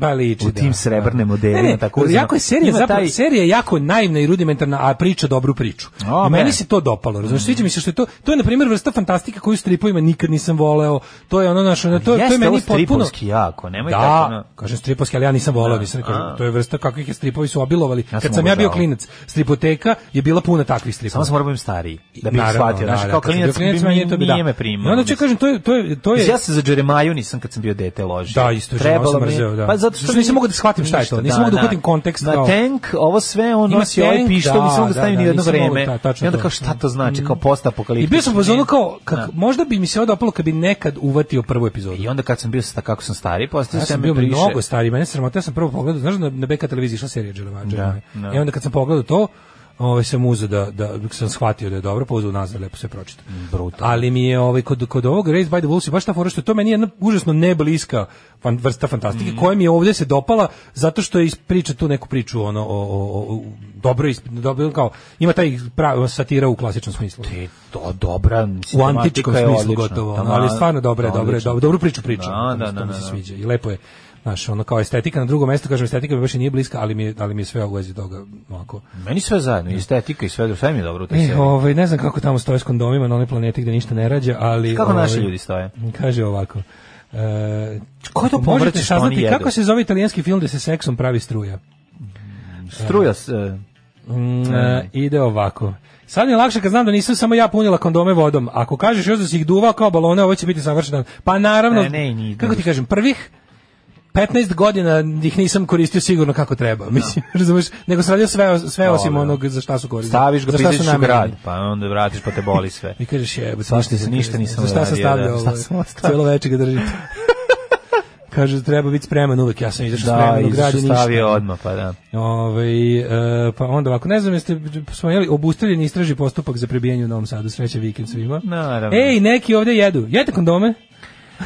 S7: Ba liči,
S6: U tim srebrne modele,
S7: Ne, ne,
S6: tako uzmano.
S7: jako je serija,
S6: Ima
S7: zapravo,
S6: taj-
S7: serija je jako naivna i rudimentarna, a priča dobru priču.
S6: O,
S7: I meni
S6: man.
S7: se to dopalo, razumiješ, sviđa mi se što je to, to je, na primjer, vrsta fantastika koju u stripovima nikad nisam voleo, to je ono naše, ono, to, to je
S6: Jeste
S7: meni
S6: ovo
S7: potpuno...
S6: stripovski jako, nemoj tako.
S7: Da,
S6: na-
S7: kažem stripovski, ali ja nisam voleo,
S6: Da,
S7: nisam
S6: a.
S7: kažem, to je vrsta kakvih je stripovi su obilovali.
S6: sam
S7: Kad sam ja bio
S6: obožavao.
S7: klinac, stripoteka je bila puna takvih stripova.
S6: Samo sam morao biti stariji, da bih
S7: Naravno,
S6: shvatio. Znaš,
S7: da,
S6: kao
S7: da, kad sam bio
S6: klinac, bi
S7: meni je to bi-
S6: nije
S7: da.
S6: me primao.
S7: I onda ću kažem, to je, to je, to Pa je,
S6: Ja se za Džeremaju nisam kad sam bio dete ložio.
S7: Da, isto je Džeremaju sam
S6: mi je-
S7: mrzeo, da.
S6: Pa zato što
S7: Zato što nisam
S6: mi-
S7: mogao da shvatim šta je to,
S6: ništa,
S7: nisam mogao da uhvatim kontekst,
S6: Na
S7: kao-
S6: tank, ovo sve, on
S7: Ima
S6: nosi ovaj
S7: tank,
S6: pištol,
S7: da,
S6: nisam mogao da
S7: da,
S6: stavim
S7: da,
S6: ni jedno
S7: nisam mogao,
S6: vreme.
S7: da, tačno
S6: I onda
S7: to. Mm.
S6: kao šta to znači, kao post
S7: i
S6: apokaliptično.
S7: bio sam u fazonu kao, kak, možda bi mi se ovo dopalo kad bi nekad uvatio prvu epizodu.
S6: I onda kad sam bio sa kako sam stari, postao
S7: Ja
S6: sam
S7: sam
S6: me
S7: bio
S6: priše.
S7: mnogo stariji, mene sramota, ja sam prvo pogledao, znaš da na BK televiziji išla serija Dželemađa.
S6: Da, da.
S7: I onda kad sam pogledao to, ovaj sam uzeo da da sam shvatio da je dobro, pa uzeo nazad lepo sve pročitao.
S6: Mm, brutalno.
S7: Ali mi je ovaj kod kod ovog Raised by the Wolves je baš ta fora što je to meni jedna užasno nebliska fan, vrsta fantastike
S6: Mm.
S7: koja mi je ovdje se dopala zato što je ispriča tu neku priču ono o, o, o- o- dobro isp- dobro kao ima taj pravi satira u klasičnom smislu.
S6: E, to dobra,
S7: U
S6: mislim,
S7: antičkom
S6: tematika je
S7: smislu
S6: odlična.
S7: gotovo, ono,
S6: Tamo-
S7: ali stvarno dobro je, dobro je,
S6: odlično.
S7: dobro, dobru priču priča.
S6: Da,
S7: ono,
S6: da,
S7: to
S6: da,
S7: mi
S6: da,
S7: se
S6: da.
S7: sviđa i lepo je. Znaš, ono kao estetika na drugom mestu, kažem, estetika mi baš i nije bliska, ali mi je, ali mi je sve u vezi toga ovako.
S6: Meni sve zajedno, i estetika i sve, sve mi je dobro u toj
S7: E,
S6: seriji.
S7: ovaj, ne znam kako tamo stoje s kondomima na onoj planeti gde ništa ne rađa, ali...
S6: Kako
S7: ovaj,
S6: naši ljudi stoje?
S7: Kaže ovako. E,
S6: Ko to
S7: možete
S6: pomrče što oni
S7: saznati
S6: jedu?
S7: kako se zove italijanski film gde se seksom pravi struja?
S6: Struja, s- e,
S7: Mm, e, ide ovako. Sad mi je lakše kad znam da nisam samo ja punila kondome vodom. Ako kažeš još da si ih duvao kao balone, ovo će biti savršeno. Pa naravno,
S6: Ne, ne, nije
S7: kako ti kažem, prvih 15 godina ih nisam koristio sigurno kako treba. Mislim, razumeš, nego sam radio sve, sve osim
S6: Dobro.
S7: onog za šta su koristili.
S6: staviš ga,
S7: za šta
S6: pizdeš
S7: su
S6: u grad,
S7: namenjeni.
S6: pa onda vratiš pa te boli sve.
S7: I kažeš jebe,
S6: Svašta se ništa nisam
S7: Za šta sam
S6: uradio, da.
S7: stavljao
S6: Šta
S7: ovo?
S6: sam ostavio?
S7: Cijelo večer ga držite. Kaže, treba biti spreman uvek. Ja sam izašao
S6: Da,
S7: spreman u grad
S6: izašao
S7: i ono ništa.
S6: stavio odmah, pa da.
S7: Ovaj e, pa onda ovako, ne znam jeste spomenuli, obustavljen istraži postupak za prebijanje u Novom Sadu, sreće vikend svima.
S6: Naravno.
S7: Ej, neki ovdje jedu, jedete kondome?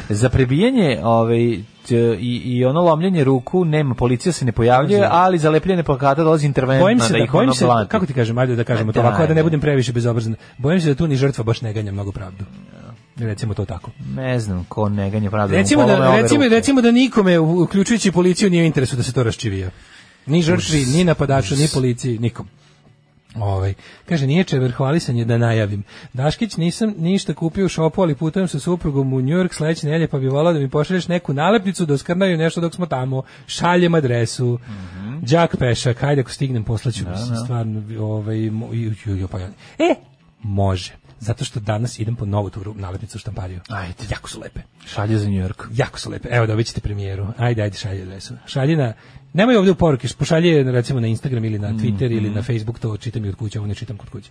S6: Za prebijanje ovaj, t- i, i ono lomljenje ruku, nema, policija se ne pojavljuje, ali za lepljenje plakata dolazi interventna
S7: Znači- Bojim se da,
S6: ih
S7: bojim
S6: ono
S7: se,
S6: blanti.
S7: kako ti kažem, ajde da kažemo
S6: Ma
S7: to ovako, a da ne
S6: daj.
S7: budem previše bezobrazan. Bojim se da tu ni žrtva baš ne ganja mnogo pravdu. Recimo to tako.
S6: Ne znam, ko ne ganje pravda.
S7: Recimo
S6: mu polome
S7: da,
S6: obe
S7: recimo,
S6: ruke.
S7: recimo da nikome, u- uključujući policiju, nije u interesu da se to raščivija. Ni žrtvi, ni napadaču, ni policiji, nikom. Ovaj, kaže, nije čever hvalisanje da najavim. Daškić, nisam ništa kupio u šopu, ali putujem sa suprugom u New York sledeće nelje, pa bi volao da mi pošalješ neku nalepnicu da oskrnaju nešto dok smo tamo. Šaljem adresu. Đak Pešak, hajde ako stignem, poslaću. mislim, Stvarno, ovaj, mo- ju- ju- ju, pa ja- E, može. Zato što danas idem po novu tu nalepnicu u štampariju.
S6: Ajde.
S7: Jako su lepe.
S6: Šalje za New York.
S7: Jako su lepe. Evo dobit ćete premijeru. Ajde, ajde, šalje adresu. Šalje na... Nemoj ovdje u poruke, pošalje je, recimo na Instagram ili na
S6: Mhm.
S7: Twitter ili na Facebook, to čitam i od kuće, ovo ne čitam kod kuće.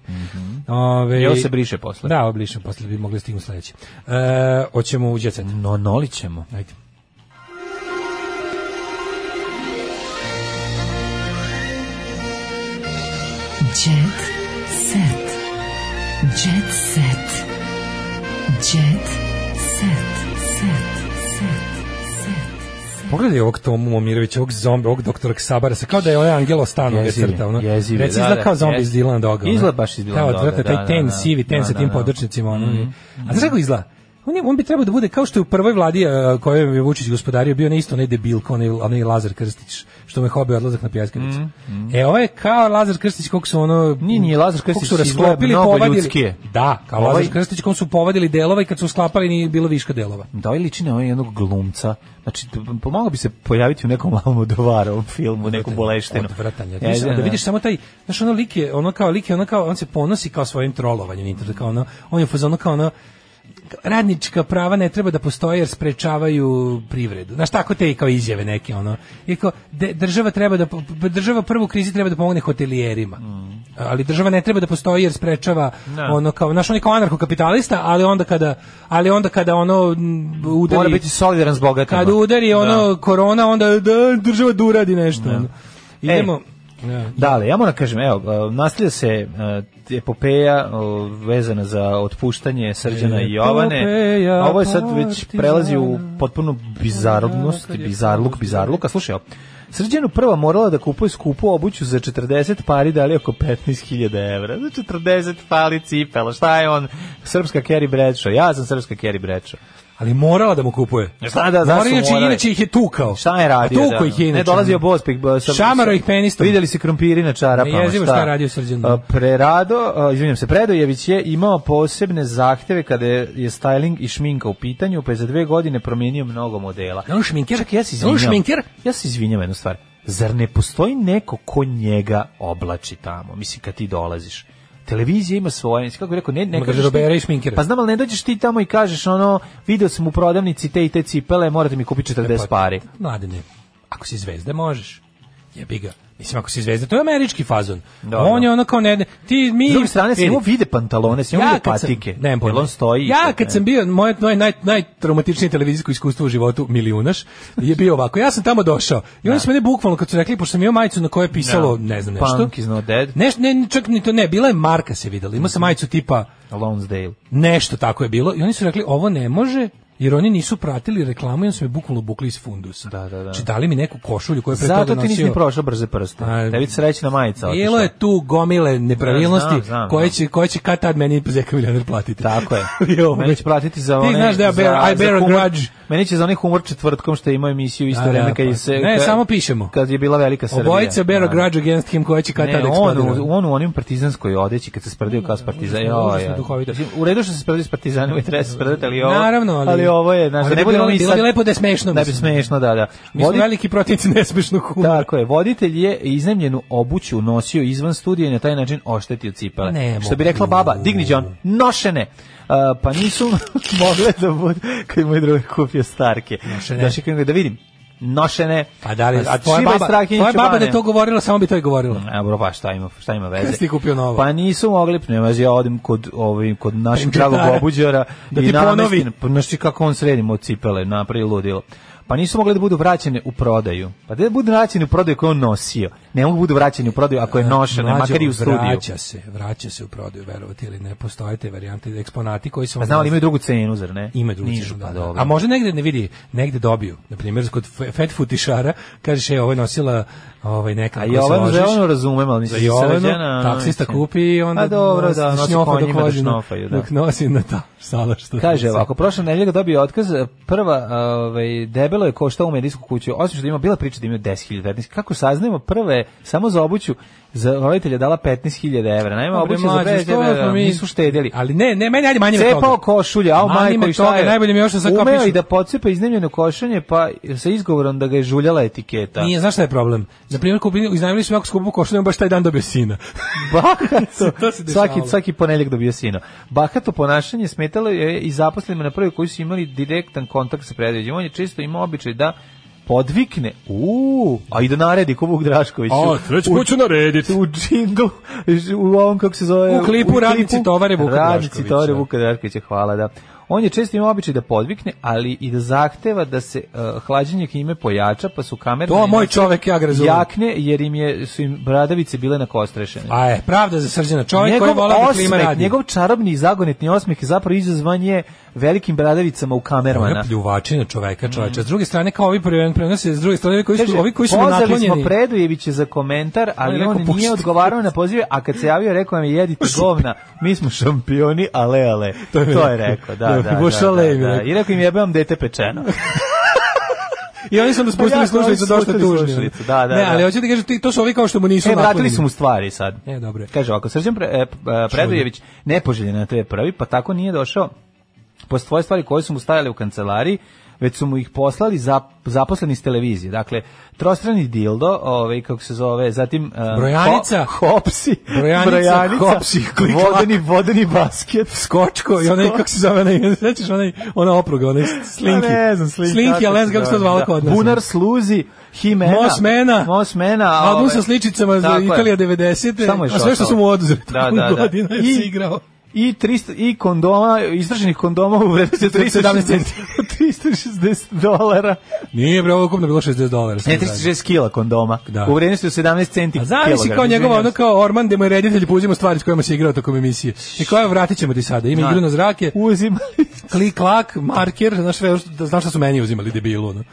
S7: Ove,
S6: I ovo Mhm. se briše posle.
S7: Da, ovo brišem posle, bi mogli stignu sledeći. E, oćemo u djecet.
S6: No, nolit ćemo.
S7: Ajde.
S4: Jet set. Jet set. Jet set. Set. Set.
S7: Pogledaj ovog Tomu Momirovića, ovog zombi, ovog doktora Ksabara, se kao da je onaj Angelo Stan ovdje
S6: Jezivi,
S7: crta. Ono.
S6: jezivi,
S7: Reci,
S6: da,
S7: izgleda
S6: da,
S7: kao zombi
S6: jez-
S7: iz Dylan Doga. ono.
S6: Izgleda baš iz Dylan
S7: Kao
S6: Doga,
S7: odvratan,
S6: da,
S7: taj ten
S6: da, Mhm, da.
S7: sivi, ten
S6: Da,
S7: sa
S6: da,
S7: tim
S6: da.
S7: područnicima. Ono. A znaš kako izgleda? On, je, on bi trebao da bude kao što je u prvoj vladi a, kojoj je Vučić gospodario bio ne isto onaj debilko, onaj, onaj Lazar Krstić, što me hobi odlazak na pjaskanicu. E, ovo je kao Lazar Krstić, koliko su ono...
S6: Mhm, Nije, nije, Lazar
S7: koliko su
S6: Krstić izgleda
S7: rasklopili,
S6: mnogo
S7: povadili-
S6: ljudskije.
S7: Da, kao
S6: Ovaj-
S7: Lazar Krstić, kom su povadili delova i kad su sklapali nije bilo viška delova.
S6: Da, ili čini ovaj jednog glumca. Znači, pomogao bi se pojaviti u nekom Almodovarovom filmu, neku boleštenu.
S7: Odvratan je.
S6: Ja,
S7: Mislim, E, da
S6: da.
S7: vidiš samo taj, znaš, ono lik je, ono kao lik je, ono kao, on se ponosi kao svojim trolovanjem internetu, kao ono, on je u fazonu kao ono, radnička prava ne treba da postoje jer sprečavaju privredu. Znaš, tako te i kao izjave neke, ono. I kao, de- država treba da, po- država prvo u krizi treba da pomogne hotelijerima.
S6: Mm.
S7: Ali država ne treba da postoji jer sprečava ono kao, znaš, on je kao anarchokapitalista, ali onda kada, ali onda kada ono m, udari...
S6: Mora biti solidaran s bogatima.
S7: Kad udari ono korona, onda da, država da uradi nešto. ono.
S6: E.
S7: Idemo. Ja.
S6: Dale, ja moram kažem, evo, e, nastavlja se e, epopeja e, vezana za otpuštanje Srđana i Jovane.
S7: Epopeja
S6: A Ovo je sad već
S7: partizana.
S6: prelazi u potpuno bizarnost, bizarluk, bizarluk. A slušaj, evo, Srđanu prva morala da kupuje skupu obuću za 40 pari, da li oko 15.000 evra. Za 40 pali cipela, šta je on? Srpska Carrie Bradshaw, ja sam srpska Carrie Bradshaw.
S7: Ali morala da mu kupuje.
S6: Šta E, pa, da, zašto
S7: Morao, inače,
S6: morali?
S7: inače ih je tukao.
S6: Šta je radio?
S7: A tukao
S6: da?
S7: ih je inače.
S6: Ne dolazio Bospik. ba-
S7: Šamaro ih penistom.
S6: Videli se krompiri na čarapama.
S7: Ne jezivo šta je radio Srđan.
S6: A, Prerado, a, izvinjam se, Predojević je imao posebne zahteve kada je je styling i šminka u pitanju, pa je za dve godine promijenio mnogo modela.
S7: Je on šminker?
S6: Čak ja se
S7: Je on
S6: izvinjam.
S7: šminker?
S6: Ja se izvinjam jednu stvar. Zar ne postoji neko ko njega oblači tamo? Mislim, kad ti dolaziš. Televizija ima svoje, kako bi rekao, ne, ne
S7: Ima
S6: kažeš
S7: garderobera
S6: ti-
S7: i šminkera.
S6: Pa znam, ali ne dođeš ti tamo i kažeš ono, video sam u prodavnici te i te cipele, morate mi
S7: E,
S6: kupiti
S7: pa,
S6: 40 pari.
S7: Mladene, ako si zvezda možeš. Jebi ga. Mislim, ako si zvezda, to je američki fazon.
S6: Dobro.
S7: On je ono kao ne... Ti, mi,
S6: S druge strane, se
S7: vidi,
S6: njemu vide pantalone, se njemu vide
S7: kad sam-
S6: patike.
S7: nemam pojma.
S6: Jel on stoji.
S7: Ja
S6: ispod,
S7: kad
S6: ne?
S7: sam bio, moje naj, naj, najtraumatičnije televizijsko iskustvo u životu, milijunaš, je bio ovako. Ja sam tamo došao i oni su mene bukvalno, kad su rekli, pošto sam imao majicu na kojoj je pisalo,
S6: Da.
S7: ne znam nešto.
S6: Punk is not dead.
S7: Neš, ne, čak ni to ne, bila je marka se videla. Imao sam majicu tipa,
S6: Lonsdale.
S7: nešto tako je bilo i oni su rekli ovo ne može jer oni nisu pratili reklamu i oni su me bukvalno bukli iz fundusa.
S6: Da, da, da.
S7: Znači dali mi neku košulju koju je pre
S6: Zato
S7: toga
S6: ti nisi
S7: nosio.
S6: ni prošao brze prste.
S7: A,
S6: Tebi srećna majica. otišla.
S7: Bilo je tu gomile nepravilnosti
S6: Ja, znam, znam,
S7: koje
S6: znam.
S7: će koje će kad tad meni Zeka Miljaner platiti.
S6: Tako je.
S7: I ovo
S6: Meni će platiti za
S7: Ti
S6: one...
S7: znaš da ja
S6: za-
S7: bear- I
S6: za
S7: bear a
S6: humor-
S7: grudge.
S6: Meni će za onaj humor četvrtkom što je imao emisiju isto
S7: Da, da,
S6: vreme kad je
S7: pa.
S6: se...
S7: Ne,
S6: kad-
S7: samo pišemo.
S6: Kad je bila velika Srbija.
S7: Obojica bear a
S6: Da.
S7: grudge against him koja će kad
S6: Ne,
S7: tad
S6: on,
S7: eksplodirati.
S6: u- on u onim partizanskoj odeći kad se sprdio kao s partizan.
S7: užasno,
S6: Jo,
S7: užasno
S6: ja.
S7: duhovito.
S6: Mislim, U redu što se sprdio s partizanom i treba se sprdati, ali ovo...
S7: Naravno, ali-
S6: ovo je... Znaš,
S7: ali
S6: da
S7: bi
S6: ne budemo
S7: bilo-
S6: mi
S7: bilo
S6: sad-
S7: bi lepo da je smešno,
S6: Da bi
S7: mislim.
S6: smešno, da, da.
S7: Mi smo
S6: Vodi-
S7: veliki protivnici nesmešnog humora.
S6: Tako je, voditelj je iznajmljenu obuću nosio izvan studija i na taj način oštetio cipele.
S7: Ne
S6: Što bi
S7: mogu.
S6: rekla baba, digni John, nošene! A, pa nisu mogle da budu kad je moj drugar kupio starke.
S7: Nošene.
S6: Znaš, kad ga- da vidim, nošene.
S7: A da li, a Pa tvoja
S6: šivaj
S7: baba,
S6: Strahinjić
S7: tvoja baba da
S6: čobane.
S7: je to govorila, samo bi to i govorila.
S6: A bro, pa šta ima, šta ima veze?
S7: Kada si ti kupio novo?
S6: Pa nisu mogli, nema veze, ja odem kod ovim kod našeg
S7: Pendžetara.
S6: dragog obuđara
S7: Da
S6: i
S7: ti ponovi.
S6: namestim- pa znaš ti kako on sredimo od cipele, napravi ludilo. Pa nisu mogli da budu vraćene u prodaju. Pa da budu vraćene u prodaju koju je on nosio. Ne mogu da budu vraćene u prodaju ako je nošena,
S7: Eh, Mlađo,
S6: makar i u studiju.
S7: Vraća se, vraća se u prodaju, verovati ili ne, postoje te varijante, eksponati koji su...
S6: Pa znam, ali imaju drugu cenu, zar ne?
S7: Ima drugu
S6: Nižu,
S7: cenu, da,
S6: pa
S7: da.
S6: dobro.
S7: A možda negde ne vidi, negde dobiju. Na primjer, kod fe- fat futišara, kažeš, je, ovo je nosila ovaj, neka...
S6: A
S7: na koju se
S6: Jovanu,
S7: ložiš.
S6: za Jovanu razumem, ali
S7: Za
S6: mislim,
S7: Jovanu,
S6: Srđana,
S7: taksista
S6: mislim.
S7: kupi i onda
S6: A Pa dobro, da,
S7: nos-
S6: nosi
S7: šnjofa dok
S6: konjima da
S7: vozi na-
S6: šnjofaju, da.
S7: Dok nosi na ta sala što...
S6: Kaže ovako, prošle nedelje dobio otkaz, prva, ovaj debelo je košta u medijsku kuću, osim što ima bila priča da ima 10.000 15.000. Kako saznajemo, prva je samo za obuću za roditelja dala 15.000 evra. Naime,
S7: Dobre,
S6: obuća za
S7: mlađe,
S6: 20.000
S7: što
S6: evra,
S7: smo mi-
S6: nisu štedjeli.
S7: Ali ne, ne, meni ajde manje od toga.
S6: Cepao košulje, a
S7: Manje
S6: majko
S7: me
S6: i šta
S7: toga,
S6: je?
S7: najbolje mi je još da sad kao
S6: Umeo
S7: pišu.
S6: i da pocepa iznajmljeno košanje, pa sa izgovorom da ga je žuljala etiketa.
S7: Nije, znaš šta je problem? Na primjer, kupili, iznajmili smo jako skupu košulju, on baš taj dan dobio sina.
S6: Bahato.
S7: To se dešavalo.
S6: svaki, svaki ponedjeljak dobio sino. Bahato ponašanje smetalo je i zaposlenima na prvi koji su imali direktan kontakt sa predađem. On je često imao običaj da podvikne, u, a i da naredi ko Vuk Drašković.
S7: A, treći put ću narediti.
S6: U džinglu, u ovom kako se zove...
S7: U klipu Radnici tovare Vuka
S6: Radnici
S7: Draškovića.
S6: tovare Vuka Draškovića, hvala da. On je često imao običaj da podvikne, ali i da zahteva da se uh, hlađenje klime pojača, pa su kamere...
S7: To moj čovek, ja ga razumem.
S6: Jakne, jer im je, su im bradavice bile nakostrešene.
S7: A je, pravda za srđana čovjek koji
S6: Njegov
S7: vola da klima
S6: osmeh,
S7: radi.
S6: Njegov čarobni i zagonetni osmeh je zapravo izazvan je velikim bradavicama u kamermana.
S7: Ona pljuvačina čoveka, čoveče. S druge strane kao ovi prvi prenose, s druge strane ovi koji su
S6: Mm. Kaže,
S7: ovi koji su mu
S6: pozvali
S7: naklonjeni.
S6: smo Predojevića za komentar,
S7: On
S6: ali
S7: je
S6: on,
S7: rekao,
S6: nije
S7: "Pustite."
S6: odgovarao na pozive, a kad se javio rekao nam je jedite govna, mi smo šampioni, ale ale. To je, rekao, da, da,
S7: Da,
S6: da,
S7: baš
S6: da,
S7: ale im je
S6: da.
S7: rekao.
S6: I rekao im jebam dete pečeno.
S7: I oni su mu
S6: Pa
S7: spustili
S6: jako,
S7: slušalicu
S6: oni su
S7: dosta
S6: spustili
S7: tužni.
S6: slušalicu, da, da,
S7: Ne,
S6: da.
S7: ali hoću ti kažem, ti- to su ovi kao što mu nisu
S6: E, vratili
S7: naklonjeni.
S6: su mu stvari sad.
S7: E, dobro je.
S6: Kaže ovako, Srđan pre, e, p- e, Predojević nepoželjen na TV prvi, pa tako nije došao po svoje stvari koje su mu stajale u kancelariji, već su mu ih poslali za, zaposleni s televizije. Dakle, trostrani dildo, ovaj, kako se zove, zatim... e,
S7: Brojanica.
S6: ho- hopsi.
S7: Brojanica, hopsi, klik, klak.
S6: vodeni, vodeni basket.
S7: Skočko i onaj, kako se zove, onaj, sećaš onaj, ona opruga, onaj slinki.
S6: Pa Ne znam, slinki.
S7: Slinki, ali ne
S6: se
S7: znam kako se to
S6: zove,
S7: zvala
S6: da.
S7: kod nas.
S6: Bunar sluzi, himena.
S7: Mosmena.
S6: Mosmena. a
S7: Album
S6: ovaj-
S7: sa sličicama za
S6: Tako je.
S7: Italija 90.
S6: Samo je
S7: a sve što
S6: šotao.
S7: su mu oduzeli.
S6: Da, da, da.
S7: Godina je
S6: I-
S7: se igrao.
S6: i 300 i kondoma istraženih kondoma u vrednosti od 317 centi 360 dolara
S7: Nije bre, ovo je ukupno bilo 60 dolara.
S6: ne 360 kila kondoma
S7: Da.
S6: u vrednosti od 17 centi
S7: A zamisli
S6: kilogram,
S7: kao njegova
S6: izvinjavam
S7: ono kao Orman gde mu je reditelj pa uzima stvari s kojima se igrao tokom emisije. I kao je vratit ćemo ti sada. Ima
S6: Da.
S7: igru na zrake,
S6: se. uzimali
S7: klik, klak, marker, znaš, sve, da znaš šta su meni uzimali debilu. Ono.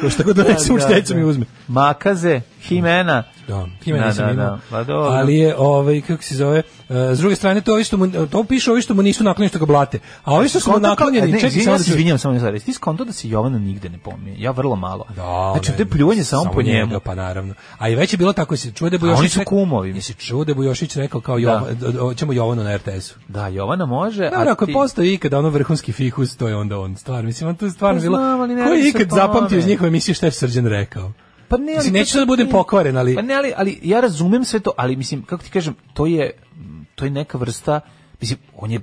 S7: Kao šta god donesem u šteću mi uzme.
S6: makaze himena
S7: Da, ime
S6: Da,
S7: nisam
S6: da,
S7: imao.
S6: da, pa dobro.
S7: Ali je, ovaj, kako se zove, e, s druge strane, to, ovi što mu, to piše ovi što mu nisu naklonjeni što ga blate. A ovi što su mu
S6: Skonto kao- e,
S7: naklonjeni,
S6: ne,
S7: čekaj,
S6: izvini,
S7: samo
S6: ja
S7: da
S6: se
S7: ću-
S6: izvinjam, samo jedna stvar. Jesi ti skonto da se Jovana nigde ne pominje? Ja vrlo malo.
S7: Da,
S6: znači,
S7: ne,
S6: to je pljuvanje samo, po njemu.
S7: njega, pa naravno. A i već je bilo tako, se čuo da je
S6: A
S7: Bujošić...
S6: oni su
S7: rekao-
S6: kumovi.
S7: Jesi čuo da je Bujošić rekao kao Jovan, da. ćemo Jovanu na RTS-u.
S6: Da, Jovana može,
S7: Dobro,
S6: a
S7: ako
S6: Pa ti...
S7: je postao ikada ono vrhunski fikus, to je onda on stvar. Mislim, on to je stvarno
S6: Pa
S7: bilo...
S6: znam, ali ne
S7: Ko
S6: radi
S7: je
S6: se
S7: ikad
S6: o tome.
S7: zapamtio iz njihove emisije šta je Srđan rekao?
S6: Pa ne,
S7: Mislim,
S6: to-
S7: neću da budem pokvaren, ali-
S6: Pa ne, ali, ali ja razumem sve to, ali mislim, kako ti kažem, to je, mm, to je neka vrsta, mislim, on je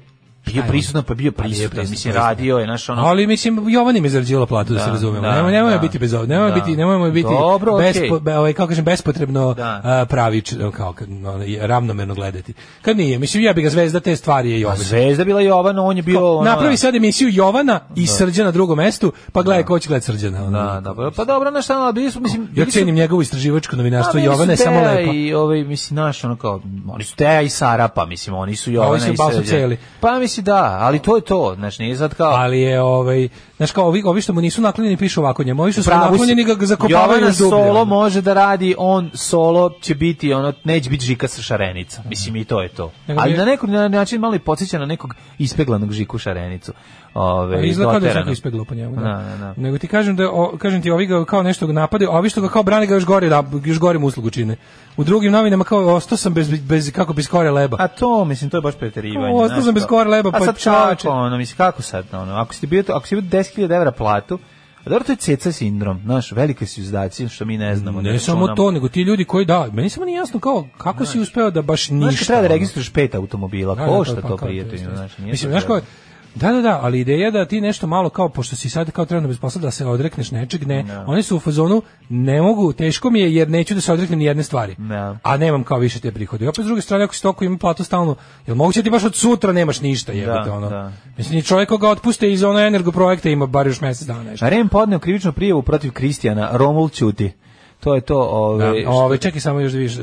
S6: bio
S7: on?
S6: prisutan, pa bio
S7: Pa je
S6: prisutan,
S7: prisutan,
S6: mislim,
S7: prisutan.
S6: radio je, naš ono...
S7: Ali mislim Jovan im je zarađivala platu da,
S6: Da,
S7: se razumemo.
S6: da,
S7: Da, nemoj nemoj
S6: da.
S7: biti bez nemoj
S6: Da.
S7: biti nemojmo biti
S6: Dobro, okej.
S7: bespo- be- ovaj kako kažem bespotrebno
S6: Da.
S7: a, pravič kao kad, ono, je ravnomerno gledati. Kad nije, mislim ja bih ga zvezda te stvari je
S6: Pa
S7: Jovan.
S6: zvezda bila Jovana, on je bio... ono,
S7: Napravi
S6: da.
S7: sad emisiju Jovana i Srđana na drugom mestu, pa gledaj ko će gledati Srđana. ono.
S6: Da, da, pa- pa dobro, znaš šta, ali bili su, mislim...
S7: Ja
S6: bili su-
S7: cenim njegovo istraživačko
S6: Pa,
S7: novinarstvo,
S6: bili su
S7: Jovana je samo
S6: Teja
S7: lepa.
S6: I ovaj mislim naš ono kao oni su Teja i Sara pa mislim oni su Jovana
S7: ovi
S6: i
S7: su baš
S6: Srđan.
S7: celi.
S6: Pa mislim da, ali to je to, znači nije sad kao
S7: Ali je ovaj, znaš kao ovi, ovi što mu nisu naklonjeni pišu ovako njemu, ovi što su mu
S6: Pravu si.
S7: naklonjeni ga ga zakopavaju
S6: Jovana
S7: u dublje.
S6: solo
S7: ono.
S6: može da radi, on solo će biti, ono, neće biti žika sa šarenica. Mislim, i to je to.
S7: Nego
S6: Ali
S7: bi-
S6: na neki način malo i podsjeća na nekog ispeglanog žiku šarenicu. Ove,
S7: Pa izgleda kao da je
S6: doteranog.
S7: svako ispeglo po njemu. Da.
S6: Da, da, da.
S7: Nego ti kažem da o, kažem ti ovi ga kao nešto ga napadaju, a ovi što ga kao brane ga još gore, da, još gore mu uslugu čine. U drugim novinama kao ostao sam bez bez kako bez kore leba.
S6: A to, mislim, to je baš preterivanje.
S7: O, ostao
S6: znaš
S7: sam bez
S6: to.
S7: kore leba,
S6: A
S7: pa
S6: sad
S7: čoveče.
S6: kako, ono, mislim, kako sad, ono, ako si bio, to- ako si bio 10.000 evra platu, a dobro, to je ceca sindrom, znaš, velike su izdaci, što mi ne ono, znamo.
S7: ne
S6: da
S7: samo
S6: računamo.
S7: to, nego ti ljudi koji da, meni samo nije jasno kao kako si uspeo da baš ništa.
S6: Znaš, kad treba da
S7: ono.
S6: registruješ pet automobila,
S7: Da, da,
S6: košta
S7: pa
S6: to
S7: kao,
S6: prijatelju,
S7: jeste,
S6: znaš,
S7: jeste.
S6: nije
S7: Mislim,
S6: to
S7: znaš kao,
S6: treba.
S7: Da, da, da, ali ideja da ti nešto malo kao, pošto si sad kao trenutno bez posla, da se odrekneš nečeg, ne. Oni su u fazonu, ne mogu, teško mi je jer neću da se odreknem ni jedne stvari.
S6: Da.
S7: A nemam kao više te prihode. I opet s druge strane, ako si toliko ima platu stalno, jel moguće da ti baš od sutra nemaš ništa, jebote,
S6: Da,
S7: ono.
S6: da.
S7: Mislim, i čovjek koga otpuste iz ono energoprojekta ima bar još mjesec dana nešto.
S6: Rem podneo krivičnu prijavu protiv Kristijana, Romul Ćuti. To je to, ovaj,
S7: Da,
S6: ove,
S7: ove, čekaj samo još da vidiš, e,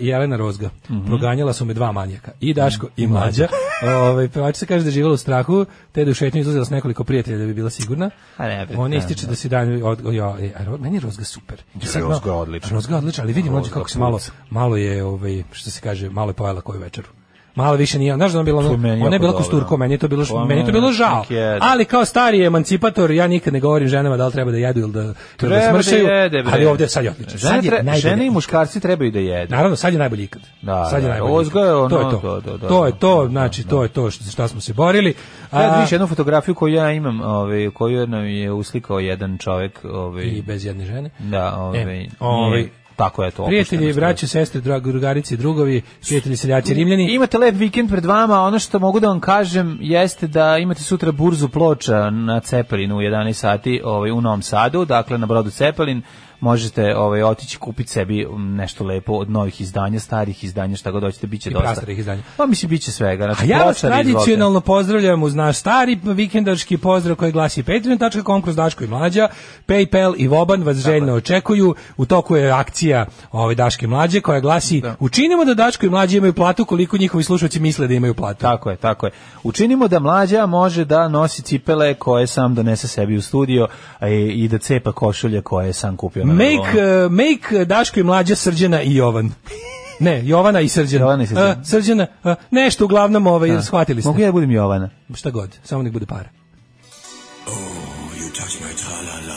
S7: Jelena Rozga,
S6: Mhm.
S7: proganjala su me dva manjaka, i Daško i Mlađa. Ove, pevačica kaže da je živjela u strahu, te da je u šetnju izlazila s nekoliko prijatelja da bi bila sigurna.
S6: A Pa ne, bre,
S7: Ona
S6: da,
S7: ističe da se dan... Od, o, ja, e, a Ro- meni je Rozga super. I sad
S6: Rozga
S7: malo-
S6: je odlična.
S7: Rozga je odlična, ali vidim Mlađa kako se malo, malo je, ovaj, što se kaže, malo je pojela koju večeru. Malo više nije, znaš da ona bila, ono,
S6: To je meni
S7: ona, ona
S6: jako
S7: je bila
S6: dobro.
S7: kosturko, meni je to bilo,
S6: Pa
S7: meni je to bilo
S6: ne,
S7: žao.
S6: nek jede.
S7: Ali kao stari emancipator, ja nikad ne govorim ženama da li treba da jedu ili da, ili
S6: Treba
S7: da
S6: da
S7: smršaju,
S6: jede, bre.
S7: ali ovdje sad je odlično.
S6: žene,
S7: Pa znači, Sad je
S6: tre-
S7: najbolje.
S6: žene i muškarci trebaju da jedu.
S7: Naravno, sad je najbolji ikad.
S6: Da,
S7: sad je
S6: da,
S7: najbolji
S6: Ozgo je
S7: ikad.
S6: ono,
S7: to je to.
S6: da, da, da,
S7: to je
S6: da,
S7: to,
S6: da,
S7: znači, to je to što, za šta smo se borili. A,
S6: Ja vidiš jednu fotografiju koju ja imam, ovaj, koju nam je uslikao jedan čovjek. Ovaj,
S7: I bez jedne žene.
S6: da, ovaj,
S7: E,
S6: nije-
S7: ovaj,
S6: tako je to.
S7: Prijatelji,
S6: opušteno
S7: braće, sestre, drag- drugarice i drugovi, prijatelji, seljaci, rimljani.
S6: stoji. Imate lep vikend pred vama, ono što mogu da vam kažem jeste da imate sutra burzu ploča na Cepelinu u 11 sati ovaj, u Novom Sadu, dakle na brodu Cepelin, možete ovaj, otići kupiti sebi nešto lepo od novih izdanja, starih izdanja, šta god hoćete, bit će
S7: I
S6: dosta.
S7: prastarih izdanja.
S6: Pa mislim, bit će svega.
S7: A
S6: Znači,
S7: ja vas
S6: pločari, izvolite.
S7: tradicionalno pozdravljam uz naš stari vikendaški pozdrav koji glasi patreon.com kroz Daško i Mlađa, Paypal i Voban vas željno očekuju, u toku je akcija ove Daške i Mlađe koja glasi učinimo da Daško i Mlađe imaju platu koliko njihovi slušalci misle da imaju platu.
S6: Tako je, tako je. Učinimo da mlađa može da nosi cipele koje sam donese sebi u studio a i, i da cepa košulje koje sam kupio na
S7: Make,
S6: Velonu.
S7: uh, make uh, Daško i Mlađa Srđana i Jovan. Ne, Jovana i Srđana.
S6: Jovana i Srđana.
S7: Uh, Srđana, uh, nešto uglavnom ovaj, shvatili ste.
S6: Mogu ja da budem Jovana?
S7: Šta god, samo nek bude para.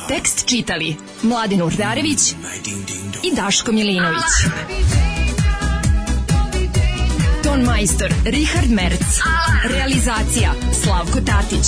S4: Tekst čitali Mladin Urdarević i Daško Milinović. Ton majstor Richard Merc. Realizacija Slavko Tatić.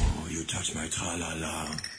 S2: You touch my tra-la-la.